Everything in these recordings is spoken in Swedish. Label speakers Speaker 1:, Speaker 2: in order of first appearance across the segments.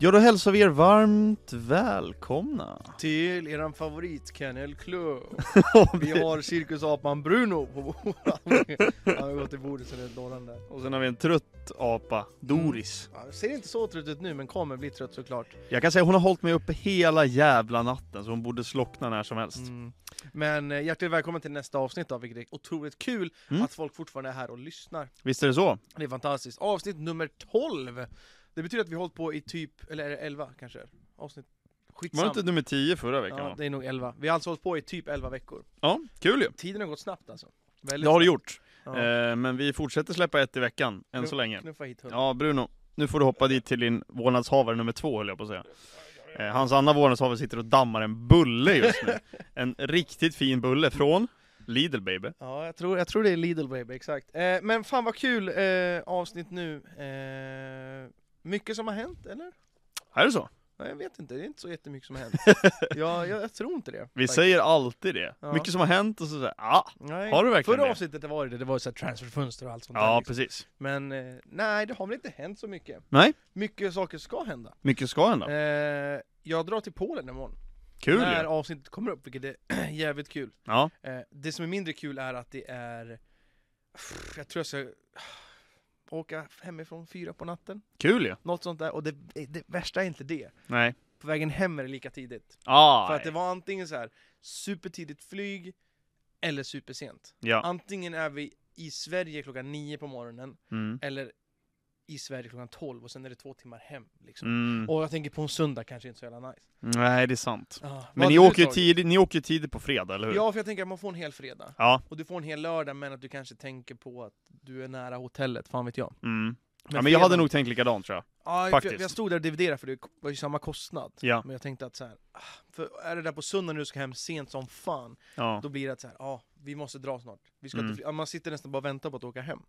Speaker 1: Ja, då hälsar vi er varmt välkomna.
Speaker 2: Till eran favorit Kennel Club.
Speaker 1: Och
Speaker 2: Vi har cirkusapan Bruno på våran. Han har gått i bordet sen helt dåren där.
Speaker 1: Och sen har vi en trött apa, Doris.
Speaker 2: Ja, ser inte så trött ut nu men kommer bli trött såklart.
Speaker 1: Mm. Jag kan säga hon har hållit mig uppe hela jävla natten, så hon borde slockna när som helst.
Speaker 2: Mm. Men eh, hjärtligt välkommen till nästa avsnitt då, vilket är otroligt kul
Speaker 1: Mm.
Speaker 2: att folk fortfarande är här och lyssnar.
Speaker 1: Visst är det så?
Speaker 2: Det är fantastiskt. Avsnitt nummer 12! Det betyder att vi har hållit på i typ, eller är det 11 kanske? Avsnitt
Speaker 1: Var det
Speaker 2: Skitsamma.
Speaker 1: inte nummer 10 förra veckan?
Speaker 2: ja,
Speaker 1: va?
Speaker 2: det är nog 11. Vi har alltså hållit på i typ 11 veckor.
Speaker 1: ja kul ju.
Speaker 2: Tiden har gått snabbt alltså. Väldigt
Speaker 1: Det har det
Speaker 2: snabbt.
Speaker 1: gjort.
Speaker 2: Ja.
Speaker 1: Eh, men vi fortsätter släppa ett i veckan, än så länge.
Speaker 2: Knuffa hit hunden.
Speaker 1: Ja, Bruno. Nu får du hoppa dit till din vårdnadshavare nummer två, höll jag på att säga. Eh, hans andra vårdnadshavare sitter och dammar en bulle just nu. En riktigt fin bulle från Lidl baby.
Speaker 2: Ja, jag tror, jag tror det är Lidl Baby, exakt. Eh, men fan vad kul eh, avsnitt nu. Eh, mycket som har hänt, eller?
Speaker 1: Är det så?
Speaker 2: Nej, jag vet inte, det är inte så jättemycket som har hänt. ja, jag, jag tror inte det.
Speaker 1: Vi
Speaker 2: faktiskt.
Speaker 1: säger alltid det.
Speaker 2: Ja.
Speaker 1: Mycket som har hänt och så säger ah,
Speaker 2: Nej.
Speaker 1: har du verkligen
Speaker 2: Förra
Speaker 1: det?
Speaker 2: avsnittet det var det, det var ju så här transferfönster och allt sånt där.
Speaker 1: Ja,
Speaker 2: Liksom.
Speaker 1: precis.
Speaker 2: Men eh, nej, det har väl inte hänt så mycket.
Speaker 1: Nej,
Speaker 2: Mycket saker ska hända.
Speaker 1: mycket ska hända.
Speaker 2: Eh, jag drar till Polen imorgon.
Speaker 1: Kul
Speaker 2: när
Speaker 1: ju.
Speaker 2: avsnittet kommer upp, vilket är jävligt kul.
Speaker 1: Ja,
Speaker 2: Eh, det som är mindre kul är att det är... Pff, Jag tror jag ska ah, åka hemifrån fyra på natten.
Speaker 1: kul ju.
Speaker 2: Något sånt där. Och det, det värsta är inte det.
Speaker 1: Nej.
Speaker 2: På vägen hem är det lika tidigt.
Speaker 1: Ah,
Speaker 2: För att det var antingen så här supertidigt flyg eller supersent.
Speaker 1: ja.
Speaker 2: Antingen är vi i Sverige klockan nio på morgonen
Speaker 1: Mm.
Speaker 2: eller i Sverige klockan tolv och sen är det två timmar hem. Liksom.
Speaker 1: Mm.
Speaker 2: Och jag tänker på en söndag kanske inte så jävla nice.
Speaker 1: Nej, det är sant.
Speaker 2: Ah, vad
Speaker 1: Men
Speaker 2: hade
Speaker 1: ni
Speaker 2: du
Speaker 1: åker, ju
Speaker 2: tagit?
Speaker 1: tidigt, ni åker ju tidigt på fredag, eller hur?
Speaker 2: Ja, för jag tänker att man får en hel fredag.
Speaker 1: Ja.
Speaker 2: Och du får en hel lördag men att du kanske tänker på att du är nära hotellet, fan vet jag.
Speaker 1: Mm. ja men jag hade
Speaker 2: fredag-
Speaker 1: nog tänkt likadant tror jag.
Speaker 2: Ja, för
Speaker 1: faktiskt.
Speaker 2: jag, jag stod där och dividerade för det var ju samma kostnad.
Speaker 1: Ja.
Speaker 2: Men jag tänkte att så här, ah, för är det där på söndag nu du ska hem sent som fan,
Speaker 1: ja.
Speaker 2: då blir det att så här, ja, ah, vi måste dra snart. Vi ska
Speaker 1: Mm.
Speaker 2: inte fly- ja, man sitter nästan bara och väntar på att åka hem.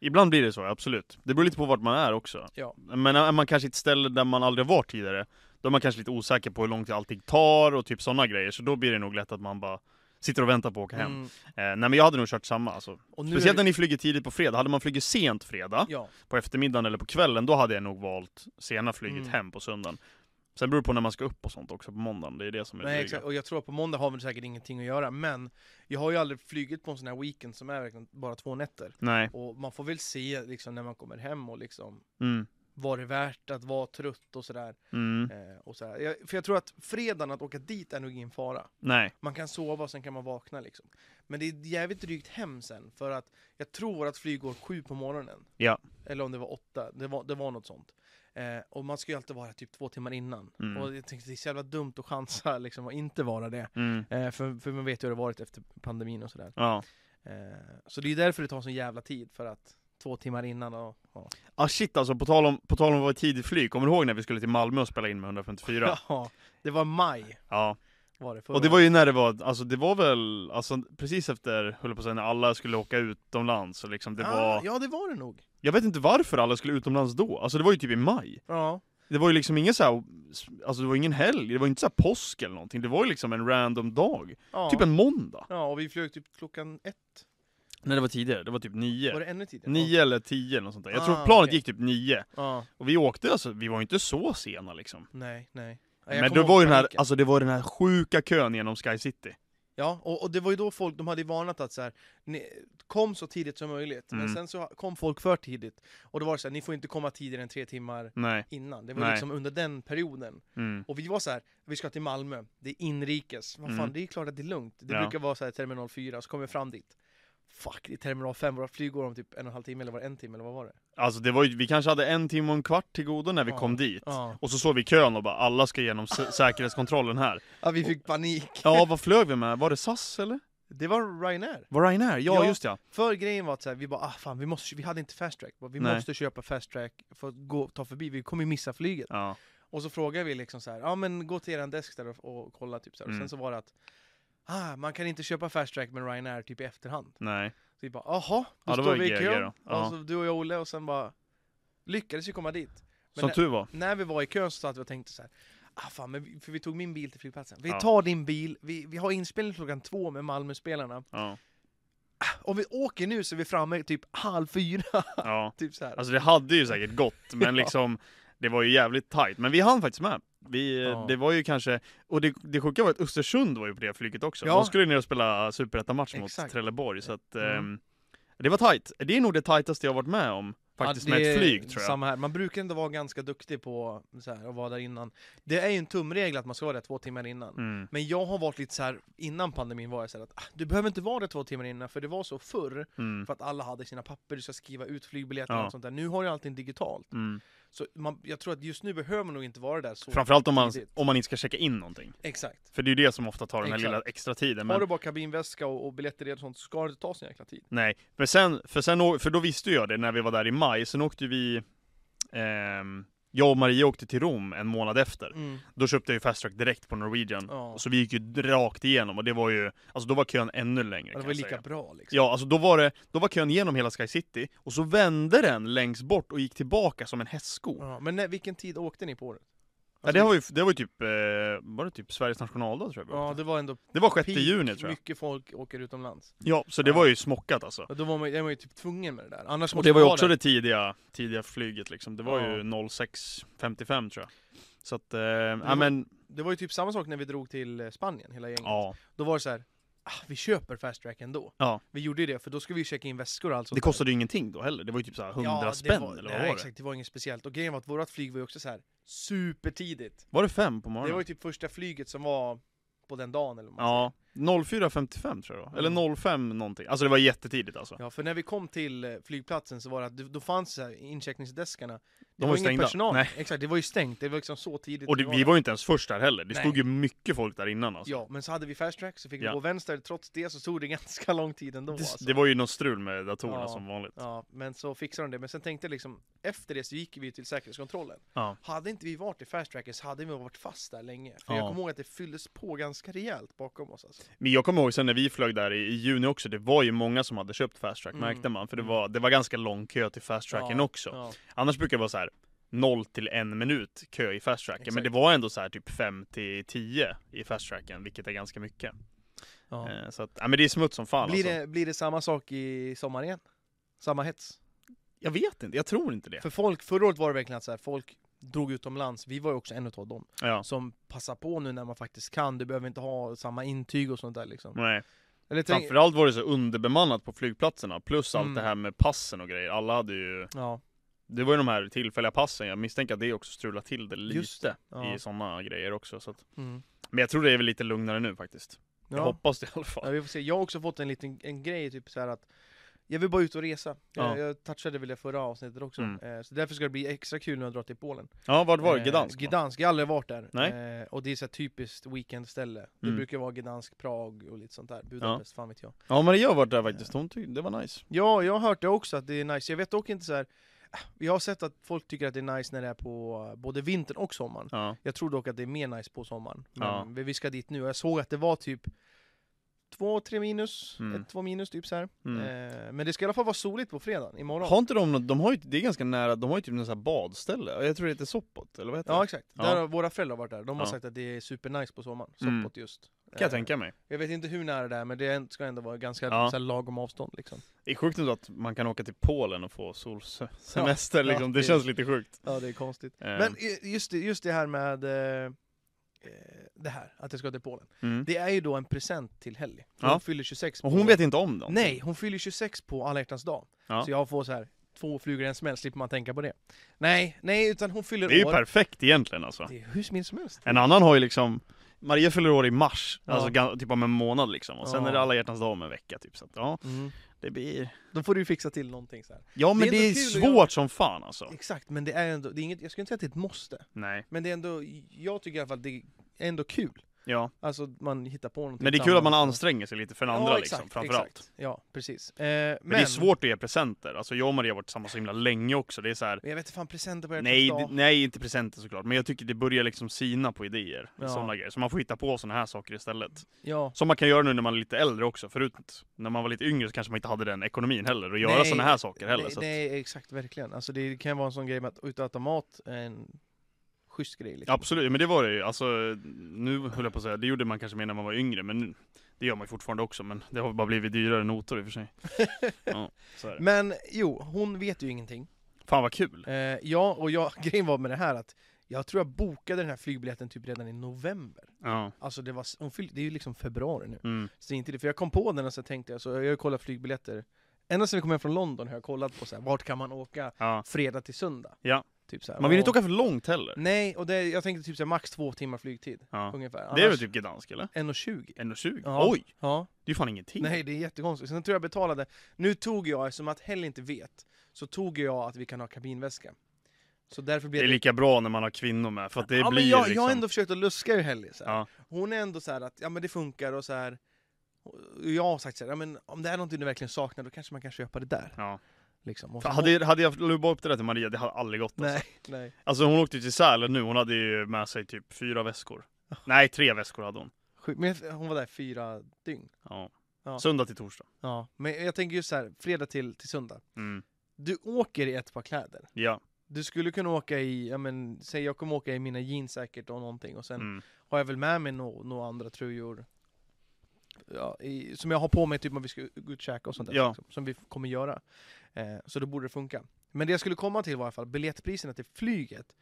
Speaker 1: Ibland blir det så, absolut. Det beror lite på vart man är också.
Speaker 2: Ja.
Speaker 1: Men är man kanske i ett ställe där man aldrig har varit tidigare, då är man kanske lite osäker på hur lång tid allting tar och typ sådana grejer, så då blir det nog lätt att man bara sitter och väntar på att åka hem.
Speaker 2: Mm.
Speaker 1: Eh, nej men jag hade nog kört samma alltså.
Speaker 2: Och nu
Speaker 1: Speciellt
Speaker 2: är
Speaker 1: när ni flyger tidigt på fredag, hade man flugit sent fredag,
Speaker 2: det, ja,
Speaker 1: på eftermiddagen eller på kvällen, då hade jag nog valt sena flyget
Speaker 2: Mm.
Speaker 1: hem på söndagen. Sen beror det på när man ska upp och sånt också på måndagen, det är det som är
Speaker 2: nej,
Speaker 1: det
Speaker 2: exakt.
Speaker 1: dryga.
Speaker 2: Och jag tror att på måndag har vi säkert ingenting att göra, men jag har ju aldrig flugit på en sån här weekend som är verkligen bara två nätter.
Speaker 1: Nej.
Speaker 2: Och man får väl se liksom när man kommer hem och liksom,
Speaker 1: Mm.
Speaker 2: var det värt att vara trött och sådär.
Speaker 1: Mm.
Speaker 2: Eh, och sådär. Jag, för jag tror att fredagen, att åka dit är nog ingen fara.
Speaker 1: Nej.
Speaker 2: Man kan sova och sen kan man vakna liksom. Men det är jävligt drygt hem sen för att jag tror att flyg går sju på morgonen.
Speaker 1: Ja.
Speaker 2: Eller om det var åtta, det var, det var något sånt. Eh, och man ska ju alltid vara typ två timmar innan.
Speaker 1: Mm.
Speaker 2: Och jag tänkte det är så jävla dumt att chansa liksom och inte vara det.
Speaker 1: Mm.
Speaker 2: Eh, för, för man vet ju hur det varit efter pandemin och sådär.
Speaker 1: Ja.
Speaker 2: Eh, så det är därför det tar sån jävla tid för att två timmar innan och, och.
Speaker 1: Ah shit alltså, på tal om, på tal om att vara i tidigt flyg, kommer du ihåg när vi skulle till Malmö och spela in med 154?
Speaker 2: Ja, det var maj
Speaker 1: Ja.
Speaker 2: var det förra
Speaker 1: Och det var ju när det var, alltså det var väl, alltså precis efter, höll jag på att säga, när alla skulle åka utomlands och liksom det
Speaker 2: året. ah,
Speaker 1: var
Speaker 2: Ja det var det nog.
Speaker 1: Jag vet inte varför alla skulle utomlands då, alltså det var ju typ i maj
Speaker 2: Ja.
Speaker 1: Det var ju liksom ingen så här, alltså det var ingen helg, det var inte så här påsk eller någonting, det var ju liksom en random dag
Speaker 2: ja.
Speaker 1: Typ en måndag
Speaker 2: Ja, och vi flög typ klockan ett.
Speaker 1: Nej det var tidigare, det var typ
Speaker 2: Var
Speaker 1: nio
Speaker 2: det ännu tidigare?
Speaker 1: Nio eller tio eller något sånt där. Jag
Speaker 2: Ah,
Speaker 1: tror planet
Speaker 2: okej.
Speaker 1: gick typ nio
Speaker 2: Ja,
Speaker 1: Och vi åkte alltså, vi var ju inte så sena liksom
Speaker 2: nej, nej. Ja, jag
Speaker 1: Men
Speaker 2: kommer
Speaker 1: det var
Speaker 2: ihåg
Speaker 1: ju den här,
Speaker 2: paniken.
Speaker 1: alltså det var den här sjuka kön genom Sky City
Speaker 2: Ja, och, och det var ju då folk, de hade ju varnat att så här, ni, kom så tidigt som möjligt. Men
Speaker 1: Mm.
Speaker 2: sen så kom folk för tidigt. Och då var det så här, ni får inte komma tidigare än tre timmar
Speaker 1: Nej,
Speaker 2: innan. Det var
Speaker 1: Nej.
Speaker 2: liksom under den perioden.
Speaker 1: mm.
Speaker 2: Och vi var så här, vi ska till Malmö, det är inrikes. Vad fan,
Speaker 1: Mm.
Speaker 2: det är klart att det är lugnt. Det
Speaker 1: Ja.
Speaker 2: brukar vara så här terminal 4, så kommer vi fram dit. Fuck, det är terminal 5, våra flyg går om typ en och en halv timme, eller var det en timme, eller vad var det?
Speaker 1: Alltså det var ju, vi kanske hade en timme och en kvart till godo när vi
Speaker 2: Ja.
Speaker 1: kom dit
Speaker 2: Ja,
Speaker 1: Och så såg vi kön och bara alla ska igenom sä- säkerhetskontrollen här
Speaker 2: ja vi fick panik.
Speaker 1: Ja, vad flög vi med? Var det SAS eller?
Speaker 2: Det var Ryanair.
Speaker 1: Var Ryanair? Ja,
Speaker 2: Ja.
Speaker 1: just ja.
Speaker 2: För grejen var att så här, vi bara ah, fan, vi, måste, vi hade inte fast track, Bara, vi
Speaker 1: Nej.
Speaker 2: måste köpa fast track för att gå, ta förbi, vi kommer ju missa flyget.
Speaker 1: Ja,
Speaker 2: Och så frågade vi liksom så här, ja men gå till eran desk där och, och kolla typ så här. Och
Speaker 1: Mm.
Speaker 2: sen så var det att ah, man kan inte köpa fast track med Ryanair typ i efterhand.
Speaker 1: nej.
Speaker 2: Så vi bara jaha, då
Speaker 1: Ja, det var
Speaker 2: står
Speaker 1: ju
Speaker 2: vi i
Speaker 1: GG
Speaker 2: kön.
Speaker 1: då.
Speaker 2: Och
Speaker 1: Ja.
Speaker 2: så du och jag och Olle och sen bara lyckades ju komma dit. Men
Speaker 1: Som
Speaker 2: när,
Speaker 1: tur var.
Speaker 2: när vi var i kön så satt vi och tänkte så här, ah, fan, men vi, för vi tog min bil till flygplatsen. Vi
Speaker 1: Ja.
Speaker 2: tar din bil, vi, vi har inspelning klockan två med Malmöspelarna.
Speaker 1: Ja.
Speaker 2: Om vi åker nu så är vi framme typ halv fyra.
Speaker 1: ja.
Speaker 2: Typ så här.
Speaker 1: Alltså det hade ju säkert gått, men
Speaker 2: Ja.
Speaker 1: liksom Det var ju jävligt tight, men vi hann faktiskt med. Vi, eh,
Speaker 2: Ja.
Speaker 1: Det var ju kanske, och det, det sjuka var att Östersund var ju på det flyget också.
Speaker 2: Ja.
Speaker 1: De skulle ner och spela superettamatch mot
Speaker 2: Exakt.
Speaker 1: Trelleborg, så att
Speaker 2: Mm.
Speaker 1: ehm, det var tight. Det är nog det tightaste jag varit med om, faktiskt
Speaker 2: Ja, det
Speaker 1: med ett
Speaker 2: är
Speaker 1: flyg tror jag.
Speaker 2: Samma här. Man brukar ändå vara ganska duktig på så här, att vara där innan. Det är ju en tumregel att man ska vara där två timmar innan.
Speaker 1: Mm.
Speaker 2: Men jag har varit lite så här innan pandemin var jag så här att ah, du behöver inte vara där två timmar innan för det var så förr
Speaker 1: Mm.
Speaker 2: för att alla hade sina papper, du ska skriva ut flygbiljetter och
Speaker 1: Ja.
Speaker 2: allt sånt där. Nu har ju allting digitalt.
Speaker 1: Mm.
Speaker 2: Så man, jag tror att just nu behöver man nog inte vara där så
Speaker 1: Framförallt om man,
Speaker 2: tidigt.
Speaker 1: om man inte ska checka in någonting.
Speaker 2: Exakt.
Speaker 1: För det är ju det som ofta tar den här
Speaker 2: Exakt.
Speaker 1: lilla extra tiden.
Speaker 2: Har
Speaker 1: Men,
Speaker 2: du bara kabinväska och, och biljetter redo och sånt så ska det ta sin jäkla tid.
Speaker 1: nej. Men sen, för, sen, å- för då visste jag det när vi var där i maj, sen åkte vi ehm, jag och Maria åkte till Rom en månad efter. Då köpte jag ju fast track direkt på Norwegian.
Speaker 2: Mm. Ja.
Speaker 1: Mm. Så vi gick ju rakt igenom och det var ju, alltså då var kön ännu längre
Speaker 2: Ja, det
Speaker 1: kan
Speaker 2: var
Speaker 1: jag
Speaker 2: ju lika
Speaker 1: säga.
Speaker 2: bra liksom.
Speaker 1: Ja, alltså då var det, då var kön genom hela Sky City och så vände den längst bort och gick tillbaka som en hästsko.
Speaker 2: Ja, alltså- men när, vilken tid åkte ni på året?
Speaker 1: Ja, det, var ju, det var ju typ, eh, var det typ Sveriges nationaldag tror jag vi
Speaker 2: Ja,
Speaker 1: åkte.
Speaker 2: det var ändå
Speaker 1: Det var 6
Speaker 2: peak,
Speaker 1: juni tror jag.
Speaker 2: mycket folk åker utomlands.
Speaker 1: Ja, så det
Speaker 2: Ja.
Speaker 1: var ju smockat alltså.
Speaker 2: Och då var man, ju- är man ju typ tvungen med det där. Annars
Speaker 1: Och
Speaker 2: måste
Speaker 1: det var ju
Speaker 2: man
Speaker 1: också
Speaker 2: vara
Speaker 1: det tidiga, tidiga flyget liksom. Det var
Speaker 2: Ja.
Speaker 1: ju 06.55 tror jag. Så att, eh, ja
Speaker 2: var-
Speaker 1: men,
Speaker 2: där. det var ju typ samma sak när vi drog till eh, Spanien, hela gänget.
Speaker 1: ja.
Speaker 2: Då var det så här, ah, vi köper fast track ändå.
Speaker 1: Ja.
Speaker 2: Vi gjorde ju det, för då skulle vi ju checka in väskor och allt sånt
Speaker 1: Det
Speaker 2: där.
Speaker 1: kostade ju ingenting då heller. Det var ju typ såhär 100
Speaker 2: Ja, det
Speaker 1: spänn
Speaker 2: var,
Speaker 1: eller vad
Speaker 2: nej,
Speaker 1: var det?
Speaker 2: exakt, det var inget speciellt. Och grejen var att vårt flyg var ju också så här supertidigt.
Speaker 1: Var det fem på
Speaker 2: Det
Speaker 1: morgonen?
Speaker 2: var ju typ första flyget som var på den dagen eller vad man
Speaker 1: Ja, 04.55 tror jag då. Eller
Speaker 2: Mm.
Speaker 1: 05 någonting. Alltså det var jättetidigt alltså.
Speaker 2: Ja, för när vi kom till eh, flygplatsen så var det att det- då fanns så här incheckningsdeskarna. Det
Speaker 1: var
Speaker 2: var
Speaker 1: ju stängda.
Speaker 2: personal.
Speaker 1: Nej.
Speaker 2: Exakt, det var ju stängt. Det var liksom så tidigt.
Speaker 1: Och det,
Speaker 2: det
Speaker 1: vi var ju inte ens först där heller. Det
Speaker 2: Nej.
Speaker 1: stod ju mycket folk där innan alltså.
Speaker 2: Ja, men så hade vi fast track så fick vi
Speaker 1: Ja.
Speaker 2: gå vänster. Trots det så tog det ganska lång tid ändå.
Speaker 1: det,
Speaker 2: Alltså.
Speaker 1: det var ju något strul med datorerna
Speaker 2: Ja.
Speaker 1: som vanligt.
Speaker 2: Ja, men så fixade de det. Men sen tänkte jag liksom, efter det så gick vi till säkerhetskontrollen.
Speaker 1: Ja.
Speaker 2: Hade inte vi varit i fast tracken så hade vi nog varit fast där länge. För
Speaker 1: Ja.
Speaker 2: jag kommer ihåg att det fylldes på ganska rejält bakom oss. Alltså.
Speaker 1: Men jag kommer ihåg sen när vi flög där i, i juni också, det var ju många som hade köpt fast track
Speaker 2: Mm.
Speaker 1: märkte man. För det
Speaker 2: Mm.
Speaker 1: var, det var ganska lång kö till fast tracken
Speaker 2: Ja,
Speaker 1: också.
Speaker 2: Ja.
Speaker 1: Annars brukar det vara så här 0 till 1 minut kö i fast tracken. Men
Speaker 2: Exakt.
Speaker 1: det var ändå så här typ 5 till 10 i fast tracken, vilket är ganska mycket.
Speaker 2: Ja.
Speaker 1: Eh, Så att, ja, men det är smuts som fan
Speaker 2: Blir,
Speaker 1: alltså.
Speaker 2: det, blir det samma sak i sommar igen? Samma hets?
Speaker 1: Jag vet inte, jag tror inte det.
Speaker 2: För folk, förra året var det verkligen att så här, folk drog utomlands, vi var ju också en utav dem
Speaker 1: Ja.
Speaker 2: som passar på nu när man faktiskt kan, du behöver inte ha samma intyg och sånt där liksom.
Speaker 1: Nej.
Speaker 2: Eller tänk,
Speaker 1: Mm. Framförallt var det så underbemannat på flygplatserna, plus allt
Speaker 2: Mm.
Speaker 1: det här med passen och grejer. Alla hade ju,
Speaker 2: ja,
Speaker 1: det var ju de här tillfälliga passen, jag misstänker att det också strular till det
Speaker 2: Just
Speaker 1: lite
Speaker 2: ja.
Speaker 1: i sådana grejer också. Så att,
Speaker 2: mm.
Speaker 1: men jag tror det är väl lite lugnare nu faktiskt. Jag
Speaker 2: ja.
Speaker 1: hoppas det i alla
Speaker 2: ja,
Speaker 1: fall.
Speaker 2: vi får se. Jag har också fått en liten en grej, typ så här att jag vill bara ut och resa. Jag,
Speaker 1: Ja.
Speaker 2: jag touchade väl det förra avsnittet också.
Speaker 1: Mm.
Speaker 2: Eh, så därför ska det bli extra kul när jag drar till Polen.
Speaker 1: Ja, vart var det?
Speaker 2: Eh,
Speaker 1: Gdansk? va?
Speaker 2: Gdansk, jag har aldrig varit där.
Speaker 1: Nej.
Speaker 2: Eh, och det är så här typiskt weekendställe. Det
Speaker 1: Mm.
Speaker 2: brukar vara Gdansk, Prag och lite sånt där. Budapest, fan vet jag.
Speaker 1: Ja, Maria har varit
Speaker 2: Eh.
Speaker 1: där faktiskt, hon tyckte det var nice.
Speaker 2: Ja, jag har hört det också att det är nice. Jag vet dock inte så här. äh, Jag har sett att folk tycker att det är nice när det är på eh, både vintern och sommaren.
Speaker 1: Ja.
Speaker 2: Jag tror dock att det är mer nice på sommaren. Men
Speaker 1: Ja.
Speaker 2: vi- vi ska dit nu och jag såg att det var typ två, tre minus,
Speaker 1: Mm.
Speaker 2: ett, två minus typ så här.
Speaker 1: Mm.
Speaker 2: Eh, men det ska i alla fall vara soligt på fredagen, imorgon.
Speaker 1: Har inte de något, de har ju, det är ganska nära, de har ju typ något sånt här badställe, jag tror det heter Soppot, eller vad heter
Speaker 2: Ja
Speaker 1: det?
Speaker 2: exakt,
Speaker 1: Ja.
Speaker 2: Där har våra föräldrar varit där. De har
Speaker 1: Ja.
Speaker 2: sagt att det är supernice på sommaren,
Speaker 1: Mm.
Speaker 2: soppot just.
Speaker 1: Kan jag
Speaker 2: Eh,
Speaker 1: tänka mig.
Speaker 2: Jag vet inte hur nära det är men det är- ska ändå vara ganska
Speaker 1: Ja.
Speaker 2: så här, lagom avstånd liksom.
Speaker 1: Det är sjukt ändå att man kan åka till Polen och få solsemester
Speaker 2: Ja,
Speaker 1: liksom, det
Speaker 2: det-
Speaker 1: känns lite sjukt.
Speaker 2: Ja det är konstigt.
Speaker 1: Eh,
Speaker 2: Men eh, just det, just det här med eh, eh, det här, att jag ska till Polen.
Speaker 1: mm.
Speaker 2: Det är ju då en present till Helly. För
Speaker 1: Ja.
Speaker 2: Hon fyller 26
Speaker 1: Och hon vet inte om dem?
Speaker 2: Nej, hon fyller 26 på alla hjärtans dag.
Speaker 1: Ja.
Speaker 2: Så jag får så här två flugor i en smäll, slipper man tänka på det. Nej, nej, utan hon fyller
Speaker 1: Det är ju
Speaker 2: år.
Speaker 1: perfekt egentligen alltså.
Speaker 2: Det är hur smidigt som helst.
Speaker 1: En annan har ju liksom Maria fyller år i mars,
Speaker 2: Ja.
Speaker 1: alltså gan- typ om en månad liksom. Och sen
Speaker 2: Ja.
Speaker 1: är det alla hjärtans dag om en vecka typ. Så att, ja,
Speaker 2: Mm.
Speaker 1: det blir...
Speaker 2: Då får du ju fixa till någonting så här.
Speaker 1: Ja men det
Speaker 2: ändå
Speaker 1: är,
Speaker 2: kul att
Speaker 1: svårt
Speaker 2: göra.
Speaker 1: som fan alltså.
Speaker 2: Exakt, men det är ändå, det är inget, jag skulle inte säga att det är ett måste.
Speaker 1: Nej.
Speaker 2: Men det är ändå, jag tycker i alla fall att det är ändå kul.
Speaker 1: Ja.
Speaker 2: Alltså man hittar på någonting
Speaker 1: Men det är kul att man
Speaker 2: tillsammans.
Speaker 1: anstränger sig lite för den andra liksom, framförallt.
Speaker 2: exakt. Ja, precis. Eh, men,
Speaker 1: Men, det är svårt att ge presenter. Alltså jag och Maria har varit tillsammans så himla länge också. Det är så här.
Speaker 2: Men jag vet inte fan presenter på hjärtans
Speaker 1: Nej,
Speaker 2: dag.
Speaker 1: det, nej, inte presenter såklart. Men jag tycker det börjar liksom sina på idéer.
Speaker 2: Ja.
Speaker 1: Sådana grejer. Så man får hitta på sådana här saker istället.
Speaker 2: Ja.
Speaker 1: Som man kan göra nu när man är lite äldre också. Förut, när man var lite yngre så kanske man inte hade den ekonomin heller. Och göra
Speaker 2: Nej,
Speaker 1: sådana här saker heller.
Speaker 2: nej,
Speaker 1: så att,
Speaker 2: nej, exakt, verkligen. Alltså det kan vara en sån grej med att utöta automat är en schysst grej. Liksom.
Speaker 1: Absolut, men det var det ju. Alltså, nu höll jag på att säga, det gjorde man kanske mer när man var yngre. Men nu, det gör man ju fortfarande också. Men det har bara blivit dyrare notor i och för sig. Ja, så är det.
Speaker 2: Men jo, hon vet ju ingenting.
Speaker 1: Fan vad kul!
Speaker 2: Eh, ja, och jag, grejen var med det här att jag tror jag bokade den här flygbiljetten typ redan i november.
Speaker 1: Ja.
Speaker 2: Alltså det var, s- hon fyllde, det är ju liksom februari nu.
Speaker 1: Mm.
Speaker 2: Så det är inte det, för jag kom på den och så tänkte jag, så jag har ju kollat flygbiljetter. Ända sedan vi kom hem från London har jag kollat på så här, vart kan man åka
Speaker 1: Ja.
Speaker 2: fredag till söndag?
Speaker 1: Ja.
Speaker 2: Typ så här,
Speaker 1: Man vill
Speaker 2: och-
Speaker 1: inte åka för långt heller.
Speaker 2: Nej, och det, jag tänkte typ så här, max två timmar flygtid.
Speaker 1: Ja.
Speaker 2: Ungefär.
Speaker 1: Det är väl typ Gdansk eller?
Speaker 2: 1.20.
Speaker 1: 1,20?
Speaker 2: Ja.
Speaker 1: Oj!
Speaker 2: Ja.
Speaker 1: Det är ju fan ingenting.
Speaker 2: Nej, det är jättekonstigt. Sen tror jag betalade, nu tog jag, eftersom att Hell inte vet, så tog jag att vi kan ha kabinväska. Så därför
Speaker 1: Det
Speaker 2: blev
Speaker 1: är lika bra när man har kvinnor med, för att det
Speaker 2: ja,
Speaker 1: blir
Speaker 2: men jag,
Speaker 1: liksom...
Speaker 2: jag har ändå försökt att luska ur Helly. Så här.
Speaker 1: Ja.
Speaker 2: Hon är ändå så här att ja, men det funkar och så här. Och Jag har sagt så här, ja, men om det är någonting du verkligen saknar då kanske man kan köpa det där.
Speaker 1: Ja.
Speaker 2: Liksom. Och
Speaker 1: Fan,
Speaker 2: så-
Speaker 1: Hade, hade jag lubbat upp det där till Maria, det hade aldrig gått alltså.
Speaker 2: Nej, nej.
Speaker 1: alltså hon åkte ju till Sälen nu, hon hade ju med sig typ fyra väskor. Nej, tre väskor hade hon.
Speaker 2: Sjukt. Men jag- hon var där fyra dygn.
Speaker 1: Ja.
Speaker 2: Ja.
Speaker 1: Söndag till torsdag.
Speaker 2: Ja. Men jag tänker just så här, fredag till, till söndag.
Speaker 1: Mm.
Speaker 2: Du åker i ett par kläder.
Speaker 1: Ja.
Speaker 2: Du skulle kunna åka i, ja, men, säg jag kommer åka i mina jeans säkert och någonting och sen
Speaker 1: Mm.
Speaker 2: har jag väl med mig några nå andra tröjor ja, i, som jag har på mig typ om vi ska gå ut och käka och sånt där,
Speaker 1: Ja.
Speaker 2: liksom, som vi kommer göra. Eh, så då borde det funka. Men det jag skulle komma till var i alla fall biljettpriserna till flyget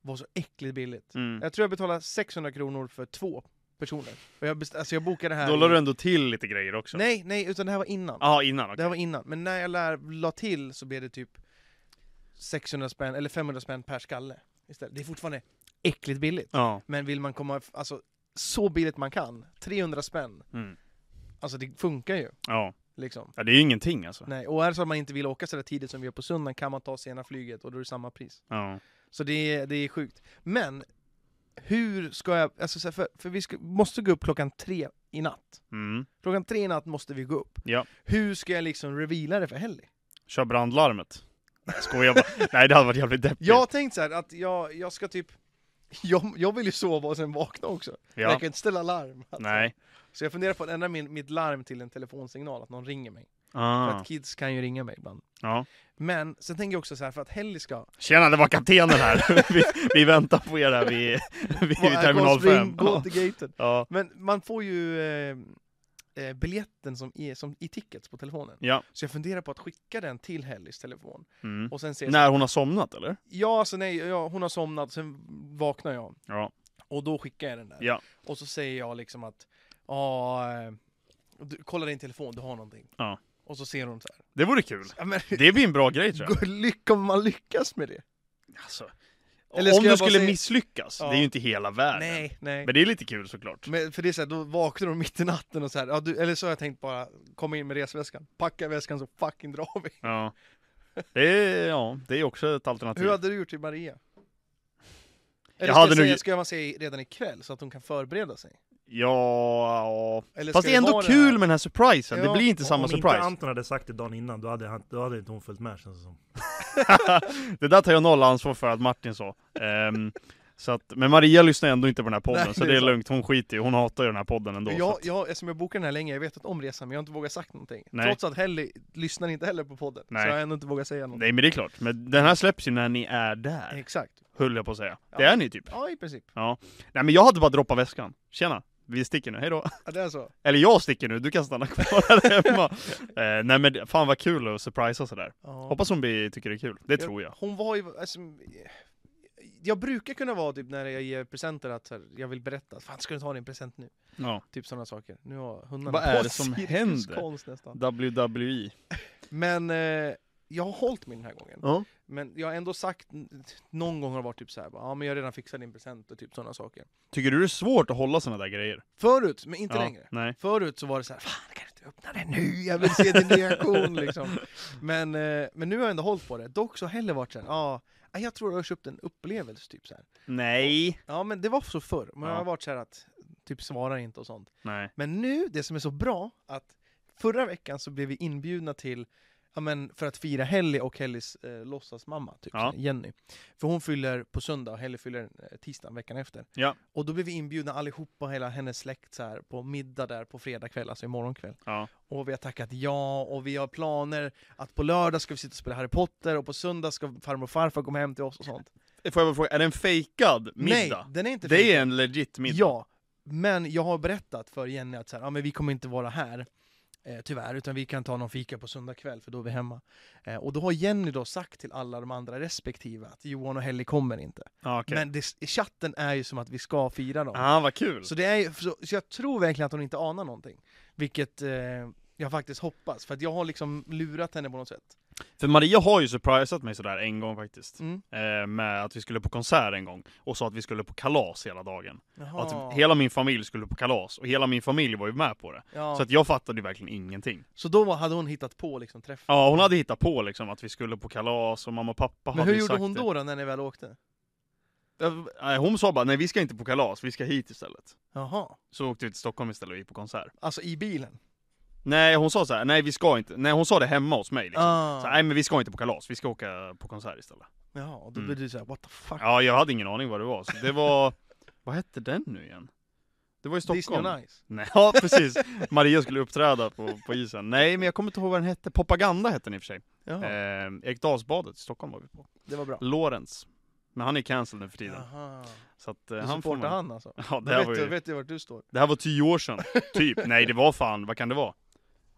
Speaker 2: var så äckligt billigt.
Speaker 1: Mm.
Speaker 2: Jag tror jag betalade 600 kronor för två personer. Och jag, best- alltså jag bokade det här...
Speaker 1: Då la
Speaker 2: i-
Speaker 1: du ändå till lite grejer också.
Speaker 2: Nej, nej, utan det här var innan.
Speaker 1: Jaha, innan okej.
Speaker 2: Det här var innan. Men när jag lär, la till så blev det typ 600 spänn, eller 500 spänn per skalle. Istället. Det är fortfarande äckligt billigt.
Speaker 1: Ja.
Speaker 2: Men vill man komma, alltså så billigt man kan, 300 spänn,
Speaker 1: Mm.
Speaker 2: alltså det funkar ju
Speaker 1: ja.
Speaker 2: liksom.
Speaker 1: Ja, det är ju ingenting alltså.
Speaker 2: Nej, och är det så att man inte vill åka så där tidigt som vi gör på söndagen kan man ta sena flyget och då är det samma pris.
Speaker 1: Ja.
Speaker 2: Så det är, det är sjukt. Men hur ska jag, alltså så här, för, för vi ska, måste gå upp klockan tre i natt.
Speaker 1: Mm.
Speaker 2: Klockan tre i natt måste vi gå upp.
Speaker 1: Ja.
Speaker 2: Hur ska jag liksom reveala det för Helly?
Speaker 1: Kör brandlarmet. Jag Skojar bara. Nej, det hade varit jävligt deppigt.
Speaker 2: Jag har tänkt så här att jag, jag ska typ, jag, jag vill ju sova och sen vakna också.
Speaker 1: Ja.
Speaker 2: Jag kan inte ställa larm. Alltså.
Speaker 1: Nej.
Speaker 2: Så jag funderar på att ändra min, mitt larm till en telefonsignal, att någon ringer mig. För
Speaker 1: Ah.
Speaker 2: att kids kan ju ringa mig ibland.
Speaker 1: Ja.
Speaker 2: Men sen tänker jag också så här, för att Helly ska...
Speaker 1: Tjena, det var kaptenen här! vi, vi väntar på er här vid, vid
Speaker 2: Vad är
Speaker 1: terminal Ah.
Speaker 2: Golfspring?
Speaker 1: 5.
Speaker 2: Gå
Speaker 1: Ja.
Speaker 2: till gaten.
Speaker 1: Ja.
Speaker 2: Men man får ju eh, eh, biljetten som, är, som i tickets på telefonen.
Speaker 1: ja.
Speaker 2: Så jag funderar på att skicka den till Hellys telefon.
Speaker 1: Mm.
Speaker 2: Och sen säger
Speaker 1: När hon har somnat eller?
Speaker 2: Ja, alltså nej, ja, hon har somnat, sen vaknar jag.
Speaker 1: Ja.
Speaker 2: Och då skickar jag den där.
Speaker 1: Ja.
Speaker 2: Och så säger jag liksom att, ja, eh, du- kolla din telefon, du har någonting.
Speaker 1: Ja.
Speaker 2: Och så ser hon så här.
Speaker 1: Det vore kul.
Speaker 2: Ja, men,
Speaker 1: Det blir en bra grej tror jag.
Speaker 2: lycka om man lyckas med det.
Speaker 1: Alltså.
Speaker 2: Eller
Speaker 1: Om
Speaker 2: ska
Speaker 1: du
Speaker 2: jag bara
Speaker 1: skulle
Speaker 2: säga-
Speaker 1: misslyckas,
Speaker 2: Ja.
Speaker 1: det är ju inte hela världen.
Speaker 2: Nej, nej.
Speaker 1: Men det är lite kul såklart.
Speaker 2: Men för det är såhär, då vaknar de mitt i natten och så här, ja, du, eller så har jag tänkt bara, komma in med resväskan, packa väskan så fucking drar vi.
Speaker 1: Ja. Det är, ja, det är också ett alternativ.
Speaker 2: Hur hade du gjort till Maria? Eller
Speaker 1: Jag
Speaker 2: ska,
Speaker 1: hade
Speaker 2: jag
Speaker 1: nog-
Speaker 2: säga, ska man säga redan ikväll så att hon kan förbereda sig?
Speaker 1: Ja, ja.
Speaker 2: Eller
Speaker 1: Fast
Speaker 2: ska
Speaker 1: det är ändå
Speaker 2: vara
Speaker 1: kul
Speaker 2: här?
Speaker 1: med den här surprisen, det
Speaker 2: Ja,
Speaker 1: blir inte samma
Speaker 3: Om
Speaker 1: surprise.
Speaker 3: inte Anton hade sagt det dagen innan, då hade, han, då hade inte hon följt med känns det som.
Speaker 1: det där tar jag noll ansvar för att Martin sa. Ehm, så att, men Maria lyssnar ändå inte på den här podden,
Speaker 2: Nej,
Speaker 1: så
Speaker 2: det
Speaker 1: det
Speaker 2: är
Speaker 1: är
Speaker 2: sant.
Speaker 1: lugnt. Hon skiter ju, hon hatar ju den här podden ändå. så
Speaker 2: Jag,
Speaker 1: att,
Speaker 2: jag, eftersom jag bokade den här länge, jag vet att om resan men jag har inte vågat sagt någonting.
Speaker 1: Nej.
Speaker 2: Trots att Helly lyssnar inte heller på podden,
Speaker 1: Nej.
Speaker 2: så jag har ändå inte vågat säga någonting.
Speaker 1: Nej men det är klart, men den här släpps ju när ni är där,
Speaker 2: Exakt.
Speaker 1: höll jag på att säga.
Speaker 2: Ja.
Speaker 1: Det är ni typ.
Speaker 2: Ja, i princip.
Speaker 1: Nej men jag hade bara droppat väskan. Tjena, vi sticker nu, hejdå.
Speaker 2: Ja, det är så.
Speaker 1: Eller jag sticker nu, du kan stanna kvar där hemma. eh, nej men fan vad kul att surprisa sådär.
Speaker 2: Ja.
Speaker 1: Hoppas hon blir, tycker det är kul, det
Speaker 2: Jag-
Speaker 1: tror jag.
Speaker 2: Hon var ju, alltså, jag brukar kunna vara typ när jag ger presenter att så här, jag vill berätta, fan ska du ta din present nu?
Speaker 1: Ja.
Speaker 2: Typ sådana saker. Nu har hundarna
Speaker 1: Vad är
Speaker 2: på
Speaker 1: det som
Speaker 2: Sirius
Speaker 1: händer?
Speaker 2: konst nästan.
Speaker 1: WWE.
Speaker 2: Men eh, jag har hållit mig den här gången.
Speaker 1: Ja.
Speaker 2: Men jag har ändå sagt, n- någon gång har det varit typ så här, bara, ja men jag har redan fixat din present och typ sådana saker.
Speaker 1: Tycker du det är svårt att hålla sådana där grejer?
Speaker 2: Förut, men inte
Speaker 1: ja.
Speaker 2: längre.
Speaker 1: Nej.
Speaker 2: Förut så var det så här, fan kan du inte öppna det nu? Jag vill se din reaktion liksom. Men, eh, men nu har jag ändå hållit på det. Dock så har heller varit så här, ja, jag tror jag har köpt en upplevelse typ så här.
Speaker 1: Nej.
Speaker 2: Ja men det var så förr, men jag
Speaker 1: Ja.
Speaker 2: har varit så här att typ svarar inte och sånt.
Speaker 1: Nej.
Speaker 2: Men nu, det som är så bra, att förra veckan så blev vi inbjudna till, ja men för att fira Helly och Hellys eh, låtsasmamma, typ
Speaker 1: Ja.
Speaker 2: så här, Jenny. För hon fyller på söndag och Helly fyller eh, tisdagen veckan efter.
Speaker 1: Ja.
Speaker 2: Och då blev vi inbjudna allihopa, hela hennes släkt så här, på middag där på fredag kväll, alltså imorgon kväll.
Speaker 1: Ja.
Speaker 2: Och vi har tackat ja, och vi har planer att på lördag ska vi sitta och spela Harry Potter, och på söndag ska farmor och farfar komma hem till oss och sånt.
Speaker 1: Får jag bara fråga, är det en fejkad middag?
Speaker 2: Nej, den är inte fin.
Speaker 1: det är en legit middag.
Speaker 2: Ja, men jag har berättat för Jenny att så här, ja, men vi kommer inte vara här. Eh, tyvärr, utan vi kan ta någon fika på söndag kväll för då är vi hemma. Eh, och då har Jenny då sagt till alla de andra respektive att Johan och Helly kommer inte.
Speaker 1: Ja, Ah, okej.
Speaker 2: Men det, chatten är ju som att vi ska fira dem.
Speaker 1: Ah, vad kul!
Speaker 2: Så, det är, ju- så, så jag tror verkligen att hon inte anar någonting. Vilket eh, jag faktiskt hoppas, för att jag har liksom lurat henne på något sätt.
Speaker 1: För Maria har ju surprisat mig sådär en gång faktiskt.
Speaker 2: Mm.
Speaker 1: Eh, med att vi skulle på konsert en gång, och sa att vi skulle på kalas hela dagen.
Speaker 2: Jaha.
Speaker 1: Att hela min familj skulle på kalas, och hela min familj var ju med på det.
Speaker 2: ja.
Speaker 1: Så att jag fattade ju verkligen ingenting.
Speaker 2: så då var- hade hon hittat på liksom träffen.
Speaker 1: Ja, hon hade hittat på liksom att vi skulle på kalas, och mamma och pappa
Speaker 2: Men
Speaker 1: hade
Speaker 2: hur
Speaker 1: ju
Speaker 2: gjorde
Speaker 1: sagt
Speaker 2: hon
Speaker 1: det.
Speaker 2: då, då när ni väl åkte?
Speaker 1: Ja, nej, Hon sa bara, nej vi ska inte på kalas, vi ska hit istället.
Speaker 2: Jaha,
Speaker 1: Så åkte vi till Stockholm istället och gick på konsert.
Speaker 2: alltså i bilen?
Speaker 1: Nej, hon sa så här, nej vi ska inte, nej hon sa det hemma hos mig liksom.
Speaker 2: Ah.
Speaker 1: Så, nej men vi ska inte på kalas, vi ska åka på konsert istället.
Speaker 2: Jaha, och då
Speaker 1: Mm.
Speaker 2: blev du såhär what the fuck?
Speaker 1: Ja, jag hade ingen aning vad det var, så det var, vad hette den nu igen? Det var i Stockholm.
Speaker 2: Disney on Ice?
Speaker 1: Nej, ja precis, Maria skulle uppträda på, på isen. Nej men jag kommer inte ihåg vad den hette, Propaganda hette den i och för sig.
Speaker 2: Jaha,
Speaker 1: Eh, Ekdalsbadet i Stockholm var vi på.
Speaker 2: det var bra.
Speaker 1: Lorentz. Men han är cancelled nu för tiden.
Speaker 2: Jaha.
Speaker 1: Så att,
Speaker 2: Du
Speaker 1: eh, han får
Speaker 2: supportar
Speaker 1: man...
Speaker 2: han alltså?
Speaker 1: Ja,
Speaker 2: Då
Speaker 1: det här, var
Speaker 2: vet, du,
Speaker 1: ju,
Speaker 2: vet du vart du står?
Speaker 1: det här var tio år sedan, typ. Nej det var fan, vad kan det vara?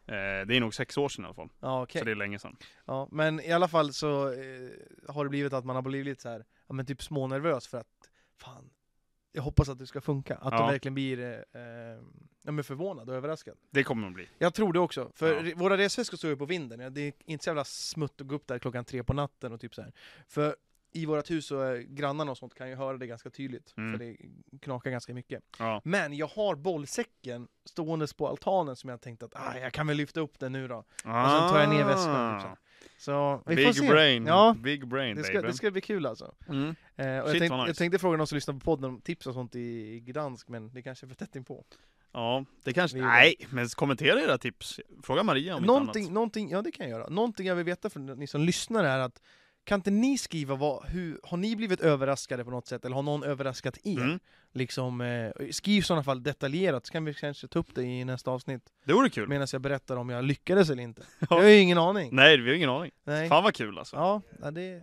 Speaker 1: Eh, det är nog sex år sedan i alla fall,
Speaker 2: Ja okej.
Speaker 1: så det är länge sedan.
Speaker 2: Ja, men i alla fall så eh, har det blivit att man har blivit så här, ja men typ smånervös för att fan, jag hoppas att det ska funka. Att
Speaker 1: Ja.
Speaker 2: de verkligen blir eh, eh, ja, men förvånad och överraskad.
Speaker 1: Det kommer de bli.
Speaker 2: Jag tror det också, för
Speaker 1: Ja.
Speaker 2: re- våra resväskor står ju på vinden. Ja, Det är inte så jävla smutt att gå upp där klockan tre på natten och typ så här. För i vårt hus så eh, grannarna och sånt kan ju höra det ganska tydligt,
Speaker 1: Mm.
Speaker 2: för det knakar ganska mycket.
Speaker 1: Ja.
Speaker 2: Men jag har bollsäcken ståendes på altanen som jag tänkte att ah, jag kan väl lyfta upp den nu då. Och sen tar jag ner
Speaker 1: Ah.
Speaker 2: väskan, typ så här. Så vi får
Speaker 1: Big
Speaker 2: se.
Speaker 1: brain,
Speaker 2: Ja,
Speaker 1: big brain
Speaker 2: det ska,
Speaker 1: baby.
Speaker 2: det ska bli kul alltså.
Speaker 1: Mm.
Speaker 2: Eh, och
Speaker 1: Shit,
Speaker 2: jag, tänkte,
Speaker 1: vad nice.
Speaker 2: jag tänkte fråga någon som lyssnar på podden om tips och sånt i, i Gdansk, men det kanske är för tätt inpå.
Speaker 1: Ja, det kanske...
Speaker 2: Vi gör det.
Speaker 1: Nej, men kommentera era tips. Fråga Maria om
Speaker 2: Någonting,
Speaker 1: inte
Speaker 2: någonting, ja det kan jag göra. Någonting jag vill veta från ni som lyssnar är att kan inte ni skriva vad, hur, har ni blivit överraskade på något sätt eller har någon överraskat er?
Speaker 1: Mm.
Speaker 2: Liksom, eh, skriv i sådana fall detaljerat så kan vi kanske ta upp det i nästa avsnitt
Speaker 1: annat. Det vore kul.
Speaker 2: medan jag berättar om jag lyckades eller inte. Jag
Speaker 1: Ja.
Speaker 2: har ju ingen aning.
Speaker 1: Nej, vi har ingen aning.
Speaker 2: Nej.
Speaker 1: Fan vad kul alltså.
Speaker 2: Ja, ja, det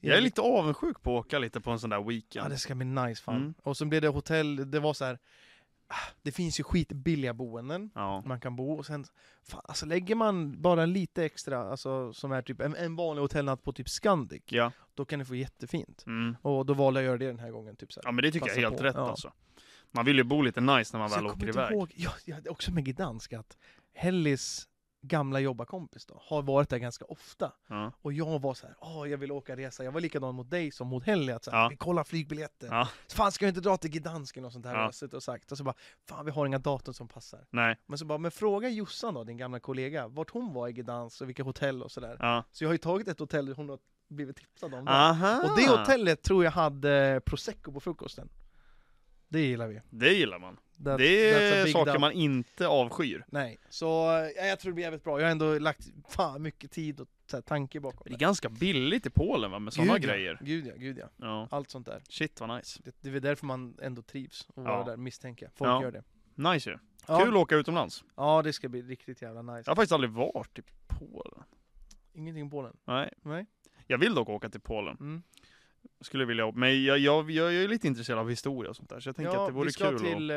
Speaker 1: Jag är lite avundsjuk på att åka lite på en sån där
Speaker 2: Ja
Speaker 1: weekend.
Speaker 2: det ska bli nice fan.
Speaker 1: Mm.
Speaker 2: Och sen blev det hotell, det var så här. ah, Det finns ju skitbilliga boenden
Speaker 1: Ja.
Speaker 2: man kan bo och sen, fan, alltså lägger man bara lite extra, alltså som är typ en, en vanlig hotellnatt på typ Scandic,
Speaker 1: Ja.
Speaker 2: då kan det få jättefint.
Speaker 1: Mm.
Speaker 2: Och då valde jag att göra det den här gången. Typ så här.
Speaker 1: ja, men det tycker
Speaker 2: Passa
Speaker 1: jag är helt
Speaker 2: på.
Speaker 1: rätt
Speaker 2: Ja.
Speaker 1: alltså. Man vill ju bo lite nice när man
Speaker 2: Så
Speaker 1: väl
Speaker 2: jag
Speaker 1: åker
Speaker 2: kommer inte
Speaker 1: iväg.
Speaker 2: ihåg, ja, ja, det är också med Gdansk, att Hellis gamla jobbarkompis då, har varit där ganska ofta.
Speaker 1: Ja.
Speaker 2: Och jag var så här, åh jag vill åka resa, jag var likadan mot dig som mot Helly, att så här,
Speaker 1: Ja.
Speaker 2: vi kollar flygbiljetter.
Speaker 1: Ja.
Speaker 2: Fan ska vi inte dra till Gdansk eller något sånt här
Speaker 1: Ja.
Speaker 2: har jag suttit och sagt. Och så bara, fan vi har inga datum som passar.
Speaker 1: Nej.
Speaker 2: Men så bara, men fråga Jossan då, din gamla kollega, vart hon var i Gdansk och vilka hotell och sådär.
Speaker 1: Ja.
Speaker 2: Så jag har ju tagit ett hotell hon har blivit tipsad om. där.
Speaker 1: Aha!
Speaker 2: Och det hotellet tror jag hade prosecco på frukosten. Det gillar vi.
Speaker 1: Det gillar man.
Speaker 2: That's-
Speaker 1: det
Speaker 2: that's a
Speaker 1: är
Speaker 2: big
Speaker 1: saker
Speaker 2: dump.
Speaker 1: man inte avskyr.
Speaker 2: Nej, så ja, jag tror det blir jävligt bra. Jag har ändå lagt fan mycket tid och så här, tanke bakom
Speaker 1: Det är ganska billigt i Polen va, med sådana
Speaker 2: Gud, ja.
Speaker 1: grejer.
Speaker 2: Gud ja, gud ja.
Speaker 1: Ja.
Speaker 2: Allt sånt där.
Speaker 1: Shit vad nice.
Speaker 2: Det, det är väl därför man ändå trivs och vara
Speaker 1: Ja.
Speaker 2: där, misstänker jag. Folk
Speaker 1: Ja.
Speaker 2: gör det.
Speaker 1: Nice ju.
Speaker 2: Ja.
Speaker 1: Kul att åka utomlands.
Speaker 2: Ja, det ska bli riktigt jävla
Speaker 1: Jag
Speaker 2: nice.
Speaker 1: har faktiskt aldrig varit i Polen.
Speaker 2: Ingenting på den.
Speaker 1: Nej.
Speaker 2: Nej.
Speaker 1: Jag vill dock åka till Polen.
Speaker 2: Mm.
Speaker 1: Skulle vilja, men jag, jag, jag är lite intresserad av historia och sånt där, så jag tänker
Speaker 2: ja,
Speaker 1: att det vore
Speaker 2: vi ska
Speaker 1: kul
Speaker 2: till eh,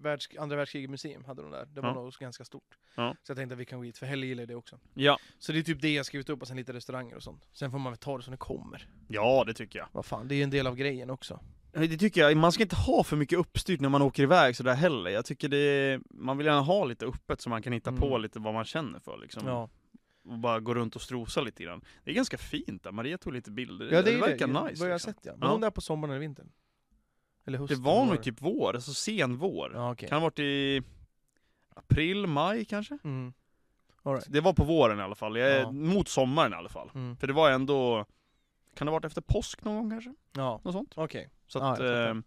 Speaker 2: världs, andra världskriget museum, hade de där. Det var
Speaker 1: Ja.
Speaker 2: nog ganska stort.
Speaker 1: Ja.
Speaker 2: Så jag tänkte att vi kan gå dit, för Helle gillar det också.
Speaker 1: att... Ja.
Speaker 2: Så det är typ det jag skrivit upp och sen lite restauranger och sånt. Sen får man väl ta det som det kommer.
Speaker 1: ja, det tycker jag.
Speaker 2: Vad fan, det är ju en del av grejen också.
Speaker 1: Det tycker jag. Man ska inte ha för mycket uppstyrt när man åker iväg sådär heller. Jag tycker det, man vill gärna ha lite öppet så man kan hitta
Speaker 2: Mm.
Speaker 1: på lite vad man känner för liksom.
Speaker 2: Ja.
Speaker 1: Och bara gå runt och strosa lite grann. Det är ganska fint där, Maria tog lite bilder.
Speaker 2: ja, det, är
Speaker 1: verkar
Speaker 2: det.
Speaker 1: nice.
Speaker 2: Vad jag har
Speaker 1: liksom.
Speaker 2: sett ja. Var
Speaker 1: Ja.
Speaker 2: hon där på sommaren eller vintern? Eller
Speaker 1: Det
Speaker 2: hösten?
Speaker 1: var nog typ vår, alltså sen vår.
Speaker 2: Ja, okej.
Speaker 1: Kan ha varit i april, maj kanske?
Speaker 2: Mm. All right.
Speaker 1: Det var på våren i alla fall, jag,
Speaker 2: Ja.
Speaker 1: mot sommaren i alla fall.
Speaker 2: Mm.
Speaker 1: För det var ändå, kan det ha varit efter påsk någon gång kanske?
Speaker 2: Ja,
Speaker 1: Något sånt.
Speaker 2: okej.
Speaker 1: Så
Speaker 2: Ja,
Speaker 1: att,
Speaker 2: jag fattar.
Speaker 1: eh,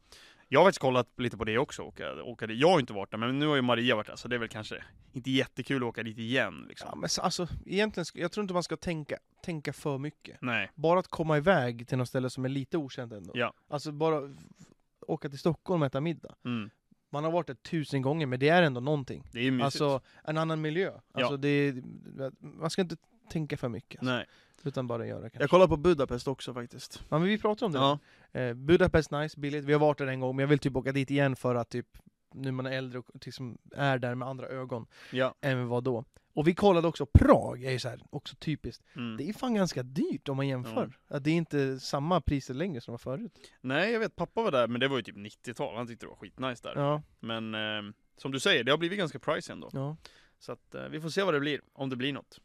Speaker 1: jag har faktiskt kollat lite på det också, åka, åka dit. Jag har ju inte varit där, men nu har ju Maria varit där, så det är väl kanske inte jättekul att åka dit igen liksom.
Speaker 2: Ja, men så- alltså, egentligen, sk- jag tror inte man ska tänka, tänka för mycket.
Speaker 1: Nej.
Speaker 2: Bara att komma iväg till något ställe som är lite okänt ändå.
Speaker 1: Ja.
Speaker 2: Alltså bara f- åka till Stockholm och äta middag.
Speaker 1: Mm.
Speaker 2: Man har varit där tusen gånger, men det är ändå någonting.
Speaker 1: Det är ju mysigt.
Speaker 2: Alltså en annan miljö. Alltså, det, är- man ska inte tänka för mycket. alltså,
Speaker 1: Nej.
Speaker 2: Utan bara göra kanske.
Speaker 1: Jag kollar på Budapest också faktiskt.
Speaker 2: Ja, men vi pratar om det.
Speaker 1: Ja.
Speaker 2: Eh, Budapest nice, billigt. Vi har varit där en gång, men jag vill typ åka dit igen för att typ nu man är äldre och liksom är där med andra ögon
Speaker 1: Ja.
Speaker 2: än vi var då. Och vi kollade också, Prag är ju så här, också typiskt.
Speaker 1: Mm.
Speaker 2: Det är fan ganska dyrt om man jämför. Att det är inte samma priser längre som det var förut.
Speaker 1: Nej, jag vet pappa var där, men det var ju typ 90-tal. Han tyckte det var skitnice där.
Speaker 2: Ja,
Speaker 1: Men eh, som du säger, det har blivit ganska pricey ändå.
Speaker 2: ja.
Speaker 1: Så att eh, vi får se vad det blir, om det blir något.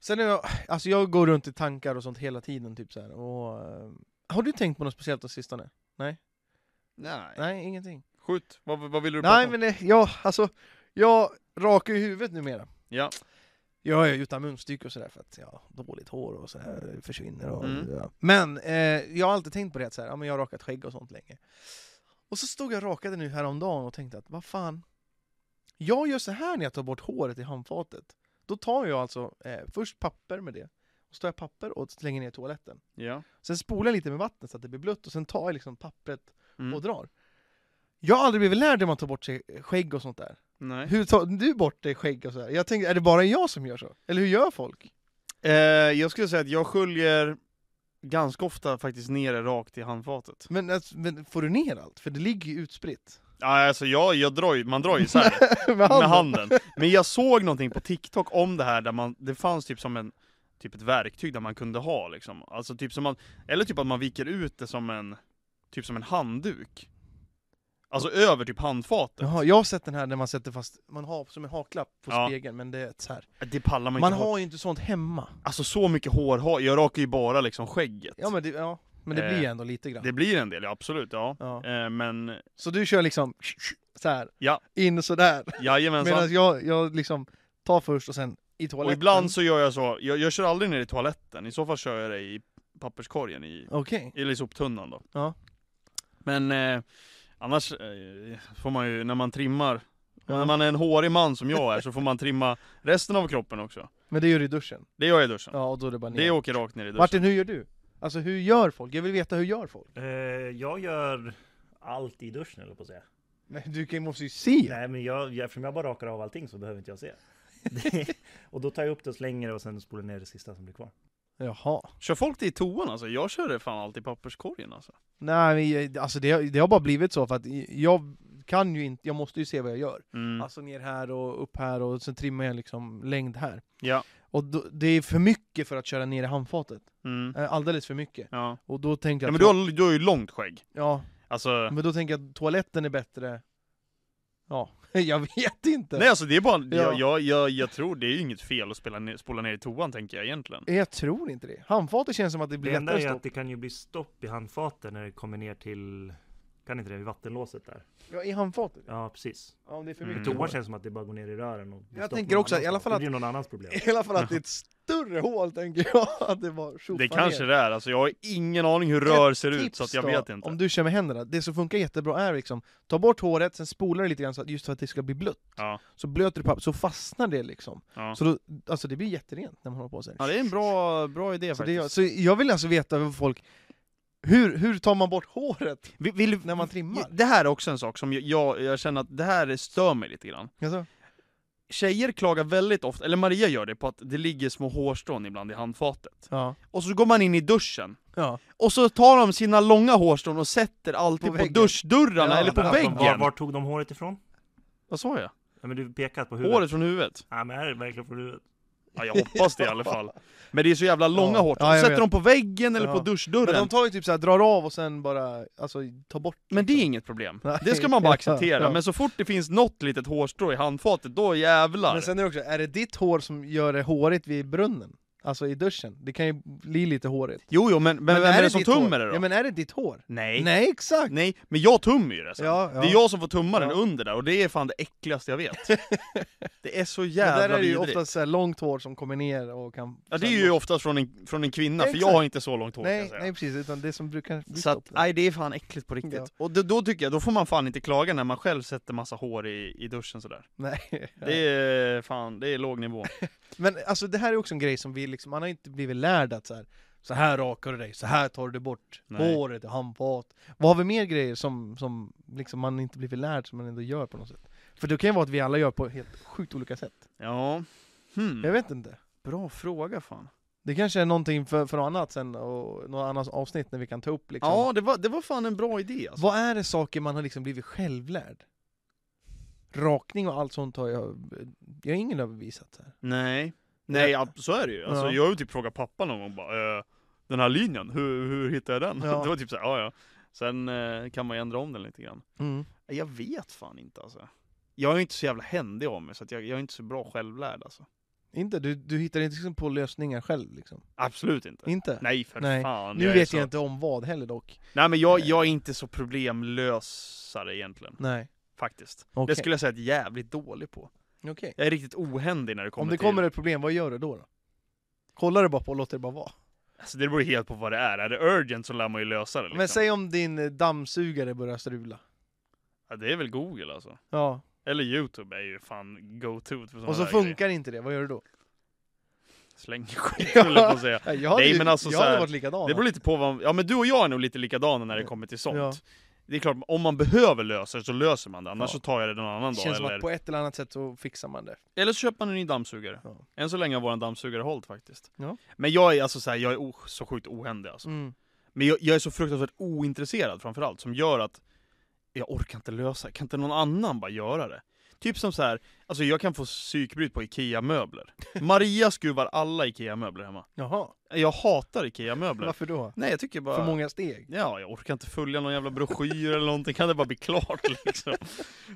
Speaker 2: Sen är jag, alltså jag går runt i tankar och sånt hela tiden typ så här. Och, eh, har du tänkt på något speciellt på sistone?
Speaker 1: Nej.
Speaker 2: Nej, ingenting.
Speaker 1: Skjut, vad, vad vill du prata
Speaker 2: Nej
Speaker 1: om?
Speaker 2: men eh, jag, alltså, jag rakar ju huvudet numera.
Speaker 1: Ja.
Speaker 2: Jag är ju utan munstycke och sådär för att jag har dåligt hår och sådär försvinner och,
Speaker 1: Mm.
Speaker 2: ja. Men eh, jag har alltid tänkt på det att såhär, ja, men jag har rakat skägg och sånt länge. Och så stod jag och rakade nu häromdagen och tänkte att vad fan. Jag gör så här när jag tar bort håret i handfatet. Då tar jag alltså eh, först papper med det. Och så tar jag papper och slänger ner i toaletten.
Speaker 1: Ja.
Speaker 2: Sen spolar jag lite med vatten så att det blir blött och sen tar jag liksom pappret och
Speaker 1: Mm.
Speaker 2: drar. Jag har aldrig blivit lärd hur man tar bort sig skägg och sånt där.
Speaker 1: Nej.
Speaker 2: Hur tar du bort dig skägg och sådär? Jag tänkte, är det bara jag som gör så? Eller hur gör folk?
Speaker 1: Eh, jag skulle säga att jag sköljer ganska ofta faktiskt ner det rakt i handfatet.
Speaker 2: Men, alltså, men får du ner allt? För det ligger ju utspritt.
Speaker 1: Ja, alltså jag, jag drar ju, man drar ju isär det
Speaker 2: Med
Speaker 1: med handen. Men jag såg någonting på TikTok om det här där man, det fanns typ som en, typ ett verktyg där man kunde ha liksom. Alltså typ som man, eller typ att man viker ut det som en, typ som en handduk. Alltså över typ handfatet.
Speaker 2: Jaha, jag har sett den här när man sätter fast, man har som en haklapp på
Speaker 1: Ja.
Speaker 2: spegeln, men det är så här.
Speaker 1: Det pallar man,
Speaker 2: Man
Speaker 1: inte ha.
Speaker 2: har ju inte sånt hemma.
Speaker 1: Alltså så mycket hår har, jag rakar ju bara liksom skägget.
Speaker 2: Ja men det, ja, men det
Speaker 1: Eh,
Speaker 2: blir ju ändå lite grann.
Speaker 1: Det blir en del, ja, absolut, ja.
Speaker 2: Ja.
Speaker 1: Eh, men
Speaker 2: Så du kör liksom så här.
Speaker 1: Ja.
Speaker 2: in och sådär. Medan
Speaker 1: jajamensan.
Speaker 2: jag, jag liksom tar först och sen i toaletten.
Speaker 1: Och ibland så gör jag så, jag, jag kör aldrig ner i toaletten, i så fall kör jag det i papperskorgen i,
Speaker 2: Okej.
Speaker 1: eller i soptunnan då.
Speaker 2: Ja.
Speaker 1: Men eh, annars eh, får man ju, när man trimmar,
Speaker 2: Ja.
Speaker 1: när man är en hårig man som jag är så får man trimma resten av kroppen också.
Speaker 2: Men det gör du i duschen?
Speaker 1: Det gör jag i duschen.
Speaker 2: Ja, och då är det bara ner.
Speaker 1: Det åker rakt ner i duschen.
Speaker 2: Martin, hur gör du? Alltså hur gör folk? Jag vill veta hur gör folk?
Speaker 3: Eh, jag gör allt i duschen eller på att säga.
Speaker 2: Nej, du kan- måste ju se!
Speaker 3: Nej men jag, jag- eftersom jag bara rakar av allting så behöver inte jag se. Det- och då tar jag upp det och slänger det och sen spolar jag ner det sista som blir kvar.
Speaker 2: Jaha.
Speaker 1: Kör folk det i toan alltså? Jag kör det fan alltid i papperskorgen alltså.
Speaker 2: Nej, men, eh, alltså det, det har bara blivit så för att jag kan ju inte, jag måste ju se vad jag gör.
Speaker 1: Mm.
Speaker 2: Alltså ner här och upp här och sen trimmar jag liksom längd här.
Speaker 1: Ja.
Speaker 2: Och då, det är för mycket för att köra ner i handfatet.
Speaker 1: Mm.
Speaker 2: Eh, Alldeles för mycket.
Speaker 1: Ja.
Speaker 2: Och då tänker
Speaker 1: ja
Speaker 2: jag...
Speaker 1: men du har, du har ju långt skägg.
Speaker 2: ja,
Speaker 1: Alltså,
Speaker 2: men då tänker jag att toaletten är bättre. Ja, jag vet inte.
Speaker 1: nej alltså det är bara,
Speaker 2: Ja.
Speaker 1: jag, jag, jag, jag tror det är ju inget fel att spela ner, spola ner i toan tänker jag egentligen.
Speaker 2: Eh, Jag tror inte det. Handfatet känns som att det blir
Speaker 3: Det enda
Speaker 2: lättare
Speaker 3: är att
Speaker 2: stopp.
Speaker 3: det kan ju bli stopp i handfaten när det kommer ner till kan inte det, vid vattenlåset där?
Speaker 2: Ja, i handfatet.
Speaker 3: Ja, precis.
Speaker 2: Ja, om det är för
Speaker 1: Mm.
Speaker 2: mycket.
Speaker 3: Toan känns som att det bara går ner i rören och
Speaker 2: Jag tänker också att- i alla fall
Speaker 3: att...
Speaker 2: att-
Speaker 3: Det blir någon annans problem.
Speaker 2: I alla fall att det är ett större hål tänker jag. Att det bara tjoffar
Speaker 1: Det kanske
Speaker 2: ner.
Speaker 1: det är, alltså jag har ingen aning hur rör ser ut
Speaker 2: Tips
Speaker 1: så att jag
Speaker 2: då,
Speaker 1: vet inte.
Speaker 2: Om du kör med händerna, det som funkar jättebra är liksom Ta bort håret, sen spolar du lite grann så att, just för att det ska bli blött.
Speaker 1: Ja.
Speaker 2: Så blöter du pappret, så fastnar det liksom.
Speaker 1: Ja.
Speaker 2: Så då, alltså det blir jätterent när man håller på så här.
Speaker 1: ja, det är en bra, bra idé
Speaker 2: så, det
Speaker 1: faktiskt.
Speaker 2: gör, så jag vill alltså veta hur folk hur, hur tar man bort håret
Speaker 1: Vill, vill,
Speaker 2: när man trimmar?
Speaker 1: det här är också en sak som jag, jag, jag känner att det här stör mig lite grann.
Speaker 2: Alltså,
Speaker 1: Tjejer klagar väldigt ofta, eller Maria gör det, på att det ligger små hårstrån ibland i handfatet.
Speaker 2: ja.
Speaker 1: Och så går man in i duschen,
Speaker 2: ja.
Speaker 1: och så tar de sina långa hårstrån och sätter alltid
Speaker 2: På
Speaker 1: på,
Speaker 2: väggen.
Speaker 1: duschdörrarna
Speaker 2: Ja,
Speaker 1: eller på
Speaker 2: där.
Speaker 3: Var,
Speaker 1: väggen.
Speaker 3: var tog de håret ifrån?
Speaker 1: Vad sa jag?
Speaker 3: Ja, men du pekat på huvudet.
Speaker 1: Håret från huvudet?
Speaker 3: Ja, men är det verkligen från huvudet?
Speaker 1: Ja, jag hoppas det i alla fall. Men det är så jävla långa
Speaker 2: Ja.
Speaker 1: hårstrån.
Speaker 2: Ja, jag
Speaker 1: sätter de
Speaker 2: vet.
Speaker 1: på väggen eller på
Speaker 2: Ja. Men
Speaker 1: duschdörren?
Speaker 2: de tar ju typ såhär, drar av och sen bara, alltså tar bort
Speaker 1: Men det är inget problem. Det ska man bara acceptera.
Speaker 2: Ja.
Speaker 1: Men så fort det finns något litet hårstrå i handfatet, då jävlar.
Speaker 2: Men sen är det också, är det ditt hår som gör det hårigt vid brunnen? Alltså i duschen? Det kan ju bli lite hårigt.
Speaker 1: Jo, jo, men, men, vem är det som
Speaker 2: ditt hår?
Speaker 1: tummar det då?
Speaker 2: Ja men är det ditt hår?
Speaker 1: Nej. Nej.
Speaker 2: Nej exakt!
Speaker 1: men jag tummar ju det sen.
Speaker 2: Ja, ja.
Speaker 1: Det är jag som får tumma den
Speaker 2: Ja.
Speaker 1: under där, och det är fan det äckligaste jag vet. det är så
Speaker 2: Men
Speaker 1: jävla
Speaker 2: där är det ju
Speaker 1: vidrigt.
Speaker 2: oftast så här långt hår som kommer ner och kan...
Speaker 1: Ja, det är ju oftast från en, från en kvinna, för jag
Speaker 2: Exakt.
Speaker 1: har inte så långt hår kan jag
Speaker 2: Nej,
Speaker 1: säga.
Speaker 2: nej precis, utan det som brukar bli
Speaker 1: Så att,
Speaker 2: stopp där.
Speaker 1: nej det är fan äckligt på riktigt.
Speaker 2: Ja.
Speaker 1: Och då, då tycker jag, då får man fan inte klaga när man själv sätter massa hår i, i duschen sådär.
Speaker 2: nej.
Speaker 1: Det är fan, det är låg nivå.
Speaker 2: Men alltså det här är också en grej som vi liksom, man har inte blivit lärd att så här, så här rakar du dig, så här tar du bort
Speaker 1: Nej.
Speaker 2: håret och handfat. Vad har vi mer grejer som, som liksom man inte blivit lärd som man ändå gör på något sätt? För det kan ju vara att vi alla gör på helt sjukt olika sätt.
Speaker 1: Ja. Hmm.
Speaker 2: Jag vet inte.
Speaker 1: Bra fråga fan.
Speaker 2: Det kanske är någonting för, för något annat sen och något annat avsnitt när vi kan ta upp liksom.
Speaker 1: Ja, det var, det var fan en bra idé alltså.
Speaker 2: Vad är det saker man har liksom blivit självlärd? rakning och allt sånt har jag, jag har ingen överbevisat. så Här.
Speaker 1: Nej. Nej, ja, så är det ju. Alltså,
Speaker 2: Ja.
Speaker 1: Jag har ju typ frågat pappa någon gång bara, eh, den här linjen, hur, hur hittar jag den?
Speaker 2: Ja.
Speaker 1: Det var typ såhär, ja ja. Sen eh, kan man ju ändra om den lite grann.
Speaker 2: Mm.
Speaker 1: Jag vet fan inte alltså. Jag är ju inte så jävla händig av mig, så att jag, jag är inte så bra självlärd alltså.
Speaker 2: Inte? Du, du hittar inte liksom på lösningar själv liksom?
Speaker 1: Absolut inte.
Speaker 2: Inte?
Speaker 1: Nej för
Speaker 2: Nej.
Speaker 1: fan.
Speaker 2: nu
Speaker 1: jag är
Speaker 2: vet
Speaker 1: så...
Speaker 2: jag inte om vad heller dock.
Speaker 1: Nej men jag, jag är inte så problemlösare egentligen,
Speaker 2: Nej.
Speaker 1: faktiskt.
Speaker 2: Okej.
Speaker 1: Det skulle jag säga att jag är jävligt dålig på.
Speaker 2: Okej.
Speaker 1: Jag är riktigt ohändig när det kommer
Speaker 2: Om det
Speaker 1: till...
Speaker 2: kommer ett problem, vad gör du då? då? Kollar du bara på och låter det bara vara?
Speaker 1: Alltså, det beror ju helt på vad det är. Är det urgent så lär man ju lösa det liksom.
Speaker 2: Men säg om din eh, dammsugare börjar strula.
Speaker 1: ja, det är väl Google alltså.
Speaker 2: Ja.
Speaker 1: Eller Youtube är ju fan go-to för såna
Speaker 2: Och så
Speaker 1: där grejer.
Speaker 2: funkar inte det, vad gör du då?
Speaker 1: Släng skit skulle jag på att säga.
Speaker 2: Ja, Jag hade,
Speaker 1: Nej,
Speaker 2: ju-
Speaker 1: men alltså
Speaker 2: jag
Speaker 1: så
Speaker 2: hade
Speaker 1: här,
Speaker 2: varit likadan.
Speaker 1: Det beror lite på vad, ja men du och jag är nog lite likadana när det
Speaker 2: Ja.
Speaker 1: kommer till sånt.
Speaker 2: Ja.
Speaker 1: Det är klart, om man behöver lösa det så löser man det, annars
Speaker 2: Ja.
Speaker 1: så tar jag det någon annan
Speaker 2: det
Speaker 1: dag.
Speaker 2: känns som
Speaker 1: Eller,
Speaker 2: att på ett eller annat sätt så fixar man det.
Speaker 1: eller så köper man en ny dammsugare.
Speaker 2: Ja.
Speaker 1: Än så länge har våran dammsugare hållit faktiskt.
Speaker 2: Ja.
Speaker 1: Men jag är alltså så här, jag är o- så sjukt ohändig alltså.
Speaker 2: Mm.
Speaker 1: Men jag, jag är så fruktansvärt ointresserad framförallt, som gör att jag orkar inte lösa det. Kan inte någon annan bara göra det? Typ som så här, alltså jag kan få psykbryt på IKEA-möbler. Maria skruvar alla IKEA-möbler hemma.
Speaker 2: Jaha,
Speaker 1: Jag hatar IKEA-möbler.
Speaker 2: varför då?
Speaker 1: Nej, jag tycker bara...
Speaker 2: För många steg?
Speaker 1: Ja, jag orkar inte följa någon jävla broschyr eller någonting, kan det bara bli klart liksom?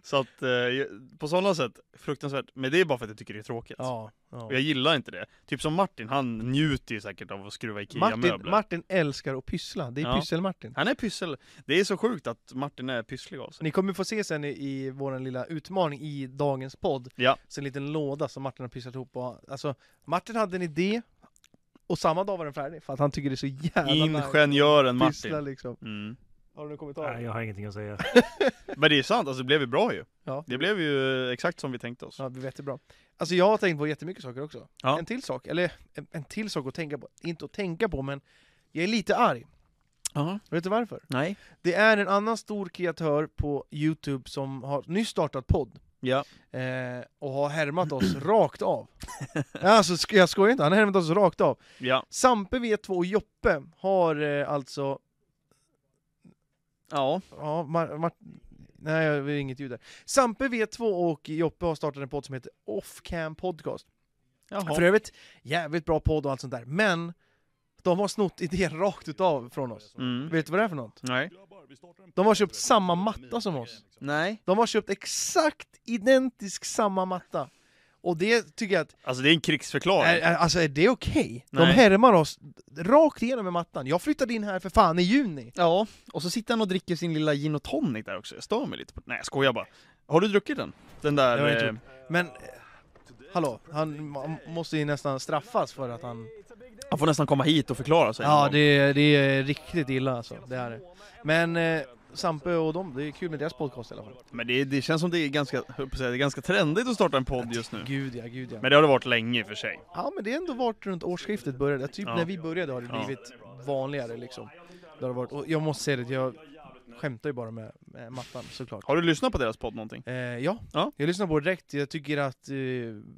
Speaker 1: Så att eh, jag- på sådana sätt, fruktansvärt. Men det är bara för att jag tycker det är tråkigt.
Speaker 2: Ja. ja.
Speaker 1: Och jag gillar inte det. Typ som Martin, han njuter ju säkert av att skruva
Speaker 2: Martin,
Speaker 1: IKEA-möbler.
Speaker 2: Martin älskar att pyssla, det är
Speaker 1: Ja.
Speaker 2: Pyssel-Martin.
Speaker 1: han är pyssel. Det är så sjukt att Martin är pysslig av sig.
Speaker 2: Ni kommer få se sen i, i vår lilla utmaning i dagens podd,
Speaker 1: Ja.
Speaker 2: så en liten låda som Martin har pysslat ihop. Och, alltså, Martin hade en idé, och samma dag var den färdig, för att han tycker det är så jävla nice
Speaker 1: Ingenjören
Speaker 2: att pyssla
Speaker 1: Martin.
Speaker 2: liksom.
Speaker 1: Mm.
Speaker 2: Har du någon kommentar?
Speaker 3: Nej, jag har ingenting att säga.
Speaker 1: Men det är sant, alltså det blev ju bra ju.
Speaker 2: Ja.
Speaker 1: Det blev ju eh, exakt som vi tänkte oss.
Speaker 2: Ja, vi vet det bra. Alltså jag har tänkt på jättemycket saker också.
Speaker 1: Ja.
Speaker 2: En till sak, eller en, en till sak att tänka på, inte att tänka på men jag är lite arg.
Speaker 1: Ja.
Speaker 2: Vet du varför?
Speaker 1: Nej.
Speaker 2: Det är en annan stor kreatör på Youtube som har nyss startat podd
Speaker 1: Ja.
Speaker 2: eh, och har härmat oss rakt av. Ja, Alltså sk- jag skojar inte, han har härmat oss rakt av.
Speaker 1: Ja.
Speaker 2: Sampe V2 och Joppe har eh, alltså,
Speaker 1: Ja.
Speaker 2: ja, Mar- Mar- nej jag vill inget ljud där. Sampe V2 och Joppe har startat en podd som heter Off Cam Podcast.
Speaker 1: Jaha.
Speaker 2: För övrigt, jävligt bra podd och allt sånt där, men de har snott idén rakt utav från oss.
Speaker 1: Mm.
Speaker 2: Vet du vad det är för något?
Speaker 1: Nej.
Speaker 2: De har köpt samma matta som oss.
Speaker 1: Nej.
Speaker 2: De har köpt exakt identisk samma matta. Och det tycker jag att,
Speaker 1: Alltså det är en krigsförklaring.
Speaker 2: är, är, alltså är det okej? De
Speaker 1: Nej.
Speaker 2: härmar oss rakt igenom med mattan. Jag flyttade in här för fan i juni.
Speaker 1: Ja, och så sitter han och dricker sin lilla gin och tonic där också. Jag stör mig lite på Nej, jag skojar bara. Har du druckit den? Den där...
Speaker 2: Det har jag inte
Speaker 1: eh,
Speaker 2: Men, eh, hallå, han man måste ju nästan straffas för att han
Speaker 1: han får nästan komma hit och förklara sig.
Speaker 2: Ja, det, det är riktigt illa alltså. Det är det. Men eh, Sampe och dem, det är kul med deras podcast i alla fall.
Speaker 1: Men det, det känns som det är ganska, jag höll på att säga, det är ganska trendigt att starta en podd just nu.
Speaker 2: Gud ja, gud ja.
Speaker 1: Men det har det varit länge i och för sig.
Speaker 2: ja, men det har ändå varit runt årsskiftet började. Typ
Speaker 1: Ja.
Speaker 2: när vi började har det
Speaker 1: Ja.
Speaker 2: blivit vanligare liksom. Det har varit. Och jag måste säga det, jag skämtar ju bara med, med mattan såklart.
Speaker 1: Har du lyssnat på deras podd någonting?
Speaker 2: Eh, ja.
Speaker 1: Ja.
Speaker 2: jag lyssnar på det direkt. Jag tycker att eh,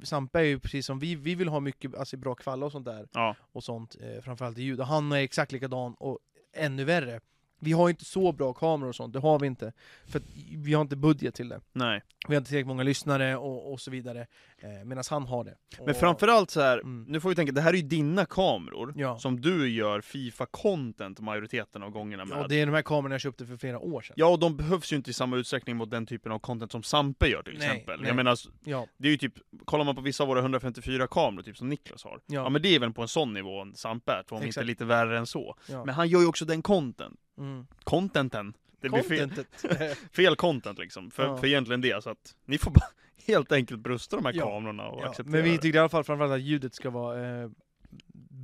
Speaker 2: Sampe är ju precis som vi, vi vill ha mycket alltså, bra kvalla och sånt där.
Speaker 1: Ja.
Speaker 2: och sånt, eh, framförallt i ljud. Och han är exakt likadan och ännu värre. Vi har ju inte så bra kameror och sånt, det har vi inte. För att vi har inte budget till det.
Speaker 1: Nej.
Speaker 2: Vi har inte tillräckligt många lyssnare och, och så vidare. Eh, Medan han har det.
Speaker 1: Men
Speaker 2: Och-
Speaker 1: framförallt så här,
Speaker 2: Mm.
Speaker 1: nu får vi tänka, det här är ju dina kameror.
Speaker 2: Ja.
Speaker 1: Som du gör Fifa-content majoriteten av gångerna med.
Speaker 2: Ja, det är de här kamerorna jag köpte för flera år sedan.
Speaker 1: Ja, och de behövs ju inte i samma utsträckning mot den typen av content som Sampe gör till
Speaker 2: Nej,
Speaker 1: exempel.
Speaker 2: nej.
Speaker 1: Jag menar,
Speaker 2: Ja,
Speaker 1: Det är ju typ, kollar man på vissa av våra 154 kameror, typ som Niklas har,
Speaker 2: Ja.
Speaker 1: ja, men det är väl på en sån nivå en Sampe är, om inte
Speaker 2: Exakt.
Speaker 1: lite värre än så.
Speaker 2: ja.
Speaker 1: Men han gör ju också den content.
Speaker 2: Mm.
Speaker 1: Contenten. Det blir fel,
Speaker 2: Contentet.
Speaker 1: fel content liksom, för,
Speaker 2: Ja.
Speaker 1: för egentligen det. Så att ni får bara helt enkelt brusta de här
Speaker 2: Ja.
Speaker 1: kamerorna och
Speaker 2: ja.
Speaker 1: acceptera
Speaker 2: Men vi
Speaker 1: det.
Speaker 2: tyckte i alla fall framförallt att ljudet ska vara eh,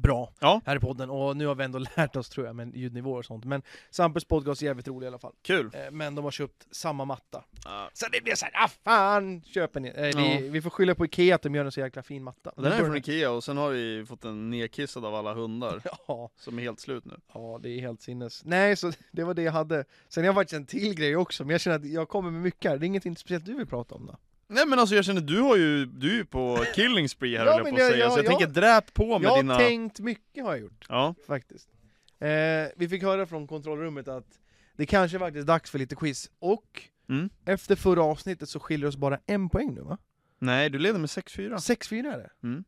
Speaker 2: bra
Speaker 1: Ja.
Speaker 2: här i podden. Och nu har vi ändå lärt oss tror jag, med ljudnivåer och sånt. Men Sampes podcast är jävligt rolig i alla fall.
Speaker 1: Kul!
Speaker 2: Eh, men de har köpt samma matta.
Speaker 1: Ja.
Speaker 2: Så det blir såhär, ah fan, köper ni? Eh, det, Vi får skylla på Ikea att de gör en så jäkla fin matta.
Speaker 1: Den här är från Ikea och sen har vi fått den nedkissad av alla hundar
Speaker 2: Ja,
Speaker 1: som är helt slut nu.
Speaker 2: ja, det är helt sinnes. Nej, så det var det jag hade. Sen har jag faktiskt en till grej också, men jag känner att jag kommer med mycket här. Det är inget speciellt du vill prata om då?
Speaker 1: Nej men alltså jag känner, du har ju, du är ju på killing spree här
Speaker 2: Ja,
Speaker 1: höll jag på
Speaker 2: men
Speaker 1: att
Speaker 2: jag-
Speaker 1: säga, så jag
Speaker 2: jag-
Speaker 1: tänker dräp på med
Speaker 2: jag har
Speaker 1: dina...
Speaker 2: tänkt mycket har jag gjort,
Speaker 1: Ja,
Speaker 2: faktiskt. Eh, vi fick höra från kontrollrummet att det kanske faktiskt är dags för lite quiz, och
Speaker 1: Mm.
Speaker 2: Efter förra avsnittet så skiljer oss bara en poäng nu va?
Speaker 1: Nej, du leder med 6-4.
Speaker 2: 6-4 är det.
Speaker 1: Mm.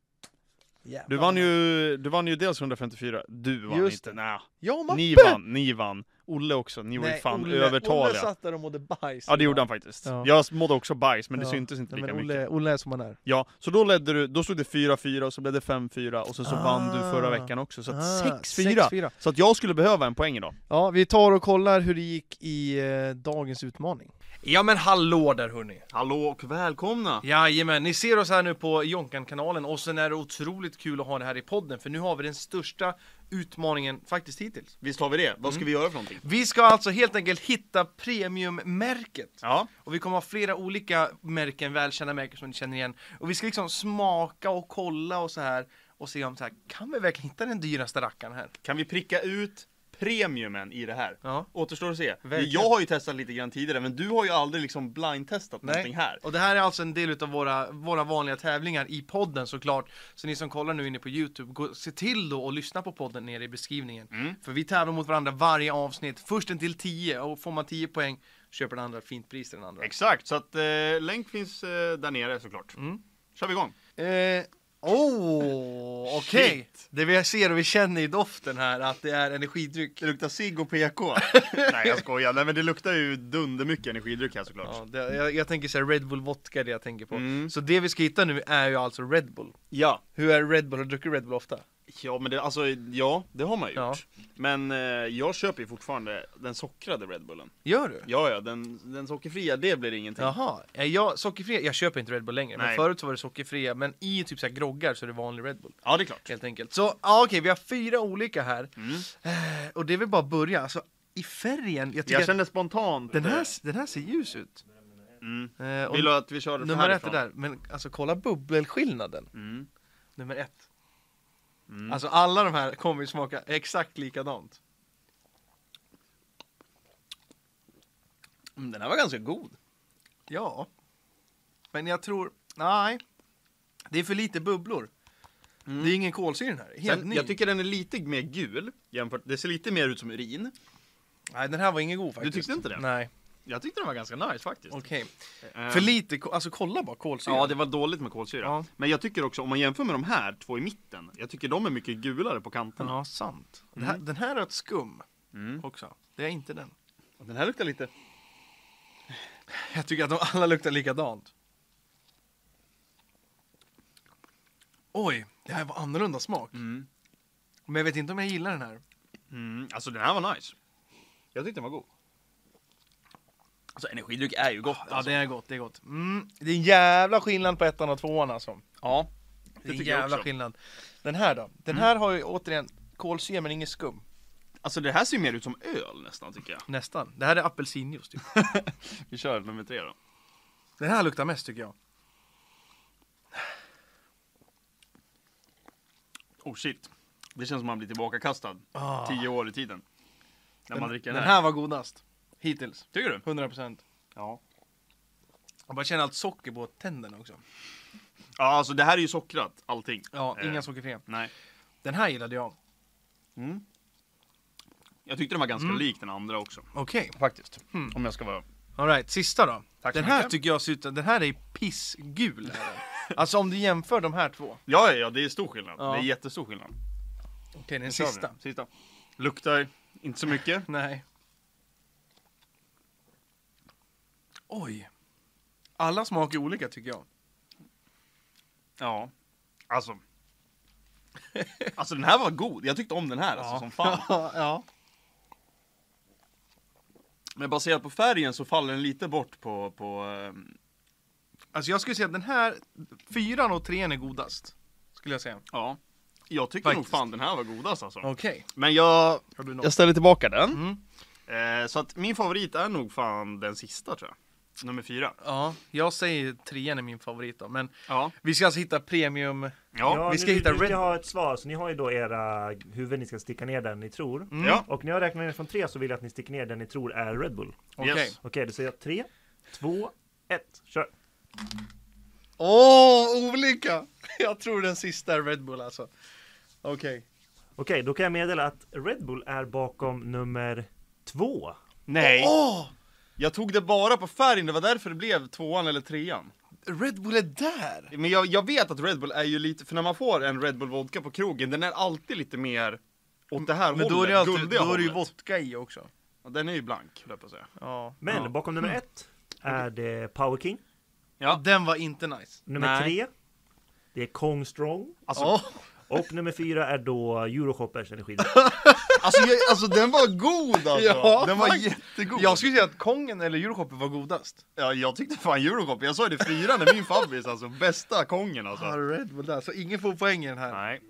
Speaker 2: Jävlar.
Speaker 1: Du vann ju, du vann ju dels 154, du vann
Speaker 2: Just
Speaker 1: inte, nej.
Speaker 2: Jag och Mappe!
Speaker 1: Ni vann, ni vann. Olle också, ni var ju
Speaker 2: Nej,
Speaker 1: fan
Speaker 2: Olle- Olle
Speaker 1: övertaliga.
Speaker 2: satt där och mådde bajs.
Speaker 1: Ja det gjorde han faktiskt.
Speaker 2: Ja.
Speaker 1: Jag mådde också bajs, men det
Speaker 2: Ja.
Speaker 1: syntes inte
Speaker 2: Nej,
Speaker 1: lika
Speaker 2: men
Speaker 1: mycket.
Speaker 2: Olle, Olle är som han är.
Speaker 1: Ja, så då ledde du, då stod det 4-4 och så blev det 5-4 och sen så
Speaker 2: Ah.
Speaker 1: vann du förra veckan också, så att
Speaker 2: Ah,
Speaker 1: 6-4!
Speaker 2: 6-4.
Speaker 1: Så att jag skulle behöva en poäng idag.
Speaker 2: Ja, vi tar och kollar hur det gick i eh, dagens utmaning. Ja men hallå där hörni!
Speaker 1: Hallå och välkomna!
Speaker 2: Jajamän, ni ser oss här nu på Jonkan-kanalen och sen är det otroligt kul att ha det här i podden för nu har vi den största utmaningen faktiskt hittills.
Speaker 1: Visst har vi det? Vad ska vi göra för någonting?
Speaker 2: Vi ska alltså helt enkelt hitta premiummärket.
Speaker 1: Ja,
Speaker 2: Och vi kommer ha flera olika märken, välkända märken som ni känner igen. Och vi ska liksom smaka och kolla och så här och se om så här, kan vi verkligen hitta den dyraste rackaren här?
Speaker 1: kan vi pricka ut premiumen i det här?
Speaker 2: Ja.
Speaker 1: Återstår att se.
Speaker 2: Verkligen.
Speaker 1: Jag har ju testat lite grann tidigare, men du har ju aldrig liksom blindtestat någonting här.
Speaker 2: Och det här är alltså en del av våra, våra vanliga tävlingar i podden såklart. Så ni som kollar nu inne på Youtube, gå, se till då och lyssna på podden nere i beskrivningen.
Speaker 1: Mm.
Speaker 2: För vi tävlar mot varandra varje avsnitt, först en till 10 och får man 10 poäng köper den andra ett fint pris till den andra.
Speaker 1: Exakt, så att eh, länk finns eh, där nere såklart. Kör vi igång!
Speaker 2: Eh, oh, okej!
Speaker 1: Shit.
Speaker 2: Det vi ser och vi känner i doften här att det är energidryck.
Speaker 1: Det luktar cigg och PK. Nej jag skojar, Nej, men det luktar ju dundermycket energidryck här såklart.
Speaker 2: Ja, det, jag, jag tänker säga Red Bull vodka är det jag tänker på.
Speaker 1: Mm.
Speaker 2: Så det vi ska hitta nu är ju alltså Red Bull.
Speaker 1: ja.
Speaker 2: Hur är Red Bull? Har du druckit Red Bull ofta?
Speaker 1: Ja, men det, alltså, ja, det har man ju gjort. Men eh, jag köper ju fortfarande den sockrade Red Bullen.
Speaker 2: Gör du?
Speaker 1: Ja, ja, den, den sockerfria, det blir ingenting.
Speaker 2: Jaha, Eh, jag, sockerfria, jag köper inte Red Bull längre. Men
Speaker 1: Nej.
Speaker 2: förut så var det sockerfria, men i typ så här groggar så är det vanlig Red Bull.
Speaker 1: Ja, det är klart.
Speaker 2: Helt enkelt. Så ja, okej, vi har fyra olika här. Eh, och det vill bara att börja. Alltså, i färgen, jag tycker
Speaker 1: Jag kände spontant...
Speaker 2: att den här,
Speaker 1: eh,
Speaker 2: den här ser ljus ut.
Speaker 1: Mm.
Speaker 2: Eh, och
Speaker 1: Vill du att vi kör det från
Speaker 2: nummer ett är
Speaker 1: härifrån?
Speaker 2: där, men alltså kolla bubbelskillnaden.
Speaker 1: Mm.
Speaker 2: Nummer ett.
Speaker 1: Mm.
Speaker 2: Alltså alla de här kommer ju smaka exakt likadant. Mm, Den här var ganska god. Ja. Men jag tror, nej. Det är för lite bubblor. Det är ingen kolsyra i den här. Helt
Speaker 1: Mm. Sen,
Speaker 2: ny.
Speaker 1: jag tycker den är lite mer gul jämfört, det ser lite mer ut som urin.
Speaker 2: Nej, den här var ingen god faktiskt.
Speaker 1: tyckte inte det?
Speaker 2: Nej,
Speaker 1: Jag tyckte den var ganska nice faktiskt.
Speaker 2: okej.
Speaker 1: Eh,
Speaker 2: För lite, ko- alltså kolla bara kolsyra.
Speaker 1: Ja, det var dåligt med kolsyra.
Speaker 2: Ja.
Speaker 1: Men jag tycker också, om man jämför med de här två i mitten, jag tycker de är mycket gulare på kanterna.
Speaker 2: ja sant. Den här, den här har ett skum
Speaker 1: Mm.
Speaker 2: också. Det är inte den.
Speaker 1: Och Den här luktar lite...
Speaker 2: Jag tycker att de alla luktar likadant. Oj, det här var annorlunda smak.
Speaker 1: Mm.
Speaker 2: Men jag vet inte om jag gillar den här.
Speaker 1: Mm. Alltså den här var nice. Jag tyckte den var god. Alltså energidryck är ju gott. alltså.
Speaker 2: Ja, det är gott, det är gott. Mm, det är en jävla skillnad på ettan och tvåan alltså.
Speaker 1: ja.
Speaker 2: Det är en
Speaker 1: tycker jag
Speaker 2: jävla
Speaker 1: också.
Speaker 2: skillnad. Mm. Den här då? Den här har ju återigen kolsyra men inget skum.
Speaker 1: Alltså det här ser ju mer ut som öl nästan tycker jag.
Speaker 2: Nästan. Det här är apelsinjuice typ.
Speaker 1: Vi kör nummer tre då.
Speaker 2: Den här luktar mest tycker jag.
Speaker 1: Oh shit. Det känns som man blir tillbakakastad
Speaker 2: Ah.
Speaker 1: tio år i tiden. När man
Speaker 2: Den,
Speaker 1: dricker
Speaker 2: den
Speaker 1: den här.
Speaker 2: här var godast. Hittills.
Speaker 1: Tycker du?
Speaker 2: 100%.
Speaker 1: Ja.
Speaker 2: Jag bara känner allt socker på tänderna också.
Speaker 1: Ja alltså det här är ju sockrat allting.
Speaker 2: Ja,
Speaker 1: Eh,
Speaker 2: inga sockerfria.
Speaker 1: Nej.
Speaker 2: Den här gillade jag.
Speaker 1: Jag tyckte den var ganska lik den andra också.
Speaker 2: Okej.
Speaker 1: Mm. Faktiskt. Om jag ska vara...
Speaker 2: Alright, sista då.
Speaker 1: Tack så
Speaker 2: den här
Speaker 1: mycket.
Speaker 2: tycker jag ser ut, den här är pissgul. alltså om du jämför de här två.
Speaker 1: Ja, ja, ja, det är stor skillnad.
Speaker 2: Ja.
Speaker 1: Det är jättestor skillnad.
Speaker 2: Okej, den
Speaker 1: Kör vi.
Speaker 2: sista.
Speaker 1: Sista. Luktar inte så mycket.
Speaker 2: Nej. Oj. Alla smaker olika tycker jag.
Speaker 1: Ja. Alltså. Alltså den här var god. Jag tyckte om den här alltså, som fan.
Speaker 2: ja.
Speaker 1: Men baserat på färgen så faller den lite bort på... på ehm,
Speaker 2: Alltså jag skulle säga att den här, fyran och trean är godast. Skulle jag säga.
Speaker 1: ja. Jag tycker
Speaker 2: Faktiskt.
Speaker 1: nog fan den här var godast alltså.
Speaker 2: Okej.
Speaker 1: Men jag...
Speaker 2: Har du något?
Speaker 1: Jag ställer tillbaka den. Eh, så att min favorit är nog fan den sista tror jag. Nummer fyra.
Speaker 2: Ja, jag säger trean är min favorit då. Men
Speaker 1: Ja.
Speaker 2: vi ska alltså hitta premium.
Speaker 1: Ja.
Speaker 2: vi ska
Speaker 3: ni,
Speaker 2: hitta
Speaker 3: ni ska
Speaker 2: Red-
Speaker 3: ha ett svar, så ni har ju då era huvuden ni ska sticka ner den ni tror.
Speaker 1: Ja.
Speaker 3: Och när jag räknar ner från tre så vill jag att ni sticker ner den ni tror är Red Bull.
Speaker 2: Okej.
Speaker 1: Yes.
Speaker 3: Okej, då säger jag tre, två, ett, kör!
Speaker 2: Åh, olika! Jag tror den sista är Red Bull alltså. Okej.
Speaker 3: Okej, då kan jag meddela att Red Bull är bakom nummer två.
Speaker 1: Nej.
Speaker 2: Åh!
Speaker 1: Jag tog det bara på färgen, det var därför det blev tvåan eller trean.
Speaker 2: Red Bull är där!
Speaker 1: Men jag, jag vet att Red Bull är ju lite, för när man får en Red Bull vodka på krogen, den är alltid lite mer åt det här
Speaker 2: Men
Speaker 1: hållet,
Speaker 2: då är det, alltid,
Speaker 1: guldiga
Speaker 2: då är det ju
Speaker 1: hållet.
Speaker 2: vodka i också.
Speaker 1: Ja, Den är ju blank, höll jag på att säga.
Speaker 2: Ja.
Speaker 3: Men
Speaker 1: Ja.
Speaker 3: bakom nummer ett är det Power King.
Speaker 1: Ja.
Speaker 2: Den var inte nice.
Speaker 3: Nummer
Speaker 1: Nej.
Speaker 3: tre, det är Kong Strong.
Speaker 1: Alltså,
Speaker 2: Ja.
Speaker 3: Och nummer fyra är då Euroshoppers energidryck.
Speaker 1: alltså, jag, alltså den var god alltså!
Speaker 2: Ja,
Speaker 1: den var
Speaker 2: faktiskt.
Speaker 1: jättegod!
Speaker 2: Jag skulle säga att Kongen eller Euroshopper var godast.
Speaker 1: ja, jag tyckte fan Eurocop, jag sa ju det, fyran är min favorit alltså, bästa kongen
Speaker 2: Ja,
Speaker 1: alltså.
Speaker 2: Red Bull där, så ingen får poäng i den här.
Speaker 1: Nej.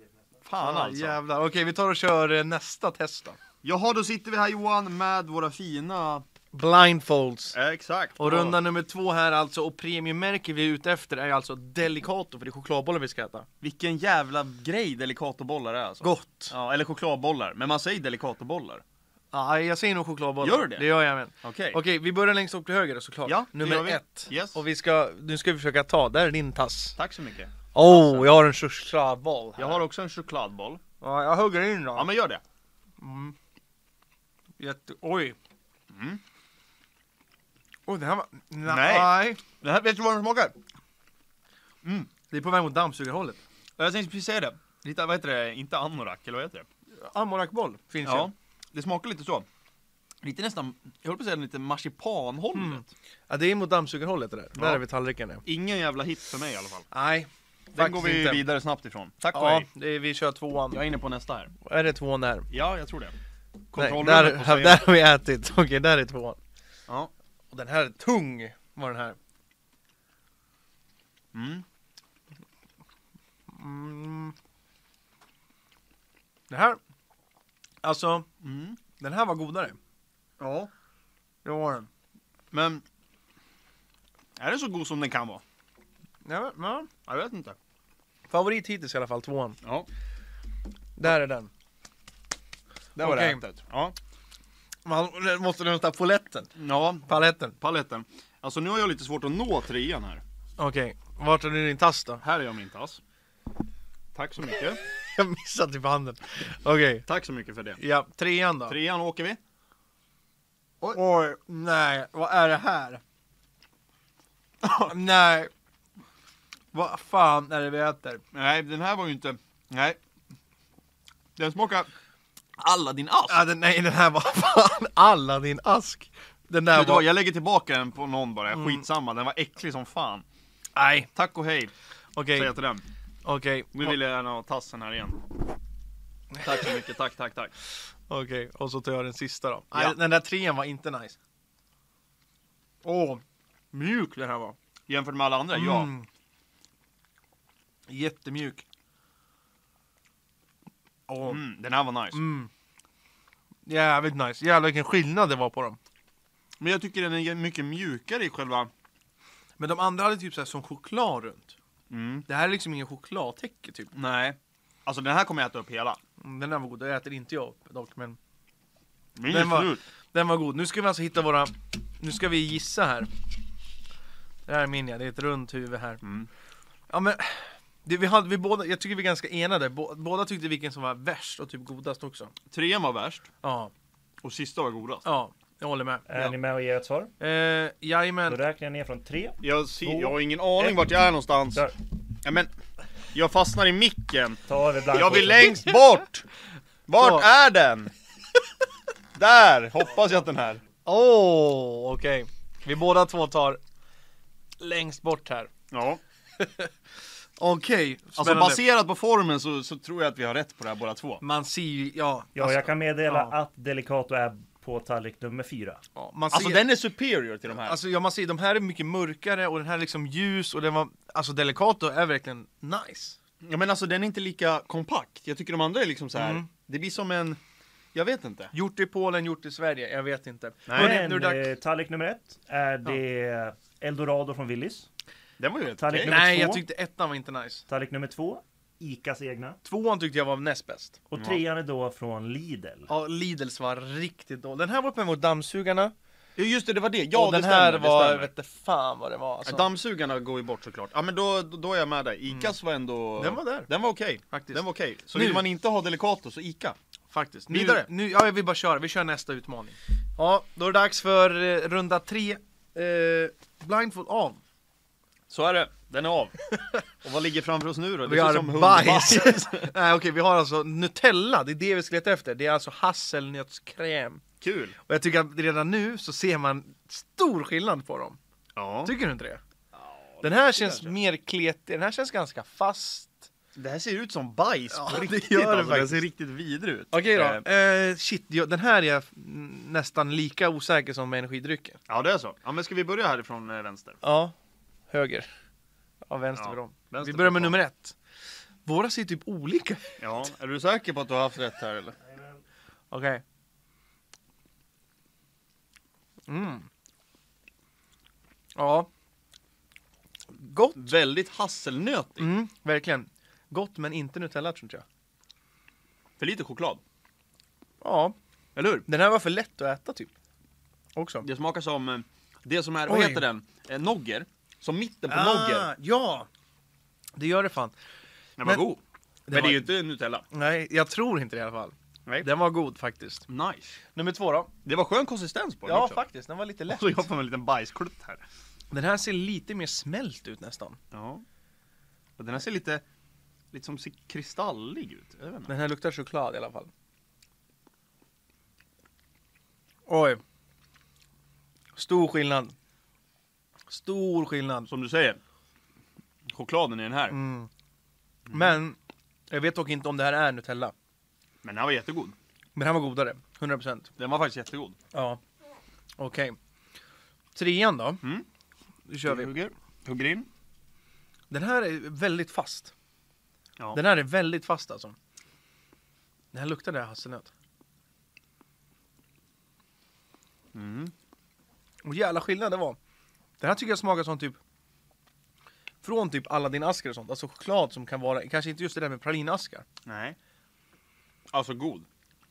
Speaker 1: Fan
Speaker 2: ah,
Speaker 1: alltså.
Speaker 2: jävlar. Okej, vi tar och kör eh, nästa test då.
Speaker 1: Jaha, då sitter vi här Johan med våra fina...
Speaker 2: Blindfolds.
Speaker 1: Exakt.
Speaker 2: Och runda nummer två här alltså, och premiummärket vi är ute efter är ju alltså Delicato, för det är chokladbollar vi ska äta.
Speaker 1: Vilken jävla grej delikatobollar är alltså.
Speaker 2: Gott! Ja,
Speaker 1: Ja, eller chokladbollar, men man säger delikatobollar.
Speaker 2: jag säger nog chokladbollar.
Speaker 1: Gör du det?
Speaker 2: Det gör jag men.
Speaker 1: Okej.
Speaker 2: Okej, vi börjar längst upp till höger då, såklart.
Speaker 1: Ja, det gör
Speaker 2: nummer
Speaker 1: vi.
Speaker 2: ett.
Speaker 1: Yes.
Speaker 2: Och vi ska, nu ska vi försöka ta, där är din tass.
Speaker 1: Tack så mycket.
Speaker 2: Oh, jag har en chokladboll här.
Speaker 1: Jag har också en chokladboll.
Speaker 2: Ja, jag hugger in då.
Speaker 1: Ja, men gör det.
Speaker 2: Jätte... Oj. Mm. Oj, det här var...
Speaker 1: Nej. Det här, vet du vad den smakar?
Speaker 2: Det är på väg mot dammsugarhållet.
Speaker 1: Jag tänkte precis säga det. Lite, vad heter det? Inte anorak, eller vad heter det?
Speaker 2: Amorakboll finns
Speaker 1: Ja.
Speaker 2: ju.
Speaker 1: Det smakar lite så. Lite nästan, jag höll på att säga lite marsipanhållet.
Speaker 2: Ja, det är mot dammsugarhållet det där. Där är vi tallriken nu.
Speaker 1: Ingen jävla hit för mig i alla fall.
Speaker 2: Nej,
Speaker 1: Den går vi
Speaker 2: inte.
Speaker 1: vidare snabbt ifrån. Tack och
Speaker 2: Ja,
Speaker 1: hej.
Speaker 2: det är, vi kör tvåan.
Speaker 1: Jag är inne på nästa här.
Speaker 2: Är det tvåan där?
Speaker 1: Ja, jag tror det.
Speaker 2: Nej,
Speaker 1: Kontrollrummet
Speaker 2: där,
Speaker 1: på scenen.
Speaker 2: där har vi ätit. Okej, där är tvåan.
Speaker 1: Ja.
Speaker 2: Och den här är tung, var den här.
Speaker 1: Mm.
Speaker 2: Mm. Den här, alltså,
Speaker 1: Mm.
Speaker 2: den här var godare.
Speaker 1: Ja.
Speaker 2: Det var den.
Speaker 1: Men... Är den så god som den kan vara?
Speaker 2: Ja, men- ja.
Speaker 1: Jag vet inte.
Speaker 2: Favorit hittills i alla fall, tvåan.
Speaker 1: Ja.
Speaker 2: Där är den.
Speaker 1: Där var
Speaker 2: Okej.
Speaker 1: det ätet. Ja.
Speaker 2: Man den måste hämta poletten.
Speaker 1: Ja,
Speaker 2: Paletten.
Speaker 1: paletten. Alltså nu har jag lite svårt att nå trean här.
Speaker 2: Okej, vart har du din tass då?
Speaker 1: Här är jag min tass. Tack så mycket.
Speaker 2: Jag missade typ handen. Okej,
Speaker 1: Tack så mycket för det.
Speaker 2: ja, trean då.
Speaker 1: Trean åker vi.
Speaker 2: Oj. nej, vad är det här? nej. Vad fan är det vi äter?
Speaker 1: Nej, den här var ju inte... Nej. Den smakar Aladdin-ask.
Speaker 2: Ja, den, nej, den här var fan alla din ask. Den där
Speaker 1: Vet du vad,
Speaker 2: var...
Speaker 1: jag lägger tillbaka den på någon bara, skitsamma, den var äcklig som fan.
Speaker 2: Nej,
Speaker 1: Tack och hej,
Speaker 2: okej,
Speaker 1: säger jag till den.
Speaker 2: okej,
Speaker 1: Nu vill jag gärna ha tassen här igen. Tack så mycket, tack, tack, tack.
Speaker 2: okej. Och så tar jag den sista då.
Speaker 1: Ja.
Speaker 2: Nej, den där trean var inte nice. Åh, mjuk den här var.
Speaker 1: Jämfört med alla andra, ja.
Speaker 2: Mm. Jättemjuk. Åh.
Speaker 1: Mm, den här var nice.
Speaker 2: Mm. Jävligt nice. Jävlar vilken skillnad det var på dem.
Speaker 1: Men jag tycker den är mycket mjukare i själva...
Speaker 2: Men de andra hade typ så här som choklad runt.
Speaker 1: Mm.
Speaker 2: Det här är liksom ingen chokladtäcke typ.
Speaker 1: Nej. Alltså den här kommer jag äta upp hela.
Speaker 2: Mm, Den där var god, det äter inte jag upp dock men
Speaker 1: Min
Speaker 2: Den
Speaker 1: den
Speaker 2: var-
Speaker 1: var... slut.
Speaker 2: Den var god. Nu ska vi alltså hitta våra... Nu ska vi gissa här. Det här är min ja, det är ett runt huvud här.
Speaker 1: Mm.
Speaker 2: Ja men... Det, vi hade, vi båda, jag tycker vi är ganska enade. Bå- båda tyckte vilken som var värst och typ godast också.
Speaker 1: Trean var värst,
Speaker 2: Ja,
Speaker 1: och sista var godast.
Speaker 2: ja. Jag håller med.
Speaker 3: Är ni med och ger ett svar?
Speaker 2: Eh,
Speaker 3: Då
Speaker 2: jajamän.
Speaker 3: räknar jag ner från tre.
Speaker 1: Jag, ser,
Speaker 3: Två,
Speaker 1: jag har ingen aning
Speaker 3: ett.
Speaker 1: vart jag är någonstans.
Speaker 3: Där.
Speaker 1: Ja, men, jag fastnar i micken.
Speaker 3: Ta över blank.
Speaker 1: Jag vill längst bort! Vart
Speaker 2: Så.
Speaker 1: är den? Där! Hoppas jag att den här.
Speaker 2: Åh, okej. Vi båda två tar längst bort här.
Speaker 1: Ja.
Speaker 2: Okej,
Speaker 1: Alltså
Speaker 2: spännande.
Speaker 1: baserat på formen så, så tror jag att vi har rätt på det här båda två.
Speaker 2: Man ser ju, ja.
Speaker 3: Ja, jag kan meddela
Speaker 2: Alltså, Ja.
Speaker 3: att Delicato är på tallrik nummer fyra.
Speaker 2: ja, man ser,
Speaker 1: Alltså den är superior till de här.
Speaker 2: Alltså ja, man ser, de här är mycket mörkare och den här är liksom ljus och den var, alltså Delicato är verkligen nice.
Speaker 1: Ja men alltså den är inte lika kompakt. Jag tycker de andra är liksom så här.
Speaker 2: Mm.
Speaker 1: det blir som en, jag vet inte.
Speaker 2: Gjort i Polen, gjort i Sverige, jag vet inte.
Speaker 1: Nej.
Speaker 2: Hörrni, nu är det
Speaker 3: Men
Speaker 2: dags-
Speaker 3: eh, tallrik nummer ett är det Eldorado från Willys.
Speaker 1: Den var ju rätt
Speaker 3: Tallrik
Speaker 1: okej.
Speaker 3: nummer-
Speaker 2: Nej, jag
Speaker 3: två.
Speaker 2: tyckte ettan var inte nice.
Speaker 3: Tallrik nummer två, Icas egna.
Speaker 2: Tvåan tyckte jag var näst bäst.
Speaker 3: Och trean är då från Lidl.
Speaker 2: Ja, Lidls var riktigt dålig. Den här var uppe mot dammsugarna.
Speaker 1: Ja just det, det var det. Ja
Speaker 2: och
Speaker 1: det
Speaker 2: den här
Speaker 1: stämmer,
Speaker 2: var,
Speaker 1: det stämmer.
Speaker 2: vet du fan vad det var alltså.
Speaker 1: Dammsugarna går ju bort såklart. Ja men då, då är jag med dig. Icas var ändå...
Speaker 2: Mm. Den var där.
Speaker 1: Den var okej.
Speaker 2: Faktiskt.
Speaker 1: Den var okej. Så
Speaker 2: Nu.
Speaker 1: vill man inte ha Delicato så Ica.
Speaker 2: Faktiskt. Nu,
Speaker 1: Vidare.
Speaker 2: Nu, ja, jag vill bara köra, vi kör nästa utmaning. Ja, då är det dags för eh, runda tre. Eh, blindfold av.
Speaker 1: Så är det, den är av. Och vad ligger framför oss nu då?
Speaker 2: Vi har bajs. Nej okej, vi har alltså Nutella, det är det vi ska leta efter. Det är alltså hasselnötskräm.
Speaker 1: Kul!
Speaker 2: Och jag tycker att redan nu så ser man stor skillnad på dem.
Speaker 1: Ja.
Speaker 2: Tycker du inte det? Den här känns mer kletig, den här känns ganska fast.
Speaker 1: Det här ser ut som bajs
Speaker 2: Ja,
Speaker 1: på
Speaker 2: det
Speaker 1: riktigt
Speaker 2: gör det
Speaker 1: alltså. Den
Speaker 2: faktiskt.
Speaker 1: ser riktigt vidrig ut.
Speaker 2: Okej
Speaker 1: Eh,
Speaker 2: då. Eh, shit, jag, den här är jag mm, nästan lika osäker som med energidrycken.
Speaker 1: Ja det är så. Ja men ska vi börja härifrån eh, vänster?
Speaker 2: Ja, höger. Ja, vänster
Speaker 1: Ja,
Speaker 2: för dem.
Speaker 1: vänster
Speaker 2: Vi börjar med
Speaker 1: för
Speaker 2: nummer ett. Våra ser typ olika
Speaker 1: Ja, är du säker på att du har haft rätt här eller?
Speaker 2: Okej. Mm. Ja. Gott.
Speaker 1: Väldigt hasselnötig.
Speaker 2: Mm, verkligen. Gott men inte Nutella tror inte jag.
Speaker 1: För lite choklad,
Speaker 2: Ja,
Speaker 1: eller hur?
Speaker 2: den här var för lätt att äta typ. Också.
Speaker 1: Det smakar som, eh, det som är, vad
Speaker 2: Oj. Ah.
Speaker 1: heter den? Eh, Nogger. Som mitten på nogger.
Speaker 2: ja! Det gör det fan.
Speaker 1: Den var
Speaker 2: men-
Speaker 1: god. Men det
Speaker 2: var-
Speaker 1: är ju inte Nutella.
Speaker 2: Nej, jag tror inte det i alla fall.
Speaker 1: Nej.
Speaker 2: Den var god faktiskt.
Speaker 1: Nice.
Speaker 2: Nummer två då?
Speaker 1: Det var skön konsistens på den
Speaker 2: Ja,
Speaker 1: också.
Speaker 2: faktiskt. Den var lite lätt.
Speaker 1: Så jag får en liten bajsklutt här.
Speaker 2: Den här ser lite mer smält ut nästan.
Speaker 1: Ja. Och den här ser lite, lite som ser kristallig ut. Jag vet inte.
Speaker 2: Den här luktar choklad i alla fall. Oj. Stor skillnad. Stor skillnad.
Speaker 1: Som du säger, chokladen i den här.
Speaker 2: Mm. Men jag vet dock inte om det här är Nutella.
Speaker 1: Men den här var jättegod.
Speaker 2: Men den här var godare. 100%.
Speaker 1: Den var faktiskt jättegod.
Speaker 2: Ja. Okej. Trean då.
Speaker 1: Mm.
Speaker 2: Nu kör vi.
Speaker 1: Hugger. Hugger in.
Speaker 2: Den här är väldigt fast.
Speaker 1: Ja.
Speaker 2: Den här är väldigt fast alltså. Den här luktar det här hasselnöt.
Speaker 1: Mm.
Speaker 2: Och jävla skillnad det var. Den här tycker jag smakar som typ från typ Aladdin-askar och sånt, alltså choklad som kan vara, kanske inte just det där med pralinaskar.
Speaker 1: Nej. Alltså god.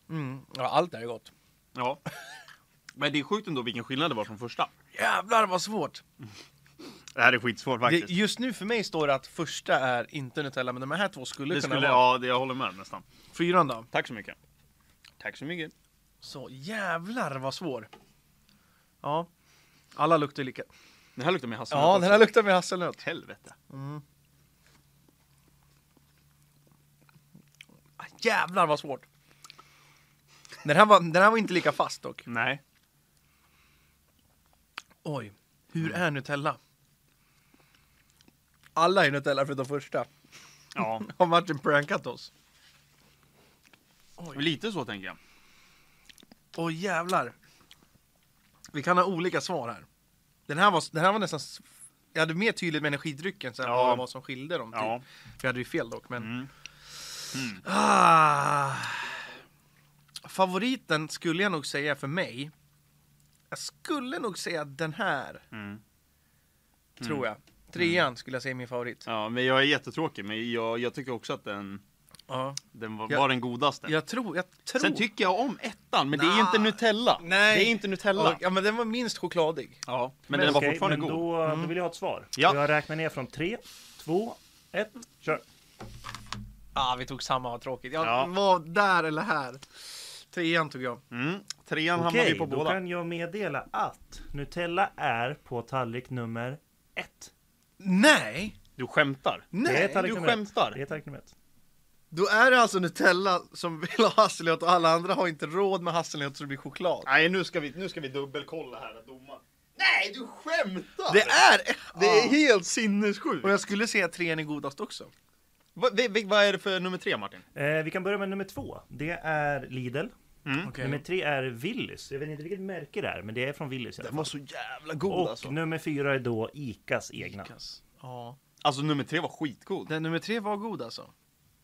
Speaker 2: Mm. Ja, allt det här är gott.
Speaker 1: Ja. Men det är sjukt ändå vilken skillnad det var från första.
Speaker 2: Jävlar vad svårt!
Speaker 1: Det här är skitsvårt
Speaker 2: Det,
Speaker 1: faktiskt.
Speaker 2: just nu för mig står det att första är inte Nutella, men de här två skulle
Speaker 1: Det
Speaker 2: kunna
Speaker 1: skulle,
Speaker 2: vara.
Speaker 1: ja, det, jag håller med nästan.
Speaker 2: Fyran då?
Speaker 1: Tack så mycket. Tack så mycket.
Speaker 2: Så jävlar vad svår! Ja, alla luktar lika.
Speaker 1: Den här luktar mer hasselnöt
Speaker 2: Ja,
Speaker 1: också.
Speaker 2: den här luktar med hasselnöt.
Speaker 1: Helvete.
Speaker 2: Ah, Jävlar vad svårt! Den här var, den här var inte lika fast dock.
Speaker 1: Nej.
Speaker 2: Oj, hur är Nutella? Alla är Nutella förutom första.
Speaker 1: Ja,
Speaker 2: Har Martin prankat oss? Oj,
Speaker 1: lite så tänker jag.
Speaker 2: oj jävlar. Vi kan ha olika svar här. Den här var, den här var nästan... s- Jag hade mer tydligt med energidrycken sen
Speaker 1: Ja.
Speaker 2: vad det var som skilde dem. Typ.
Speaker 1: Ja.
Speaker 2: Vi hade ju fel dock, men...
Speaker 1: Mm.
Speaker 2: Ah. Favoriten skulle jag nog säga för mig. Jag skulle nog säga den här,
Speaker 1: Mm.
Speaker 2: tror jag. Trean skulle jag säga är min favorit.
Speaker 1: Ja, men jag är jättetråkig, men jag, jag tycker också att den,
Speaker 2: Ja.
Speaker 1: den var,
Speaker 2: Jag-
Speaker 1: var den godaste.
Speaker 2: Jag tror, jag tror...
Speaker 1: Sen tycker jag om ettan, men det är ju
Speaker 2: Nah.
Speaker 1: inte Nutella.
Speaker 2: Nej.
Speaker 1: Det är inte Nutella.
Speaker 2: Ja men den var minst chokladig.
Speaker 1: Ja, men,
Speaker 3: Men
Speaker 1: den var
Speaker 3: okej,
Speaker 1: fortfarande
Speaker 3: men
Speaker 1: god.
Speaker 3: Då, då vill jag ha ett svar.
Speaker 1: Ja.
Speaker 3: Jag räknar ner från tre, två, ett. kör.
Speaker 2: Ah vi tog samma, vad tråkigt. Jag
Speaker 1: Ja.
Speaker 2: var där eller här. Trean tog jag.
Speaker 1: Mm. Trean hamnade
Speaker 3: Okej,
Speaker 1: vi på
Speaker 3: då
Speaker 1: båda.
Speaker 3: kan jag meddela att Nutella är på tallrik nummer ett.
Speaker 2: Nej!
Speaker 1: Du skämtar?
Speaker 3: det är
Speaker 2: Nej!
Speaker 1: tar-
Speaker 3: tallrik
Speaker 1: du
Speaker 3: nummer ett.
Speaker 1: skämtar.
Speaker 3: Det är tallrik nummer ett.
Speaker 2: Då är det alltså Nutella som vill ha hasselnöt och alla andra har inte råd med hasselnöt så det blir choklad.
Speaker 1: Nej, nu ska vi, nu ska vi dubbelkolla här att domaren... Nej, du skämtar!
Speaker 2: Det är!
Speaker 1: Det är helt sinnessjukt!
Speaker 2: Ah. Och jag skulle säga att trean är godast också.
Speaker 1: Vad vi- vi- vad är det för nummer tre, Martin?
Speaker 3: Eh, vi kan börja med nummer två. Det är Lidl.
Speaker 2: Okej.
Speaker 3: Nummer tre är Willys. Jag vet inte vilket märke det är, men det är från Willys. i alla
Speaker 1: Den
Speaker 3: fall.
Speaker 1: var så jävla god
Speaker 3: Och
Speaker 1: alltså.
Speaker 3: nummer fyra är då Icas egna.
Speaker 2: Kass. Ja.
Speaker 1: Alltså nummer tre var skitgod.
Speaker 2: Den nummer tre var god alltså.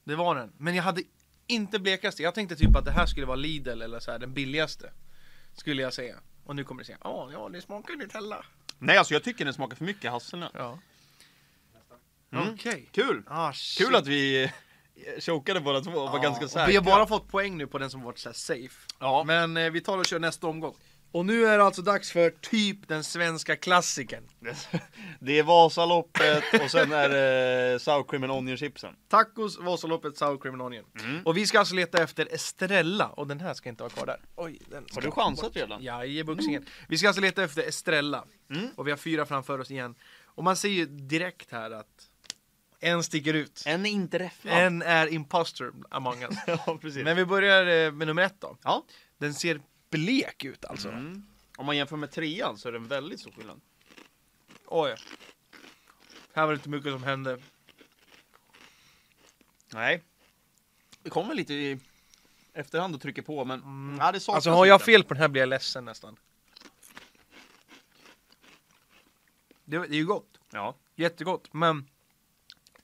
Speaker 2: Det var den. Men jag hade inte blekaste. Jag tänkte typ att det här skulle vara Lidl eller så här, den billigaste. Skulle jag säga. Och nu kommer det säga, ja, ja, det smakar Nutella.
Speaker 1: Nej, alltså jag tycker den smakar för mycket hasselnöt.
Speaker 2: Ja.
Speaker 1: Mm.
Speaker 2: Okej.
Speaker 1: Kul!
Speaker 2: Ah,
Speaker 1: Kul att vi eh, chokade båda två och var ganska säkra.
Speaker 2: Vi har bara fått poäng nu på den som varit så här safe.
Speaker 1: Ja.
Speaker 2: Men eh, vi tar och kör nästa omgång. Och nu är det alltså dags för typ den svenska klassikern.
Speaker 1: Det är Vasaloppet och sen är det sour cream and onion chipsen.
Speaker 2: Tacos, Vasaloppet, Sour Cream and Onion.
Speaker 1: Mm.
Speaker 2: Och vi ska alltså leta efter Estrella. Och den här ska inte vara kvar där. Oj, den
Speaker 1: Har du chansat redan? Mm.
Speaker 2: Ja, i boxningen. Vi ska alltså leta efter Estrella. Och vi har fyra framför oss igen. Och man ser ju direkt här att en sticker ut.
Speaker 1: En är inte räfflad.
Speaker 2: En är imposter among us.
Speaker 1: Ja, precis.
Speaker 2: Men vi börjar eh, med nummer ett då.
Speaker 1: Ja.
Speaker 2: Den ser blek ut alltså.
Speaker 1: Mm. Om man jämför med trean så är det en väldigt stor skillnad.
Speaker 2: Oj. Här var det inte mycket som hände.
Speaker 1: Nej. Det kommer lite i efterhand och trycker på, men ja, det saknas
Speaker 2: Alltså har jag
Speaker 1: lite.
Speaker 2: fel på den här blir jag ledsen nästan. Det, det är ju gott.
Speaker 1: Ja,
Speaker 2: Jättegott. Men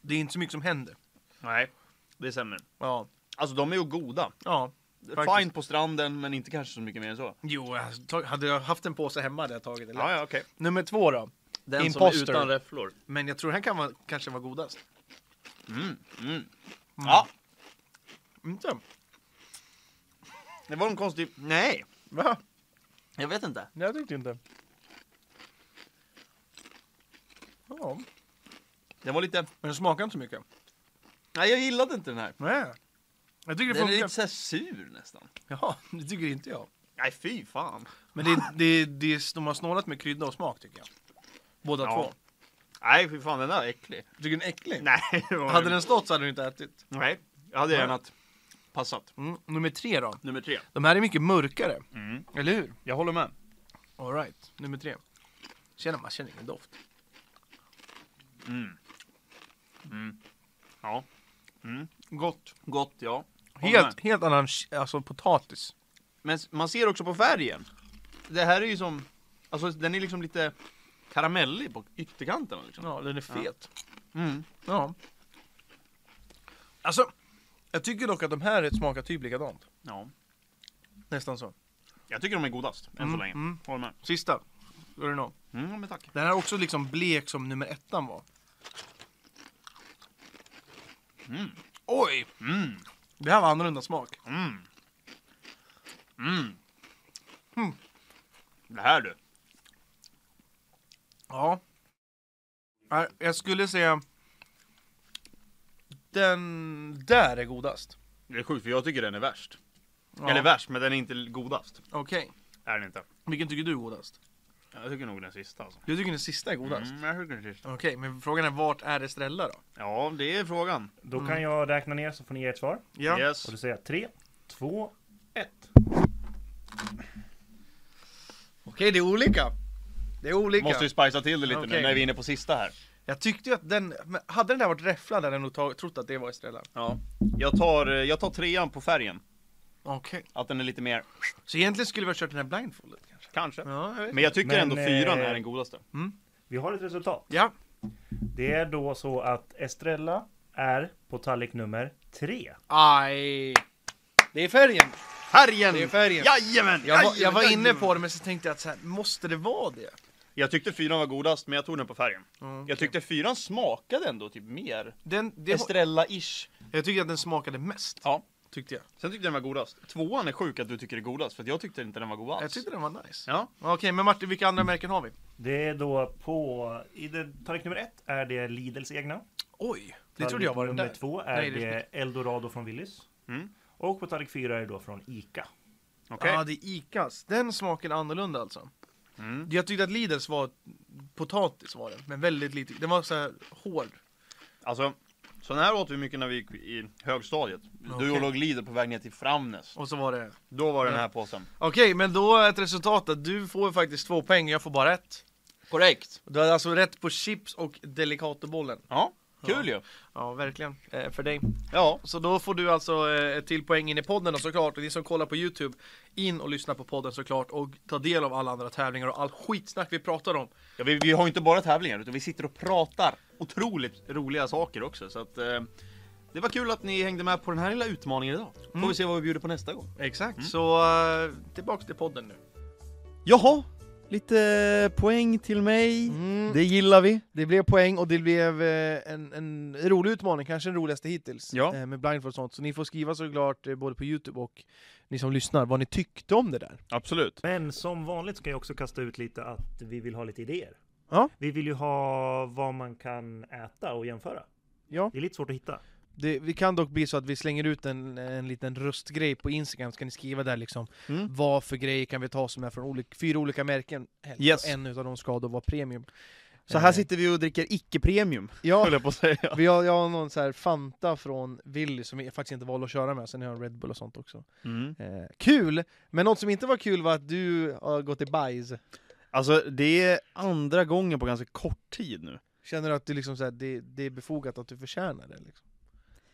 Speaker 2: det är inte så mycket som händer.
Speaker 1: nej. Det är sämre.
Speaker 2: Ja.
Speaker 1: Alltså de är ju goda.
Speaker 2: Ja. Faktiskt.
Speaker 1: Fine på stranden, men inte kanske så mycket mer än så.
Speaker 2: Jo, jag hade tag- hade jag haft en påse hemma hade jag tagit det. lätt.
Speaker 1: ja, okej.
Speaker 2: Nummer två då.
Speaker 1: Den
Speaker 2: Imposter.
Speaker 1: som är utan räfflor.
Speaker 2: Men jag tror den här kan vara, kanske vara godast.
Speaker 1: Mm, mm. Ja,
Speaker 2: Inte?
Speaker 1: det var en konstig... Nej,
Speaker 2: Va?
Speaker 1: jag vet inte.
Speaker 2: Nej, jag tyckte inte. Ja, men
Speaker 1: Den var lite...
Speaker 2: den smakar inte så mycket.
Speaker 1: Nej, jag gillade inte den här.
Speaker 2: Nej. Jag tycker det
Speaker 1: Den är
Speaker 2: funkar.
Speaker 1: lite såhär sur nästan.
Speaker 2: Jaha, det tycker inte jag.
Speaker 1: Nej, fy fan.
Speaker 2: Men det, det, det, de har snålat med krydda och smak tycker jag. Båda
Speaker 1: Ja.
Speaker 2: två.
Speaker 1: Nej, fy fan, den där är äcklig.
Speaker 2: Tycker du den är äcklig?
Speaker 1: Nej, det var
Speaker 2: Hade den stått så hade du inte ätit.
Speaker 1: Nej, jag hade gärna passat.
Speaker 2: Mm. Nummer tre då.
Speaker 1: Nummer tre.
Speaker 2: De här är mycket mörkare.
Speaker 1: Mm.
Speaker 2: Eller hur?
Speaker 1: Jag håller med.
Speaker 2: Alright, nummer tre. Tjena, man känner ingen doft.
Speaker 1: Mm. Mm. Ja,
Speaker 2: Gott.
Speaker 1: Mm. gott ja. Håller
Speaker 2: Helt,
Speaker 1: med.
Speaker 2: helt annan alltså, potatis.
Speaker 1: Men s- man ser också på färgen. Det här är ju som... Alltså den är liksom lite karamellig på ytterkanterna liksom.
Speaker 2: Ja, den är fet.
Speaker 1: Mm.
Speaker 2: Ja. Alltså, jag tycker dock att de här smakar typ likadant.
Speaker 1: Ja.
Speaker 2: Nästan så.
Speaker 1: Jag tycker de är godast, än
Speaker 2: Mm,
Speaker 1: så länge.
Speaker 2: mm.
Speaker 1: Håller med.
Speaker 2: Sista. Går det nå?
Speaker 1: Mm, men tack.
Speaker 2: Den här är också liksom blek som nummer ettan var.
Speaker 1: Mm.
Speaker 2: Oj!
Speaker 1: Mm.
Speaker 2: Det här var annorlunda smak.
Speaker 1: Mm. Mm.
Speaker 2: Mm.
Speaker 1: Det här du.
Speaker 2: Ja. Nej, Jag skulle säga... Den där är godast.
Speaker 1: Det är sjukt för jag tycker den är värst.
Speaker 2: Ja.
Speaker 1: Eller värst, men den är inte godast.
Speaker 2: Okej.
Speaker 1: Är den inte.
Speaker 2: Vilken tycker du är godast?
Speaker 1: Jag tycker nog den sista alltså.
Speaker 2: Jag tycker den sista är godast.
Speaker 1: Mm, jag tycker den sista.
Speaker 2: Okej, men frågan är vart är Estrella då?
Speaker 1: Ja, det är frågan.
Speaker 3: Då
Speaker 2: Mm.
Speaker 3: kan jag räkna ner så får ni ge ert svar.
Speaker 2: Ja.
Speaker 1: Yes.
Speaker 3: Och då säger jag 3, 2, 1.
Speaker 2: Okej, det är olika. Det är olika.
Speaker 1: Måste ju spicea till det lite
Speaker 2: Okej.
Speaker 1: nu när vi är inne på sista här.
Speaker 2: Jag tyckte ju att den... men Hade den där varit räfflad hade jag nog tag- trott att det var Estrella.
Speaker 1: Ja. Jag tar, eh, jag tar trean på färgen.
Speaker 2: Okej.
Speaker 1: Att den är lite mer,
Speaker 2: Så egentligen skulle vi ha kört den här blindfoldet kanske?
Speaker 1: kanske.
Speaker 2: Ja, jag vet.
Speaker 1: Men jag tycker
Speaker 3: Men,
Speaker 1: ändå fyran
Speaker 3: eh,
Speaker 1: är den godaste.
Speaker 3: Vi har ett resultat.
Speaker 2: Ja.
Speaker 3: Det är då så att Estrella är på tallrik nummer 3.
Speaker 2: Aj. Det är färgen.
Speaker 1: Färgen!
Speaker 2: Det är färgen.
Speaker 1: Jajamän!
Speaker 2: Jag var, jag
Speaker 1: Jajamän,
Speaker 2: var inne
Speaker 1: jajamän.
Speaker 2: på det men så tänkte jag att så här, måste det vara det?
Speaker 1: Jag tyckte fyran var godast, men jag tog den på färgen.
Speaker 2: okej.
Speaker 1: Jag tyckte fyran smakade ändå typ mer
Speaker 2: Den, det
Speaker 1: Estrella-ish.
Speaker 2: jag tyckte att den smakade mest.
Speaker 1: Ja.
Speaker 2: Tyckte jag.
Speaker 1: Sen tyckte jag den var godast. Tvåan är sjuk att du tycker det är godast, för att jag tyckte inte den var god alls.
Speaker 2: Jag tyckte den var nice.
Speaker 1: Ja.
Speaker 2: Okej, men Martin vilka andra märken har vi?
Speaker 3: Det är då på... I den- tallrik nummer 1 är det Lidls egna.
Speaker 2: Oj, det
Speaker 3: Tallrik
Speaker 2: trodde jag var den
Speaker 3: nummer
Speaker 2: där.
Speaker 3: 2 är
Speaker 2: Nej, det
Speaker 3: det,
Speaker 2: är
Speaker 3: Eldorado från Willys.
Speaker 1: Mm.
Speaker 3: Och på tallrik 4 är det då från Ica.
Speaker 1: Okej.
Speaker 2: Ja, det är Icas. Den smaken är annorlunda alltså.
Speaker 1: Mm.
Speaker 2: Jag tyckte att Lidls var potatis var den, men väldigt lite. Den var så här hård.
Speaker 1: Alltså, sån här åt vi mycket när vi gick i högstadiet.
Speaker 2: Okej.
Speaker 1: Du och låg Lidl på väg ner till Framnäs.
Speaker 2: Och så var det...
Speaker 1: Då var det den här påsen.
Speaker 2: Okej, men då är ett resultat att du får faktiskt två poäng och jag får bara ett.
Speaker 1: Korrekt.
Speaker 2: Du hade alltså rätt på chips och Delicatobollen.
Speaker 1: Ja, kul ju.
Speaker 2: Ja, verkligen. Eh, för dig.
Speaker 1: Ja.
Speaker 2: Så då får du alltså eh, ett till poäng in i podden då, såklart. Och ni som kollar på Youtube, in och lyssna på podden såklart. Och ta del av alla andra tävlingar och all skitsnack vi pratar om.
Speaker 1: Ja, vi, vi har ju inte bara tävlingar utan vi sitter och pratar otroligt roliga saker också. Så att, eh, det var kul att ni hängde med på den här lilla utmaningen idag. Får vi se vad vi bjuder på nästa gång.
Speaker 2: Exakt, så eh, tillbaks till podden nu.
Speaker 1: Jaha, Lite eh, poäng till mig.
Speaker 2: Mm.
Speaker 1: Det gillar vi.
Speaker 2: Det blev poäng och det blev eh, en, en rolig utmaning, kanske den roligaste hittills.
Speaker 1: Ja.
Speaker 2: eh, Med blindfold och sånt. Så ni får skriva såklart eh, både på Youtube och ni som lyssnar vad ni tyckte om det där.
Speaker 1: Absolut.
Speaker 3: Men som vanligt ska jag också kasta ut lite att vi vill ha lite idéer.
Speaker 2: Ja.
Speaker 3: Vi vill ju ha vad man kan äta och jämföra.
Speaker 2: Ja.
Speaker 3: Det är lite svårt att hitta.
Speaker 2: Det, det kan dock bli så att vi slänger ut en, en liten röstgrej på Instagram, så kan ni skriva där liksom
Speaker 1: Mm.
Speaker 2: vad för grejer kan vi ta som är från olika, fyra olika märken? Helst.
Speaker 1: Yes.
Speaker 2: En utav dem ska då vara premium.
Speaker 1: Så här
Speaker 2: Eh,
Speaker 1: sitter vi och dricker icke-premium,
Speaker 2: Ja,
Speaker 1: höll jag på att säga.
Speaker 2: vi har, jag har någon så här Fanta från Willy som jag faktiskt inte valde att köra med, sen har jag en Red Bull och sånt också.
Speaker 1: Mm.
Speaker 2: Eh, kul! Men något som inte var kul var att du har gått i bajs.
Speaker 1: Alltså, det är andra gången på ganska kort tid nu.
Speaker 2: Känner du att du liksom så här, det, det är befogat att du förtjänar det? Liksom?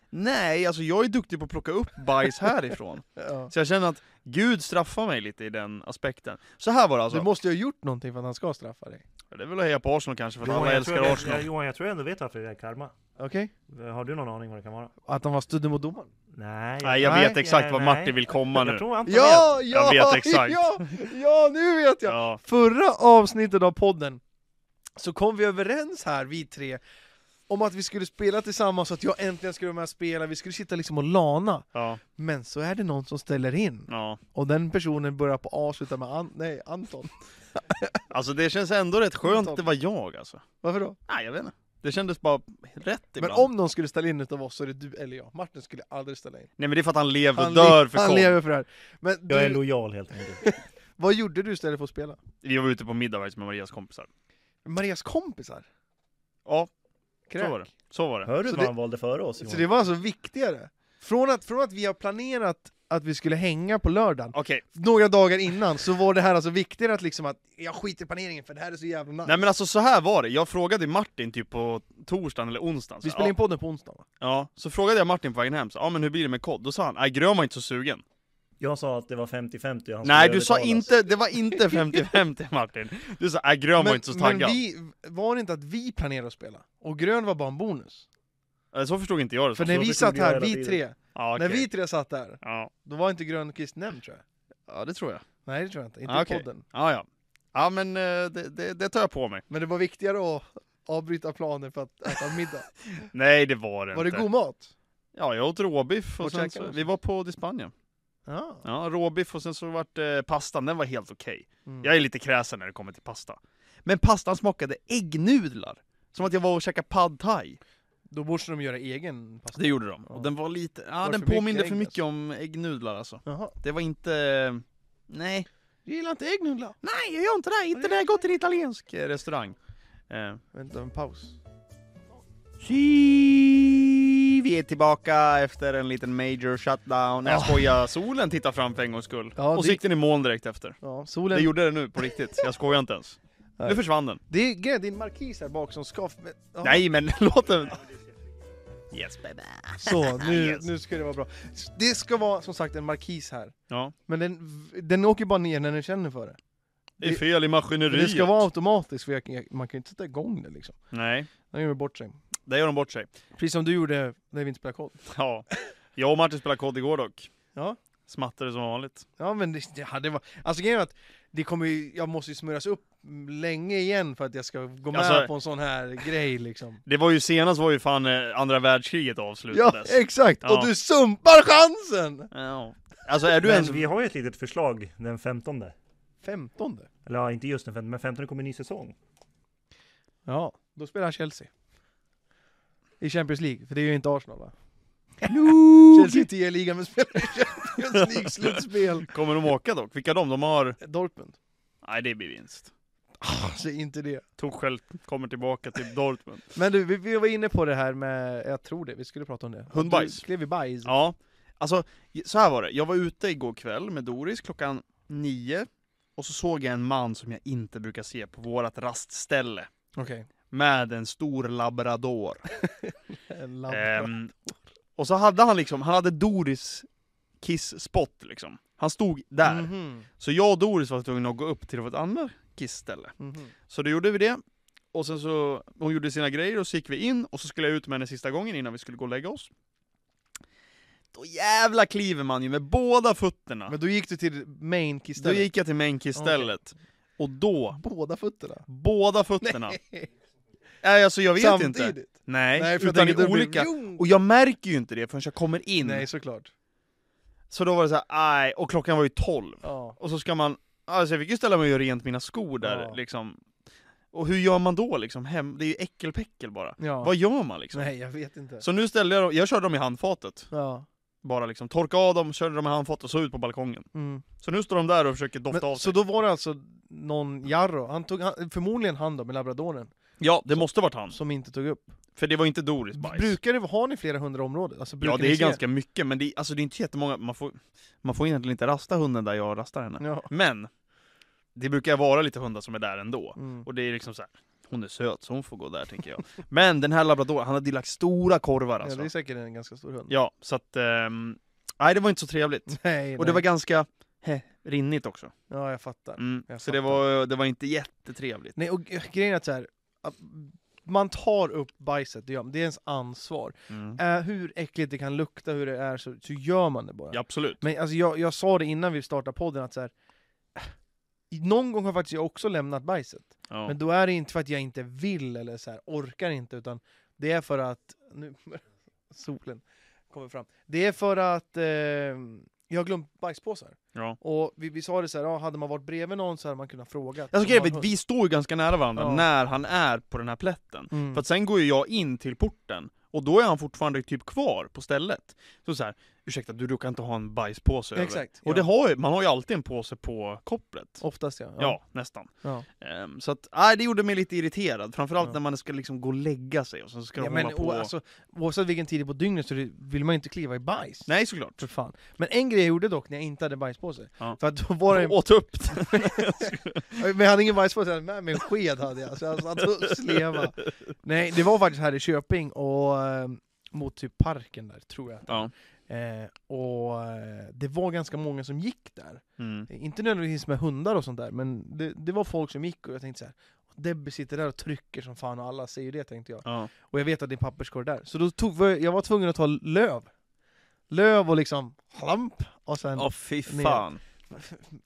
Speaker 1: Nej, alltså jag är duktig på att plocka upp bajs härifrån.
Speaker 2: Ja.
Speaker 1: Så jag känner att Gud straffar mig lite i den aspekten. Så här var det alltså.
Speaker 2: Du måste ju ha gjort någonting för att han ska straffa dig.
Speaker 1: Det är väl att heja på Arsenal kanske, för att
Speaker 3: Johan,
Speaker 1: alla
Speaker 3: jag tror
Speaker 1: älskar
Speaker 3: jag-
Speaker 1: Arsenal.
Speaker 3: jag- Johan, jag tror jag ändå vet varför det är karma.
Speaker 2: Okej?
Speaker 3: Har du någon aning vad det kan vara?
Speaker 2: Att han var stöddig mot domaren?
Speaker 3: Nej,
Speaker 1: Nej, jag
Speaker 2: Nej,
Speaker 1: vet exakt vad Martin vill komma
Speaker 3: Jag
Speaker 1: nu.
Speaker 3: tror Anton vet.
Speaker 2: Ja, ja,
Speaker 1: Jag vet exakt.
Speaker 2: ja, ja, nu vet jag!
Speaker 1: Ja,
Speaker 2: Förra avsnittet av podden så kom vi överens här, vi tre, om att vi skulle spela tillsammans så att jag äntligen skulle vara med och spela, vi skulle sitta liksom och lana.
Speaker 1: ja,
Speaker 2: Men så är det någon som ställer in,
Speaker 1: ja.
Speaker 2: och den personen börjar på A och slutar med An- nej, Anton.
Speaker 1: Alltså det känns ändå rätt skönt att det var jag alltså.
Speaker 2: Varför då?
Speaker 1: Nej, jag vet inte. Det kändes bara rätt
Speaker 2: Men
Speaker 1: ibland.
Speaker 2: om någon skulle ställa in utav oss så är det du eller jag. Martin skulle aldrig ställa in.
Speaker 1: Nej men det är för att han lever och
Speaker 2: Han,
Speaker 1: dör för
Speaker 2: han
Speaker 1: koll.
Speaker 2: lever för det här. Men
Speaker 3: Jag är
Speaker 2: du,
Speaker 3: lojal helt enkelt.
Speaker 2: vad gjorde du istället för att spela?
Speaker 1: Vi var ute på middag faktiskt med Marias kompisar.
Speaker 2: Marias kompisar?
Speaker 1: Ja,
Speaker 2: Kräk.
Speaker 1: så var det. Så var det.
Speaker 3: Hör du
Speaker 2: Så
Speaker 3: vad
Speaker 2: det-
Speaker 3: han valde före oss
Speaker 2: Så
Speaker 3: Johan?
Speaker 2: det var alltså viktigare? Från att, från att vi har planerat att vi skulle hänga på lördagen,
Speaker 1: Okej,
Speaker 2: några dagar innan, så var det här alltså viktigare att liksom att jag skiter i planeringen för det här är så jävla nice.
Speaker 1: nej men alltså så här var det. Jag frågade Martin typ på torsdagen eller onsdagen. Så,
Speaker 2: vi spelar
Speaker 1: ja,
Speaker 2: in podden på onsdag va?
Speaker 1: ja, så frågade jag Martin på vägen hem, så, ja men hur blir det med kod? Då sa han, nej Grön var inte så sugen.
Speaker 3: Jag sa att det var 50-50 han
Speaker 1: Nej
Speaker 3: skulle
Speaker 1: du sa
Speaker 3: övertalas.
Speaker 1: inte, det var inte 50-50 Martin. Du sa, nej Grön var inte så
Speaker 2: men
Speaker 1: taggad.
Speaker 2: vi, var det inte att vi planerade att spela? Och grön var bara en bonus.
Speaker 1: Eh, Så förstod inte jag det.
Speaker 2: För
Speaker 1: som.
Speaker 2: när
Speaker 3: så
Speaker 2: vi
Speaker 3: förstod
Speaker 2: satt
Speaker 3: jag
Speaker 2: här,
Speaker 3: hela
Speaker 2: vi
Speaker 3: tiden.
Speaker 2: tre,
Speaker 1: Ja,
Speaker 2: när
Speaker 1: okej.
Speaker 2: vi tre satt där,
Speaker 1: ja.
Speaker 2: då var inte Grönqvist nämnd tror jag.
Speaker 1: ja, det tror jag.
Speaker 2: Nej det tror jag inte, inte
Speaker 1: Ah,
Speaker 2: i
Speaker 1: okej.
Speaker 2: podden.
Speaker 1: Ja, ja. Ja men eh, det, det, det tar jag på mig.
Speaker 2: Men det var viktigare att avbryta planer för att äta middag.
Speaker 1: Nej det var det
Speaker 2: Var det
Speaker 1: inte.
Speaker 2: god mat?
Speaker 1: Ja, jag åt råbiff och
Speaker 2: Vart
Speaker 1: sen
Speaker 2: käkade
Speaker 1: så,
Speaker 2: du?
Speaker 1: vi var på Spanien.
Speaker 2: Ja.
Speaker 1: Ja, råbiff och sen så vart eh, pastan, den var helt okej.
Speaker 2: Mm.
Speaker 1: Jag är lite kräsen när det kommer till pasta. Men pastan smakade äggnudlar. Som att jag var och käkade pad thai.
Speaker 2: Då borde de göra egen pasta.
Speaker 1: Det gjorde de.
Speaker 2: Ja.
Speaker 1: Och den var lite, ja
Speaker 2: Var det
Speaker 1: den
Speaker 2: för mycket
Speaker 1: påminde för
Speaker 2: ägg,
Speaker 1: mycket om äggnudlar alltså.
Speaker 2: Jaha.
Speaker 1: Det var inte, nej.
Speaker 2: Du gillar inte äggnudlar?
Speaker 1: Nej jag gör inte det, inte när jag går till en italiensk eh, restaurang. Eh.
Speaker 2: Vänta en paus.
Speaker 1: Tji! Vi är tillbaka efter en liten major shutdown. Nej, jag
Speaker 2: Ah.
Speaker 1: skojar. Solen tittar fram för en gångs skull.
Speaker 2: Ja,
Speaker 1: och
Speaker 2: det-
Speaker 1: så gick den i moln direkt efter.
Speaker 2: Ja,
Speaker 1: Det
Speaker 2: solen... Det,
Speaker 1: gjorde den nu, på riktigt. Jag skojar inte ens. Nu
Speaker 2: Nej.
Speaker 1: försvann den.
Speaker 2: är grejen, det är en markis här bak som ska... men- Ja.
Speaker 1: Nej men låt den... Yes baby.
Speaker 2: Så, nu,
Speaker 1: Yes.
Speaker 2: nu ska det vara bra. Det ska vara som sagt en markis här.
Speaker 1: Ja.
Speaker 2: Men den, den åker bara ner när den känner för det.
Speaker 1: Det är
Speaker 2: Det-
Speaker 1: fel i
Speaker 2: För
Speaker 1: maskineriet.
Speaker 2: det ska vara automatiskt, för jag, kan- man kan ju inte sätta igång det liksom.
Speaker 1: Nej,
Speaker 2: Den gör bort sig.
Speaker 1: där gör de bort sig.
Speaker 2: Precis som du gjorde när vi inte spelade kod.
Speaker 1: Ja. Jag och Martin spelade kod igår dock.
Speaker 2: Ja.
Speaker 1: Smattade som vanligt.
Speaker 2: Ja men det, det hade varit... Alltså grejen är att det kommer ju, jag måste ju smöras upp länge igen för att jag ska gå med
Speaker 1: Alltså-
Speaker 2: på en sån här grej liksom.
Speaker 1: Det var ju senast var ju fan eh, andra världskriget
Speaker 2: Ja
Speaker 1: avslutades.
Speaker 2: exakt!
Speaker 1: Ja.
Speaker 2: Och du sumpar chansen!
Speaker 1: ja. Alltså är du
Speaker 3: Men
Speaker 1: ens...
Speaker 3: vi har ju ett litet förslag den 15.
Speaker 2: Femtonde?
Speaker 3: Eller ja, inte just den 15, men 15 kommer en ny säsong.
Speaker 2: Ja, då spelar Chelsea. I Champions League, för det är ju inte Arsenal va? Chelsea är inte i ligan men spelar i Champions League-slutspel.
Speaker 1: Kommer de åka dock? Vilka de? De har...
Speaker 2: Dortmund.
Speaker 1: Nej det blir vinst.
Speaker 2: Alltså inte det.
Speaker 1: Torshäll kommer tillbaka till Dortmund.
Speaker 2: Men du, vi, vi var inne på det här med, jag tror det, vi skulle prata om det.
Speaker 1: Hundbajs.
Speaker 2: Du skrev i bajs.
Speaker 1: Ja, alltså så här var det. Jag var ute igår kväll med Doris klockan nio och så såg jag en man som jag inte brukar se på vårat rastställe
Speaker 2: Okej.
Speaker 1: med en stor labrador.
Speaker 2: En labb.
Speaker 1: Ehm, och så hade han liksom, han hade Doris kissspott liksom. Han stod där.
Speaker 2: Mhm,
Speaker 1: Så jag och Doris var tvungna att gå upp till ett annat kissställe.
Speaker 2: mhm.
Speaker 1: Så då gjorde vi det. Och sen så, hon gjorde sina grejer och så gick vi in och så skulle jag ut med henne sista gången innan vi skulle gå och lägga oss. Då jävla kliver man ju med båda fötterna.
Speaker 2: Men då gick du till main
Speaker 1: Då
Speaker 2: istället?
Speaker 1: gick jag till mänkistället. Och då,
Speaker 2: Båda fötterna.
Speaker 1: båda fötterna. Nej, alltså jag vet inte. Nej,
Speaker 2: Nej, för jag
Speaker 1: utan
Speaker 2: tänker
Speaker 1: det
Speaker 2: att det
Speaker 1: är
Speaker 2: blir
Speaker 1: olika.
Speaker 2: mjong.
Speaker 1: Och jag märker ju inte det förrän jag kommer in.
Speaker 2: Nej, såklart.
Speaker 1: Så då var det så här, aj, och klockan var ju 12.
Speaker 2: Ja.
Speaker 1: Och så ska man, alltså jag fick ju ställa mig och göra rent mina skor där
Speaker 2: Ja.
Speaker 1: liksom. Och hur gör man då liksom? Hem, det är ju äckelpäckel bara.
Speaker 2: ja.
Speaker 1: Vad gör man liksom?
Speaker 2: Nej, jag vet inte.
Speaker 1: Så nu ställde jag dem, jag körde dem i handfatet.
Speaker 2: Ja.
Speaker 1: Bara liksom torka av dem, körde dem i handfatet och så ut på balkongen.
Speaker 2: Mm.
Speaker 1: Så nu står de där och försöker dofta
Speaker 2: Men,
Speaker 1: av sig.
Speaker 2: så då var det alltså någon Jarro, han tog, han, förmodligen han då med labradoren,
Speaker 1: Ja, det måste varit han.
Speaker 2: som inte tog upp.
Speaker 1: För det var inte Doris bajs.
Speaker 2: Brukar det, har ni flera hundra områden? Alltså, brukar
Speaker 1: ja, det
Speaker 2: ni
Speaker 1: är
Speaker 2: se-
Speaker 1: ganska mycket, men det, alltså, det är inte jättemånga. Man får, man får egentligen inte rasta hunden där jag rastar henne.
Speaker 2: Ja.
Speaker 1: Men, det brukar vara lite hundar som är där ändå.
Speaker 2: Mm.
Speaker 1: Och det är liksom så här. Hon är söt så hon får gå där tänker jag. Men den här labradoren, han hade ju lagt stora korvar
Speaker 2: Ja,
Speaker 1: alltså.
Speaker 2: det
Speaker 1: Ja,
Speaker 2: är säkert en ganska stor hund.
Speaker 1: så att... ehm, nej, det var inte så trevligt.
Speaker 2: Nej,
Speaker 1: Och det var
Speaker 2: nej.
Speaker 1: ganska heh, rinnigt också.
Speaker 2: Ja, jag fattar.
Speaker 1: Mm.
Speaker 2: Jag
Speaker 1: Så det
Speaker 2: fattar.
Speaker 1: var, det var inte jättetrevligt.
Speaker 2: Nej, och g- grejen är att så här, att man tar upp bajset, det, gör, man. det är ens ansvar.
Speaker 1: Mm.
Speaker 2: Eh, hur äckligt det kan lukta, hur det är, så, så gör man det bara.
Speaker 1: Ja, absolut.
Speaker 2: Men alltså, jag, jag sa det innan vi startade podden, att så här, eh, någon gång har faktiskt jag också lämnat bajset.
Speaker 1: Ja.
Speaker 2: Men då är det inte för att jag inte vill eller så här, orkar inte, utan det är för att... Nu, solen kommer fram. Det är för att eh, jag har glömt bajspåsar.
Speaker 1: Ja.
Speaker 2: Och vi, vi sa det så här, ja, hade man varit bredvid någon så hade man kunnat fråga.
Speaker 1: Alltså grejen är att vi står ju ganska nära varandra
Speaker 2: Ja.
Speaker 1: när han är på den här plätten.
Speaker 2: Mm.
Speaker 1: För att sen går ju jag in till porten, och då är han fortfarande typ kvar på stället. Så så här, ursäkta du råkar inte ha en bajspåse över?
Speaker 2: Exakt.
Speaker 1: Och
Speaker 2: ja.
Speaker 1: det har ju, man har ju alltid en påse på kopplet.
Speaker 2: Oftast ja.
Speaker 1: Ja, nästan.
Speaker 2: ja.
Speaker 1: Ehm, så att, nej det gjorde mig lite irriterad, framförallt
Speaker 2: Ja.
Speaker 1: när man ska liksom gå och lägga sig och så ska
Speaker 2: ja
Speaker 1: de
Speaker 2: men
Speaker 1: hålla på
Speaker 2: o- alltså, oavsett vilken tid på dygnet så det- vill man ju inte kliva i bajs.
Speaker 1: Nej såklart.
Speaker 2: För fan. Men en grej jag gjorde dock när jag inte hade bajspåse,
Speaker 1: Ja.
Speaker 2: för att då var det
Speaker 1: Jag åt upp det.
Speaker 2: Men jag hade ingen bajspåse, jag hade med mig en sked hade jag, så jag satt och sleva. Nej, det var faktiskt här i Köping, och eh, mot typ parken där, tror jag.
Speaker 1: Ja.
Speaker 2: Eh, och eh, det var ganska många som gick där.
Speaker 1: Mm.
Speaker 2: Inte nödvändigtvis med hundar och sånt där, men det, det var folk som gick och jag tänkte så här. Debbie sitter där och trycker som fan och alla ser ju det tänkte jag.
Speaker 1: Ja.
Speaker 2: Och jag vet att det är papperskorg där. Så då tog, var jag jag var tvungen att ta löv. Löv och liksom hlamp. Och sen,
Speaker 1: Åh fy
Speaker 2: ner.
Speaker 1: fan.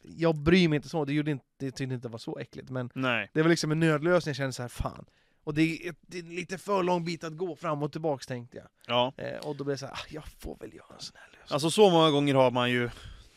Speaker 2: jag bryr mig inte så, det, gjorde inte, det tyckte inte det var så äckligt. Men
Speaker 1: Nej.
Speaker 2: det var liksom en nödlösning, jag kände så här fan. Och det är, ett- det är en lite för lång bit att gå fram och tillbaks tänkte jag.
Speaker 1: Ja.
Speaker 2: Eh, och då blev jag så här, ah, jag får väl göra en sån här lösning.
Speaker 1: Alltså så många gånger har man ju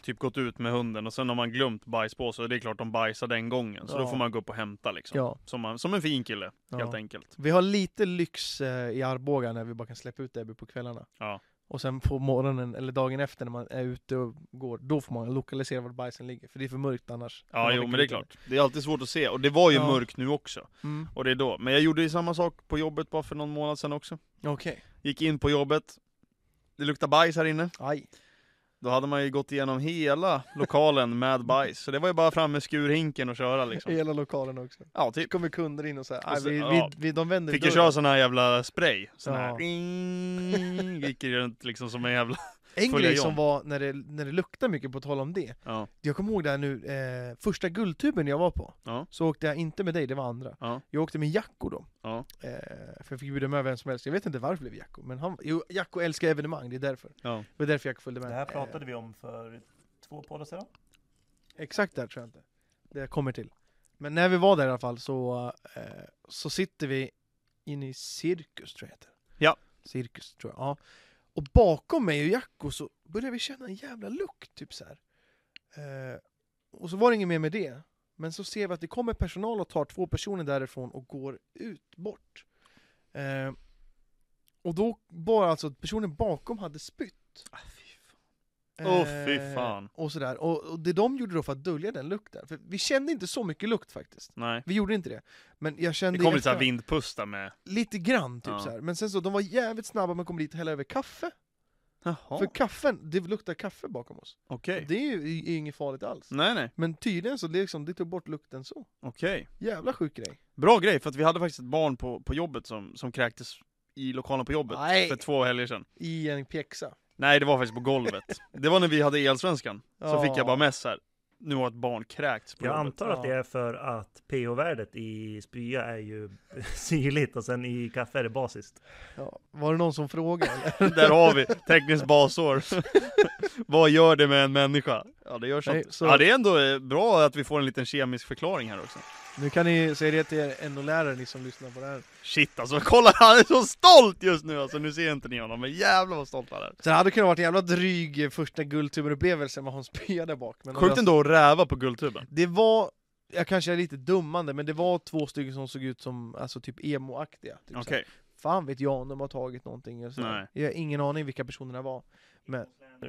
Speaker 1: typ gått ut med hunden och sen har man glömt bajspåse och det är klart de bajsar den gången. Så
Speaker 2: Ja.
Speaker 1: då får man gå upp och hämta liksom.
Speaker 2: Ja.
Speaker 1: Som, man, som en fin kille,
Speaker 2: Ja.
Speaker 1: helt enkelt.
Speaker 2: Vi har lite lyx eh, i Arboga när vi bara kan släppa ut Debbie på kvällarna.
Speaker 1: Ja.
Speaker 2: Och sen på morgonen eller dagen efter när man är ute och går, då får man lokalisera var bajsen ligger. För det är för mörkt annars. När
Speaker 1: Ja,
Speaker 2: man
Speaker 1: jo
Speaker 2: väcker
Speaker 1: men det är
Speaker 2: ut den.
Speaker 1: klart. Det är alltid svårt att se, och det var ju
Speaker 2: Ja.
Speaker 1: mörkt nu också.
Speaker 2: Mm.
Speaker 1: Och det är då. Men jag gjorde ju samma sak på jobbet bara för någon månad sedan också.
Speaker 2: Okej.
Speaker 1: Gick in på jobbet, det luktade bajs här inne.
Speaker 2: Aj.
Speaker 1: Då hade man ju gått igenom hela lokalen med bajs, så det var ju bara fram med skurhinken och köra liksom.
Speaker 2: Hela lokalen också.
Speaker 1: Ja,
Speaker 2: Det
Speaker 1: typ.
Speaker 2: kommer kunder in och säger, aj,
Speaker 1: Och så-
Speaker 2: vi,
Speaker 1: ja.
Speaker 2: vi, vi, de vänder
Speaker 1: Fick ju
Speaker 2: dörren."
Speaker 1: köra sån här jävla spray, sån här
Speaker 2: Ja.
Speaker 1: ring, gick ju runt liksom som en jävla...
Speaker 2: En
Speaker 1: följa
Speaker 2: grej
Speaker 1: John.
Speaker 2: som var när det, när det luktar mycket, på tal om det.
Speaker 1: Ja.
Speaker 2: Jag kommer ihåg det här nu, eh, första guldtuben jag var på.
Speaker 1: Ja.
Speaker 2: Så åkte jag inte med dig, det var andra.
Speaker 1: Ja.
Speaker 2: Jag åkte med Jacko då.
Speaker 1: Ja.
Speaker 2: Eh, för jag fick bjuda med vem som helst. Jag vet inte varför det blev Jacko. Men han, jo, Jacko älskar evenemang, det är därför.
Speaker 1: Ja.
Speaker 2: Det var därför Jacko följde
Speaker 3: Det
Speaker 2: med.
Speaker 3: här pratade
Speaker 2: eh,
Speaker 3: vi om för två poddar sedan.
Speaker 2: Exakt där tror jag inte. Det kommer till. Men när vi var där i alla fall så, eh, så sitter vi inne i Cirkus tror jag heter.
Speaker 1: Ja.
Speaker 2: Cirkus tror jag, ja. Och bakom mig och Jacko så började vi känna en jävla lukt, typ så här. Eh, och så var det inget mer med det. Men så ser vi att det kommer personal och tar två personer därifrån och går ut, bort. Eh, och då var alltså att personen bakom hade spytt.
Speaker 1: Åh, fy fan.
Speaker 2: Eh, Och sådär. Och, och det de gjorde då för att dölja den lukten. För vi kände inte så mycket lukt faktiskt.
Speaker 1: Nej.
Speaker 2: Vi gjorde inte det. Men jag
Speaker 1: Det
Speaker 2: kände
Speaker 1: kom lite såhär
Speaker 2: efter-
Speaker 1: vindpustar med...
Speaker 2: lite grann typ
Speaker 1: Ja.
Speaker 2: så Men sen så, de var jävligt snabba med att komma dit och hälla över kaffe.
Speaker 1: Jaha,
Speaker 2: För kaffen, det luktar kaffe bakom oss.
Speaker 1: okej. Mm.
Speaker 2: Det är ju är ju inget farligt alls.
Speaker 1: Nej nej,
Speaker 2: Men tydligen så det, liksom, det tog bort lukten så.
Speaker 1: okej.
Speaker 2: Jävla sjuk grej.
Speaker 1: Bra grej, för att vi hade faktiskt ett barn på, på jobbet som, som kräktes i lokalen på jobbet
Speaker 2: Nej.
Speaker 1: för två helger sedan.
Speaker 2: I en pjäxa.
Speaker 1: Nej, det var faktiskt på golvet. Det var när vi hade elsvenskan. Så
Speaker 2: Ja.
Speaker 1: fick jag bara mess här. nu har ett barn kräkts på
Speaker 3: Jag
Speaker 1: jobbet.
Speaker 3: antar att det
Speaker 2: Ja.
Speaker 3: är för att pH-värdet i spya är ju syrligt och sen i kaffe är det basiskt.
Speaker 2: Ja. Var det någon som frågade? eller?
Speaker 1: Där har vi tekniskt basår. Vad gör det med en människa? Ja det gör sånt.
Speaker 2: Nej, så-
Speaker 1: Ja det är ändå eh, bra att vi får en liten kemisk förklaring här också.
Speaker 2: nu kan ni säga det till er NO-lärare, ni som lyssnar på det här.
Speaker 1: Shit alltså, kolla han är så stolt just nu alltså, nu ser inte ni honom men jävlar vad stolt han är.
Speaker 2: Så det hade kunnat varit en jävla dryg eh, första Guldtuben-upplevelse med Hans P där bak. Men de
Speaker 1: Sjukt
Speaker 2: löste-
Speaker 1: ändå att räva på guldtuben.
Speaker 2: Det var, jag kanske är lite dummande, men det var två stycken som såg ut som alltså typ emo-aktiga. Typ
Speaker 1: Okej,
Speaker 2: såhär, Fan vet jag om de har tagit någonting eller sådär.
Speaker 1: Nej.
Speaker 2: Jag har ingen aning vilka personerna var.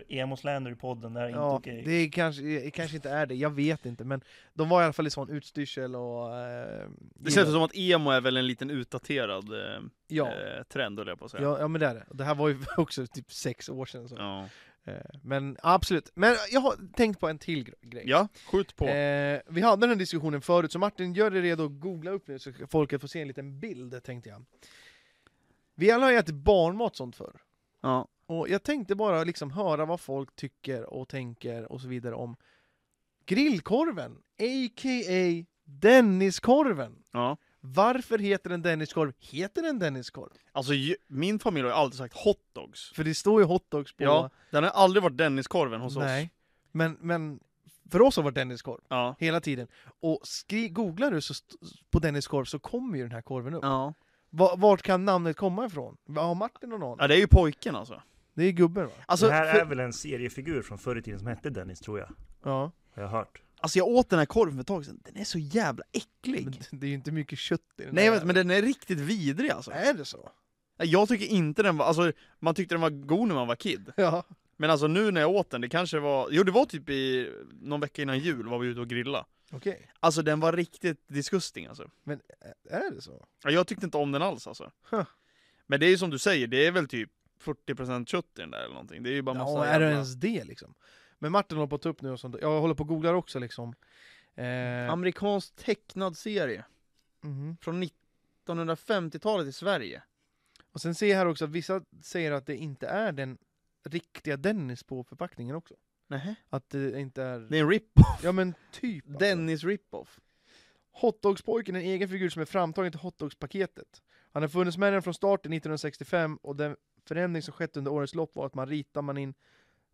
Speaker 3: Emosländer i podden, det här är inte
Speaker 2: ja,
Speaker 3: okej.
Speaker 2: det är kanske, det kanske inte är det, jag vet inte. Men de var i alla fall i sån utstyrsel och... Eh,
Speaker 1: det känns som att emo är väl en liten utdaterad eh,
Speaker 2: Ja.
Speaker 1: eh, trend höll jag på att säga.
Speaker 2: Ja, ja men det är det. Det här var ju också typ sex år sedan. Så.
Speaker 1: Ja.
Speaker 2: Eh, Men absolut. Men jag har tänkt på en till gre- grej.
Speaker 1: ja, skjut på.
Speaker 2: Eh, vi hade den här diskussionen förut, så Martin gör dig redo att googla upp nu så folket får se en liten bild tänkte jag. Vi alla har ju ätit barnmat sånt förr.
Speaker 1: Ja.
Speaker 2: Och jag tänkte bara liksom höra vad folk tycker och tänker och så vidare om grillkorven, a.k.a. Denniskorven.
Speaker 1: Ja.
Speaker 2: Varför heter den Denniskorv? Heter den Denniskorv?
Speaker 1: Alltså ju- min familj har ju alltid sagt hotdogs.
Speaker 2: För det står ju hotdogs på...
Speaker 1: Ja, den har aldrig varit Denniskorven hos oss.
Speaker 2: Nej. Men, men för oss har det varit Denniskorv
Speaker 1: Ja.
Speaker 2: hela tiden. Och skri- googlar du så st- på Denniskorv så kommer ju den här korven upp.
Speaker 1: Ja.
Speaker 2: Va- vart kan namnet komma ifrån? Va- Har Martin någon aning?
Speaker 1: ja, det är ju pojken alltså.
Speaker 2: Det är gubben va?
Speaker 1: Alltså,
Speaker 3: det här
Speaker 1: för,
Speaker 3: är väl en seriefigur från förr i tiden som hette Dennis, tror jag.
Speaker 2: Ja.
Speaker 3: Har jag hört.
Speaker 1: alltså jag åt den här korven för ett tag sedan, den är så jävla äcklig.
Speaker 2: Men det är ju inte mycket kött i
Speaker 1: Nej
Speaker 2: den där.
Speaker 1: jag vet, men den är riktigt vidrig alltså.
Speaker 2: Är det så?
Speaker 1: Nej, Jag tycker inte den var, alltså man tyckte den var god när man var kid.
Speaker 2: Ja.
Speaker 1: Men alltså nu när jag åt den, det kanske var, jo det var typ i, någon vecka innan jul var vi ute och grilla.
Speaker 2: Okej.
Speaker 1: Alltså den var riktigt disgusting alltså.
Speaker 2: Men ä- är det så?
Speaker 1: Ja, Jag tyckte inte om den alls alltså.
Speaker 2: Huh.
Speaker 1: Men det är ju som du säger, det är väl typ 40% kött i den där eller någonting. Det är ju bara massa
Speaker 2: Ja, är
Speaker 1: jävla...
Speaker 2: det ens det liksom? Men Martin håller på att ta upp nu och sånt. Jag håller på och googlar också liksom. Eh,
Speaker 1: Amerikansk tecknad serie
Speaker 2: mhm.
Speaker 1: från 1950-talet i Sverige.
Speaker 2: Och sen ser jag här också att vissa säger att det inte är den riktiga Dennis på förpackningen också.
Speaker 1: Nej.
Speaker 2: Att det inte är...
Speaker 1: Det är en rip-off.
Speaker 2: Ja men typ. alltså.
Speaker 1: Dennis rip-off.
Speaker 2: Hotdogspojken är en egen figur som är framtagen till hotdogspaketet. Han har funnits med den från starten 1965 och den förändring som skett under årens lopp var att man ritade, man in,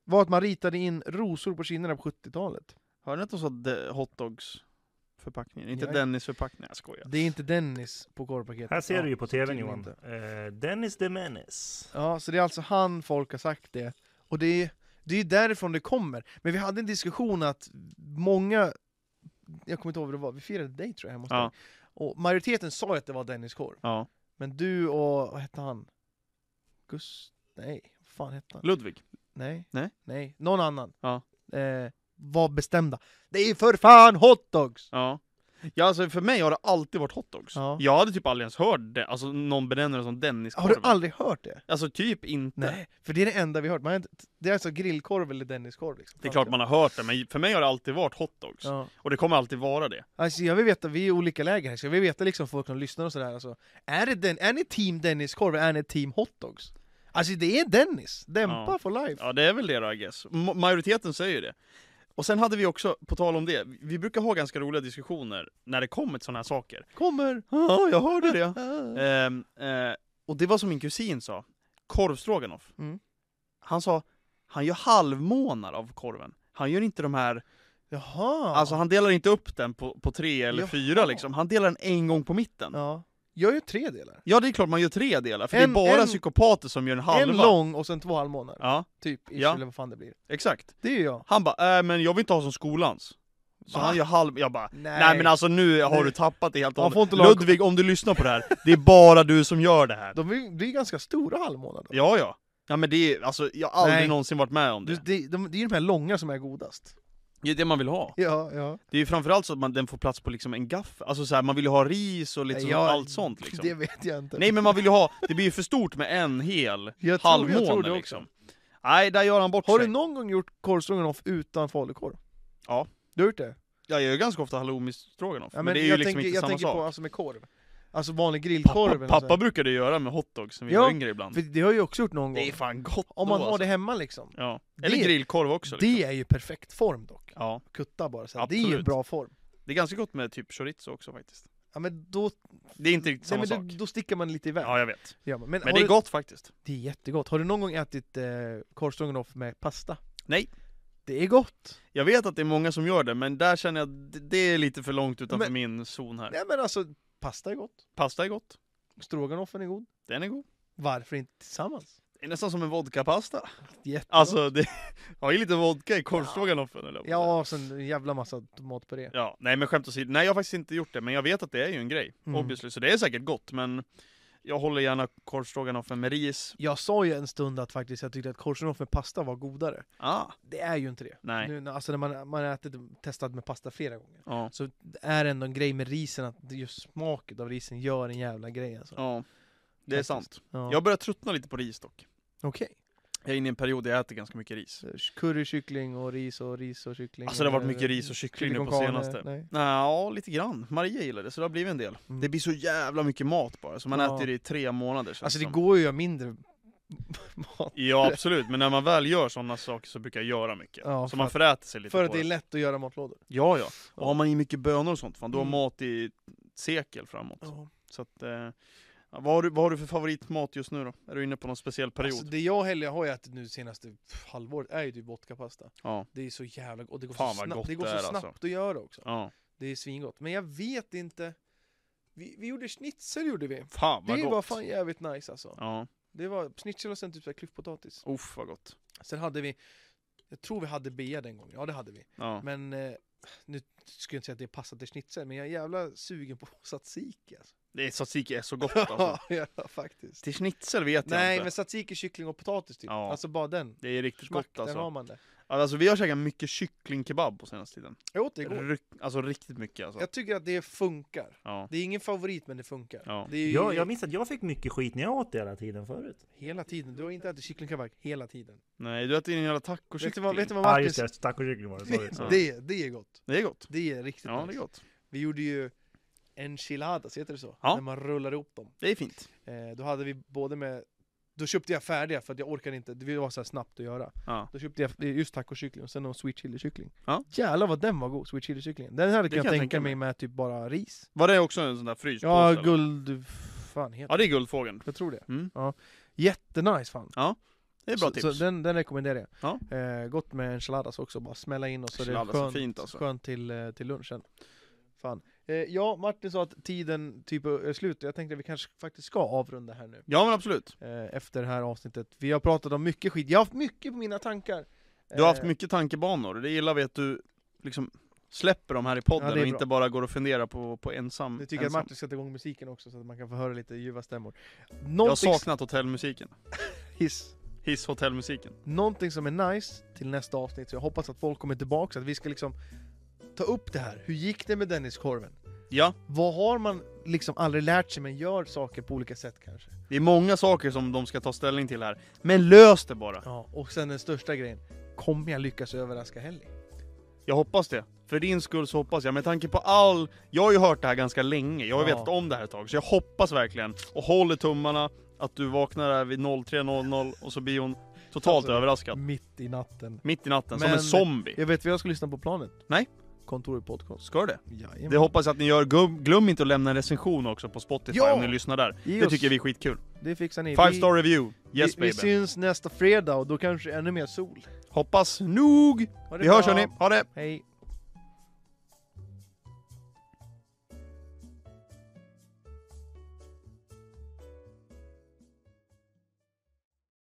Speaker 2: var att man ritade in rosor på kinderna på 70-talet.
Speaker 1: Hörde ni att de sa de- hotdogs förpackningen? Inte
Speaker 2: Nej.
Speaker 1: Dennis förpackningen, jag skojar.
Speaker 2: Det är inte Dennis på korvpaketet.
Speaker 3: Här ser
Speaker 2: ja,
Speaker 3: du ju på tvn
Speaker 2: tydligen
Speaker 3: Johan.
Speaker 2: inte.
Speaker 3: Eh, Dennis the Menace.
Speaker 2: Ja, så det är alltså han folk har sagt det. Och det är, det är därifrån det kommer. Men vi hade en diskussion att många, jag kommer inte ihåg vad det var, vi firade dig tror jag hemma hos
Speaker 1: Ja.
Speaker 2: dig. Och majoriteten sa ju att det var Dennis korv.
Speaker 1: Ja.
Speaker 2: Men du och, vad hette han? Gust... Nej, vad fan hette han?
Speaker 1: Ludvig.
Speaker 2: Nej.
Speaker 1: Nej.
Speaker 2: Nej, någon annan.
Speaker 1: Ja.
Speaker 2: Eh, var bestämda. Det är för fan hotdogs!
Speaker 1: Ja. Ja, alltså för mig har det alltid varit hotdogs.
Speaker 2: Ja.
Speaker 1: Jag hade typ aldrig ens hört det, alltså någon benämner det som
Speaker 2: Har du
Speaker 1: Denniskorven.
Speaker 2: aldrig hört det?
Speaker 1: Alltså typ inte.
Speaker 2: Nej, för det är det enda vi hört. Man har inte, det är alltså grillkorv eller Denniskorv liksom.
Speaker 1: Det är klart man har hört det, men för mig har det alltid varit hotdogs.
Speaker 2: Ja.
Speaker 1: Och det kommer alltid vara det.
Speaker 2: Alltså jag vill veta, vi är i olika läger här, så jag vill veta liksom folk som lyssnar och sådär alltså, är, det den, är ni team Denniskorv eller är ni team hotdogs? Alltså det är Dennis, dämpa
Speaker 1: Ja.
Speaker 2: for life!
Speaker 1: Ja, det är väl det då, I guess. Ma- majoriteten säger det. Och sen hade vi också, på tal om det, vi brukar ha ganska roliga diskussioner när det kommer till sådana här saker.
Speaker 2: Kommer!
Speaker 1: Ja, jag hörde det.
Speaker 2: Ah.
Speaker 1: Ehm, eh, och det var som min kusin sa, korvstroganoff.
Speaker 2: Mm.
Speaker 1: Han sa, han gör halvmånar av korven. Han gör inte de här,
Speaker 2: Jaha!
Speaker 1: alltså han delar inte upp den på, på tre eller
Speaker 2: Jaha.
Speaker 1: fyra liksom. Han delar den en gång på mitten. Ja.
Speaker 2: Ja. Jag gör tre delar.
Speaker 1: det är klart man gör tre delar, för
Speaker 2: En-
Speaker 1: det är bara
Speaker 2: en-
Speaker 1: psykopater som gör en halva.
Speaker 2: En lång och sen två halvmånar.
Speaker 1: Ja,
Speaker 2: Typ, ish,
Speaker 1: Ja.
Speaker 2: eller vad fan det blir.
Speaker 1: exakt.
Speaker 2: Det är ju jag.
Speaker 1: Han bara, äh, men jag vill inte ha som skolans. Så
Speaker 2: Va?
Speaker 1: han gör halv... Jag bara,
Speaker 2: Nej.
Speaker 1: nej, men alltså nu har
Speaker 2: Nej.
Speaker 1: du tappat det helt och
Speaker 2: Man får
Speaker 1: hållet.
Speaker 2: inte laga-
Speaker 1: Ludvig, om du lyssnar på det här, det är bara du som gör det här.
Speaker 2: De blir, blir ganska stora halvmånar då.
Speaker 1: Ja, ja. Ja men det är, alltså jag har aldrig
Speaker 2: Nej.
Speaker 1: någonsin varit med om
Speaker 2: Du,
Speaker 1: det.
Speaker 2: det, de, det är ju de här långa som är godast.
Speaker 1: Det är det man vill ha.
Speaker 2: Ja, ja.
Speaker 1: Det är ju framförallt så att man, den får plats på liksom en gaffel, alltså så här, man vill ju ha ris och lite så,
Speaker 2: Ja,
Speaker 1: allt sånt liksom.
Speaker 2: Det vet jag inte.
Speaker 1: Nej men man vill ju ha, det blir ju för stort med en hel
Speaker 2: jag tror- jag tror det
Speaker 1: halvmåne
Speaker 2: också.
Speaker 1: liksom. Nej, där gör han bort
Speaker 2: Har du
Speaker 1: sig.
Speaker 2: någon gång gjort korvstroganoff utan falukorv?
Speaker 1: Ja.
Speaker 2: Du har gjort det?
Speaker 1: Jag gör ju ganska ofta halloumi stroganoff, men, det är ju
Speaker 2: jag
Speaker 1: liksom
Speaker 2: tänker,
Speaker 1: inte
Speaker 2: jag
Speaker 1: samma
Speaker 2: tänker
Speaker 1: sak.
Speaker 2: på alltså med korv. Alltså vanlig grillkorv
Speaker 1: Pappa,
Speaker 2: eller
Speaker 1: pappa
Speaker 2: så.
Speaker 1: brukade göra med hotdogs när vi
Speaker 2: alltså. Ja,
Speaker 1: var yngre ibland.
Speaker 2: För det har jag ju också gjort någon gång.
Speaker 1: fan gott alltså.
Speaker 2: Om man har det hemma liksom.
Speaker 1: Ja.
Speaker 2: Det-
Speaker 1: Eller grillkorv också. Liksom.
Speaker 2: Det är ju perfekt form dock.
Speaker 1: Ja.
Speaker 2: Kutta bara så här. Det är ju en
Speaker 1: Absolut.
Speaker 2: bra form.
Speaker 1: Det är ganska gott med typ chorizo också faktiskt.
Speaker 2: Ja men då,
Speaker 1: Det är inte riktigt
Speaker 2: nej,
Speaker 1: samma
Speaker 2: men
Speaker 1: sak.
Speaker 2: då, då stickar man lite iväg.
Speaker 1: Ja, jag vet.
Speaker 2: Gör man. Men,
Speaker 1: Men
Speaker 2: har
Speaker 1: det är
Speaker 2: du,
Speaker 1: gott faktiskt.
Speaker 2: det är jättegott. Har du någon gång ätit eh, korv stroganoff med pasta?
Speaker 1: Nej.
Speaker 2: Det är gott!
Speaker 1: Jag vet att det är många som gör det, men där känner jag att det- det är lite för långt utanför
Speaker 2: Men-
Speaker 1: min zon här.
Speaker 2: Nej men alltså, pasta är gott.
Speaker 1: Pasta är gott.
Speaker 2: Stroganoffen är god.
Speaker 1: Den är god.
Speaker 2: Varför inte tillsammans?
Speaker 1: Det är nästan som en vodkapasta.
Speaker 2: Jättegott.
Speaker 1: Alltså, det har ju lite vodka i korvstroganoffen eller
Speaker 2: Ja, och sen en jävla massa tomatpuré.
Speaker 1: Ja, nej men skämt åsido, nej jag har faktiskt inte gjort det, men jag vet att det är ju en grej,
Speaker 2: Mm.
Speaker 1: obviously, så det är säkert gott, men jag håller gärna korvstroganoffen med ris.
Speaker 2: Jag sa ju en stund att faktiskt jag tyckte att korvstroganoff med pasta var godare.
Speaker 1: Ah,
Speaker 2: Det är ju inte det.
Speaker 1: nej.
Speaker 2: Nu, när- alltså när man, man har ätit, testat med pasta flera gånger.
Speaker 1: Ja.
Speaker 2: Så det är ändå en grej med risen, att det just smaken av risen gör en jävla grej alltså.
Speaker 1: ja, det är
Speaker 2: Faktiskt.
Speaker 1: sant.
Speaker 2: Ja.
Speaker 1: Jag börjar tröttna lite på ris dock.
Speaker 2: Okej.
Speaker 1: Jag är inne i en period där jag äter ganska mycket ris.
Speaker 2: Så Curry, kyckling och ris och ris och kyckling.
Speaker 1: Alltså det har varit
Speaker 2: Eller-
Speaker 1: mycket ris och kyckling nu
Speaker 2: kyckling
Speaker 1: på
Speaker 2: con carne,
Speaker 1: senaste.
Speaker 2: Nej.
Speaker 1: Ja, lite grann. Maria gillar det, så det har blivit en del.
Speaker 2: Mm.
Speaker 1: Det blir så jävla mycket mat bara, så man
Speaker 2: Ja.
Speaker 1: äter det i tre månader känns
Speaker 2: Alltså det
Speaker 1: som.
Speaker 2: går ju att göra mindre mat.
Speaker 1: Ja absolut, men när man väl gör sådana saker så brukar jag göra mycket.
Speaker 2: Ja,
Speaker 1: så
Speaker 2: för
Speaker 1: man
Speaker 2: att-
Speaker 1: föräter sig lite
Speaker 2: För
Speaker 1: på
Speaker 2: att det är lätt att göra matlådor.
Speaker 1: Ja, ja.
Speaker 2: Ja.
Speaker 1: Och har man i mycket bönor och sånt, fan, då har
Speaker 2: Mm.
Speaker 1: mat i ett sekel framåt.
Speaker 2: Alltså,
Speaker 1: Så att, eh, ja, vad, har du, vad har du för favoritmat just nu då? Är du inne på någon speciell period?
Speaker 2: Alltså det jag heller har ätit nu senaste pff, halvåret är ju typ vodkapasta.
Speaker 1: ja.
Speaker 2: Det är så jävla gott. Och det går
Speaker 1: Fan,
Speaker 2: så
Speaker 1: vad
Speaker 2: snabbt,
Speaker 1: gott
Speaker 2: det går
Speaker 1: det är,
Speaker 2: så
Speaker 1: alltså.
Speaker 2: snabbt att göra också.
Speaker 1: ja.
Speaker 2: Det är svingott. Men jag vet inte. Vi, vi gjorde schnitzel gjorde vi.
Speaker 1: Fan vad
Speaker 2: Det
Speaker 1: gott!
Speaker 2: var fan jävligt nice alltså.
Speaker 1: Ja,
Speaker 2: Det var schnitzel och sen typ så här klyftpotatis.
Speaker 1: uff vad gott.
Speaker 2: Sen hade vi, jag tror vi hade bea den gången. Ja det hade vi.
Speaker 1: Ja.
Speaker 2: Men eh, nu skulle jag inte säga att det passar till schnitzel, men jag är jävla sugen på tzatziki alltså.
Speaker 1: Det är, tzatziki är så gott alltså.
Speaker 2: ja, faktiskt.
Speaker 1: Till schnitzel vet jag
Speaker 2: Nej,
Speaker 1: inte.
Speaker 2: men tzatziki, kyckling och potatis typ.
Speaker 1: Ja.
Speaker 2: Alltså bara den.
Speaker 1: Det är riktigt
Speaker 2: Smack,
Speaker 1: gott alltså.
Speaker 2: där har man det.
Speaker 1: Alltså vi har käkat mycket kycklingkebab på senaste tiden.
Speaker 2: Jag åt det igår.
Speaker 1: Ryck, alltså riktigt mycket alltså.
Speaker 2: Jag tycker att det funkar.
Speaker 1: Ja.
Speaker 2: Det är ingen favorit, men det funkar.
Speaker 1: Ja.
Speaker 2: Det är ju
Speaker 3: Jag, jag minns att jag fick mycket skit när jag åt det hela tiden förut.
Speaker 2: hela tiden. Du har inte ätit kycklingkebab hela tiden.
Speaker 1: Nej, du äter din jävla tacokyckling.
Speaker 2: Vet du vad, vet du vad
Speaker 3: Ja
Speaker 2: Marcus...
Speaker 3: ah, just det, tacokyckling var det. Sorry,
Speaker 2: det,
Speaker 3: sorry.
Speaker 2: det, det är gott.
Speaker 1: Det är gott.
Speaker 2: Det är riktigt
Speaker 1: Ja,
Speaker 2: nice.
Speaker 1: det är gott.
Speaker 2: Vi gjorde ju enchiladas, heter det så?
Speaker 1: Ja.
Speaker 2: När man rullar ihop dem.
Speaker 1: Det är fint.
Speaker 2: Eh, då hade vi både med Då köpte jag färdiga för att jag orkade inte, det var så här snabbt att göra
Speaker 1: Ja.
Speaker 2: Då köpte jag just tacokyckling och sen någon sweet chili kyckling
Speaker 1: Ja.
Speaker 2: Jävlar vad den var god, sweet chili kycklingen Den hade
Speaker 1: Det kan
Speaker 2: kunnat
Speaker 1: jag
Speaker 2: tänka,
Speaker 1: tänka
Speaker 2: mig med typ bara ris
Speaker 1: Var det också en sån där fryspåse?
Speaker 2: Ja,
Speaker 1: eller?
Speaker 2: guld... fan heter
Speaker 1: Ja, det är guldfågeln.
Speaker 2: Jag tror det
Speaker 1: Mm.
Speaker 2: ja. Jättenice fan!
Speaker 1: Det är bra
Speaker 2: så,
Speaker 1: tips.
Speaker 2: Så den, den rekommenderar jag
Speaker 1: Ja.
Speaker 2: eh, Gott med enchiladas också, bara smälla in och så är det
Speaker 1: Enchiladas är
Speaker 2: skönt,
Speaker 1: fint, alltså.
Speaker 2: skönt till, eh, till lunchen Fan eh, Ja, Martin sa att tiden typ är slut, jag tänkte att vi kanske faktiskt ska avrunda här nu
Speaker 1: Ja men absolut.
Speaker 2: eh, efter det här avsnittet. Vi har pratat om mycket skit, jag har haft mycket på mina tankar.
Speaker 1: Du har haft
Speaker 2: Eh,
Speaker 1: mycket tankebanor, det gillar vi att du liksom släpper dem här i podden
Speaker 2: Ja, det är
Speaker 1: och
Speaker 2: bra.
Speaker 1: inte bara går och funderar på, på ensam.
Speaker 2: Nu tycker jag att
Speaker 1: ensam.
Speaker 2: Martin ska ta igång musiken också så att man kan få höra lite ljuva stämmor.
Speaker 1: jag har
Speaker 2: Någonting,
Speaker 1: saknat hotellmusiken.
Speaker 2: hiss,
Speaker 1: Hiss hotellmusiken.
Speaker 2: någonting som är nice till nästa avsnitt, så jag hoppas att folk kommer tillbaka, så att vi ska liksom ta upp det här. Hur gick det med Denniskorven?
Speaker 1: Ja,
Speaker 2: Vad har man liksom aldrig lärt sig men gör saker på olika sätt kanske?
Speaker 1: det är många saker som de ska ta ställning till här. Men lös det bara!
Speaker 2: Ja, och sen den största grejen. Kommer jag lyckas överraska Helly?
Speaker 1: Jag hoppas det. För din skull så hoppas jag, med tanke på all... Jag har ju hört det här ganska länge, jag har ju
Speaker 2: Ja.
Speaker 1: vetat om det här ett tag. Så jag hoppas verkligen, och håller tummarna, att du vaknar här vid 03.00 och så blir hon totalt
Speaker 2: Alltså,
Speaker 1: överraskad.
Speaker 2: Mitt i natten.
Speaker 1: Mitt i natten, som
Speaker 2: men-
Speaker 1: en zombie.
Speaker 2: Jag vet vad jag ska lyssna på planet?
Speaker 1: Nej.
Speaker 2: Kontoret podcast.
Speaker 1: Ska du det?
Speaker 2: Jajamän.
Speaker 1: Det hoppas jag att ni gör. Glöm- Glöm inte att lämna en recension också på Spotify
Speaker 2: Ja!
Speaker 1: om ni lyssnar där.
Speaker 2: Ge
Speaker 1: Det
Speaker 2: oss-
Speaker 1: tycker vi är skitkul.
Speaker 2: Det fixar ni.
Speaker 1: Five
Speaker 2: Vi-
Speaker 1: star review. Yes
Speaker 2: vi, vi
Speaker 1: baby.
Speaker 2: syns nästa fredag och då kanske ännu mer sol.
Speaker 1: Hoppas nog.
Speaker 2: Ha det
Speaker 1: Vi hörs
Speaker 2: bra.
Speaker 1: hörni. Ha det!
Speaker 2: Hej.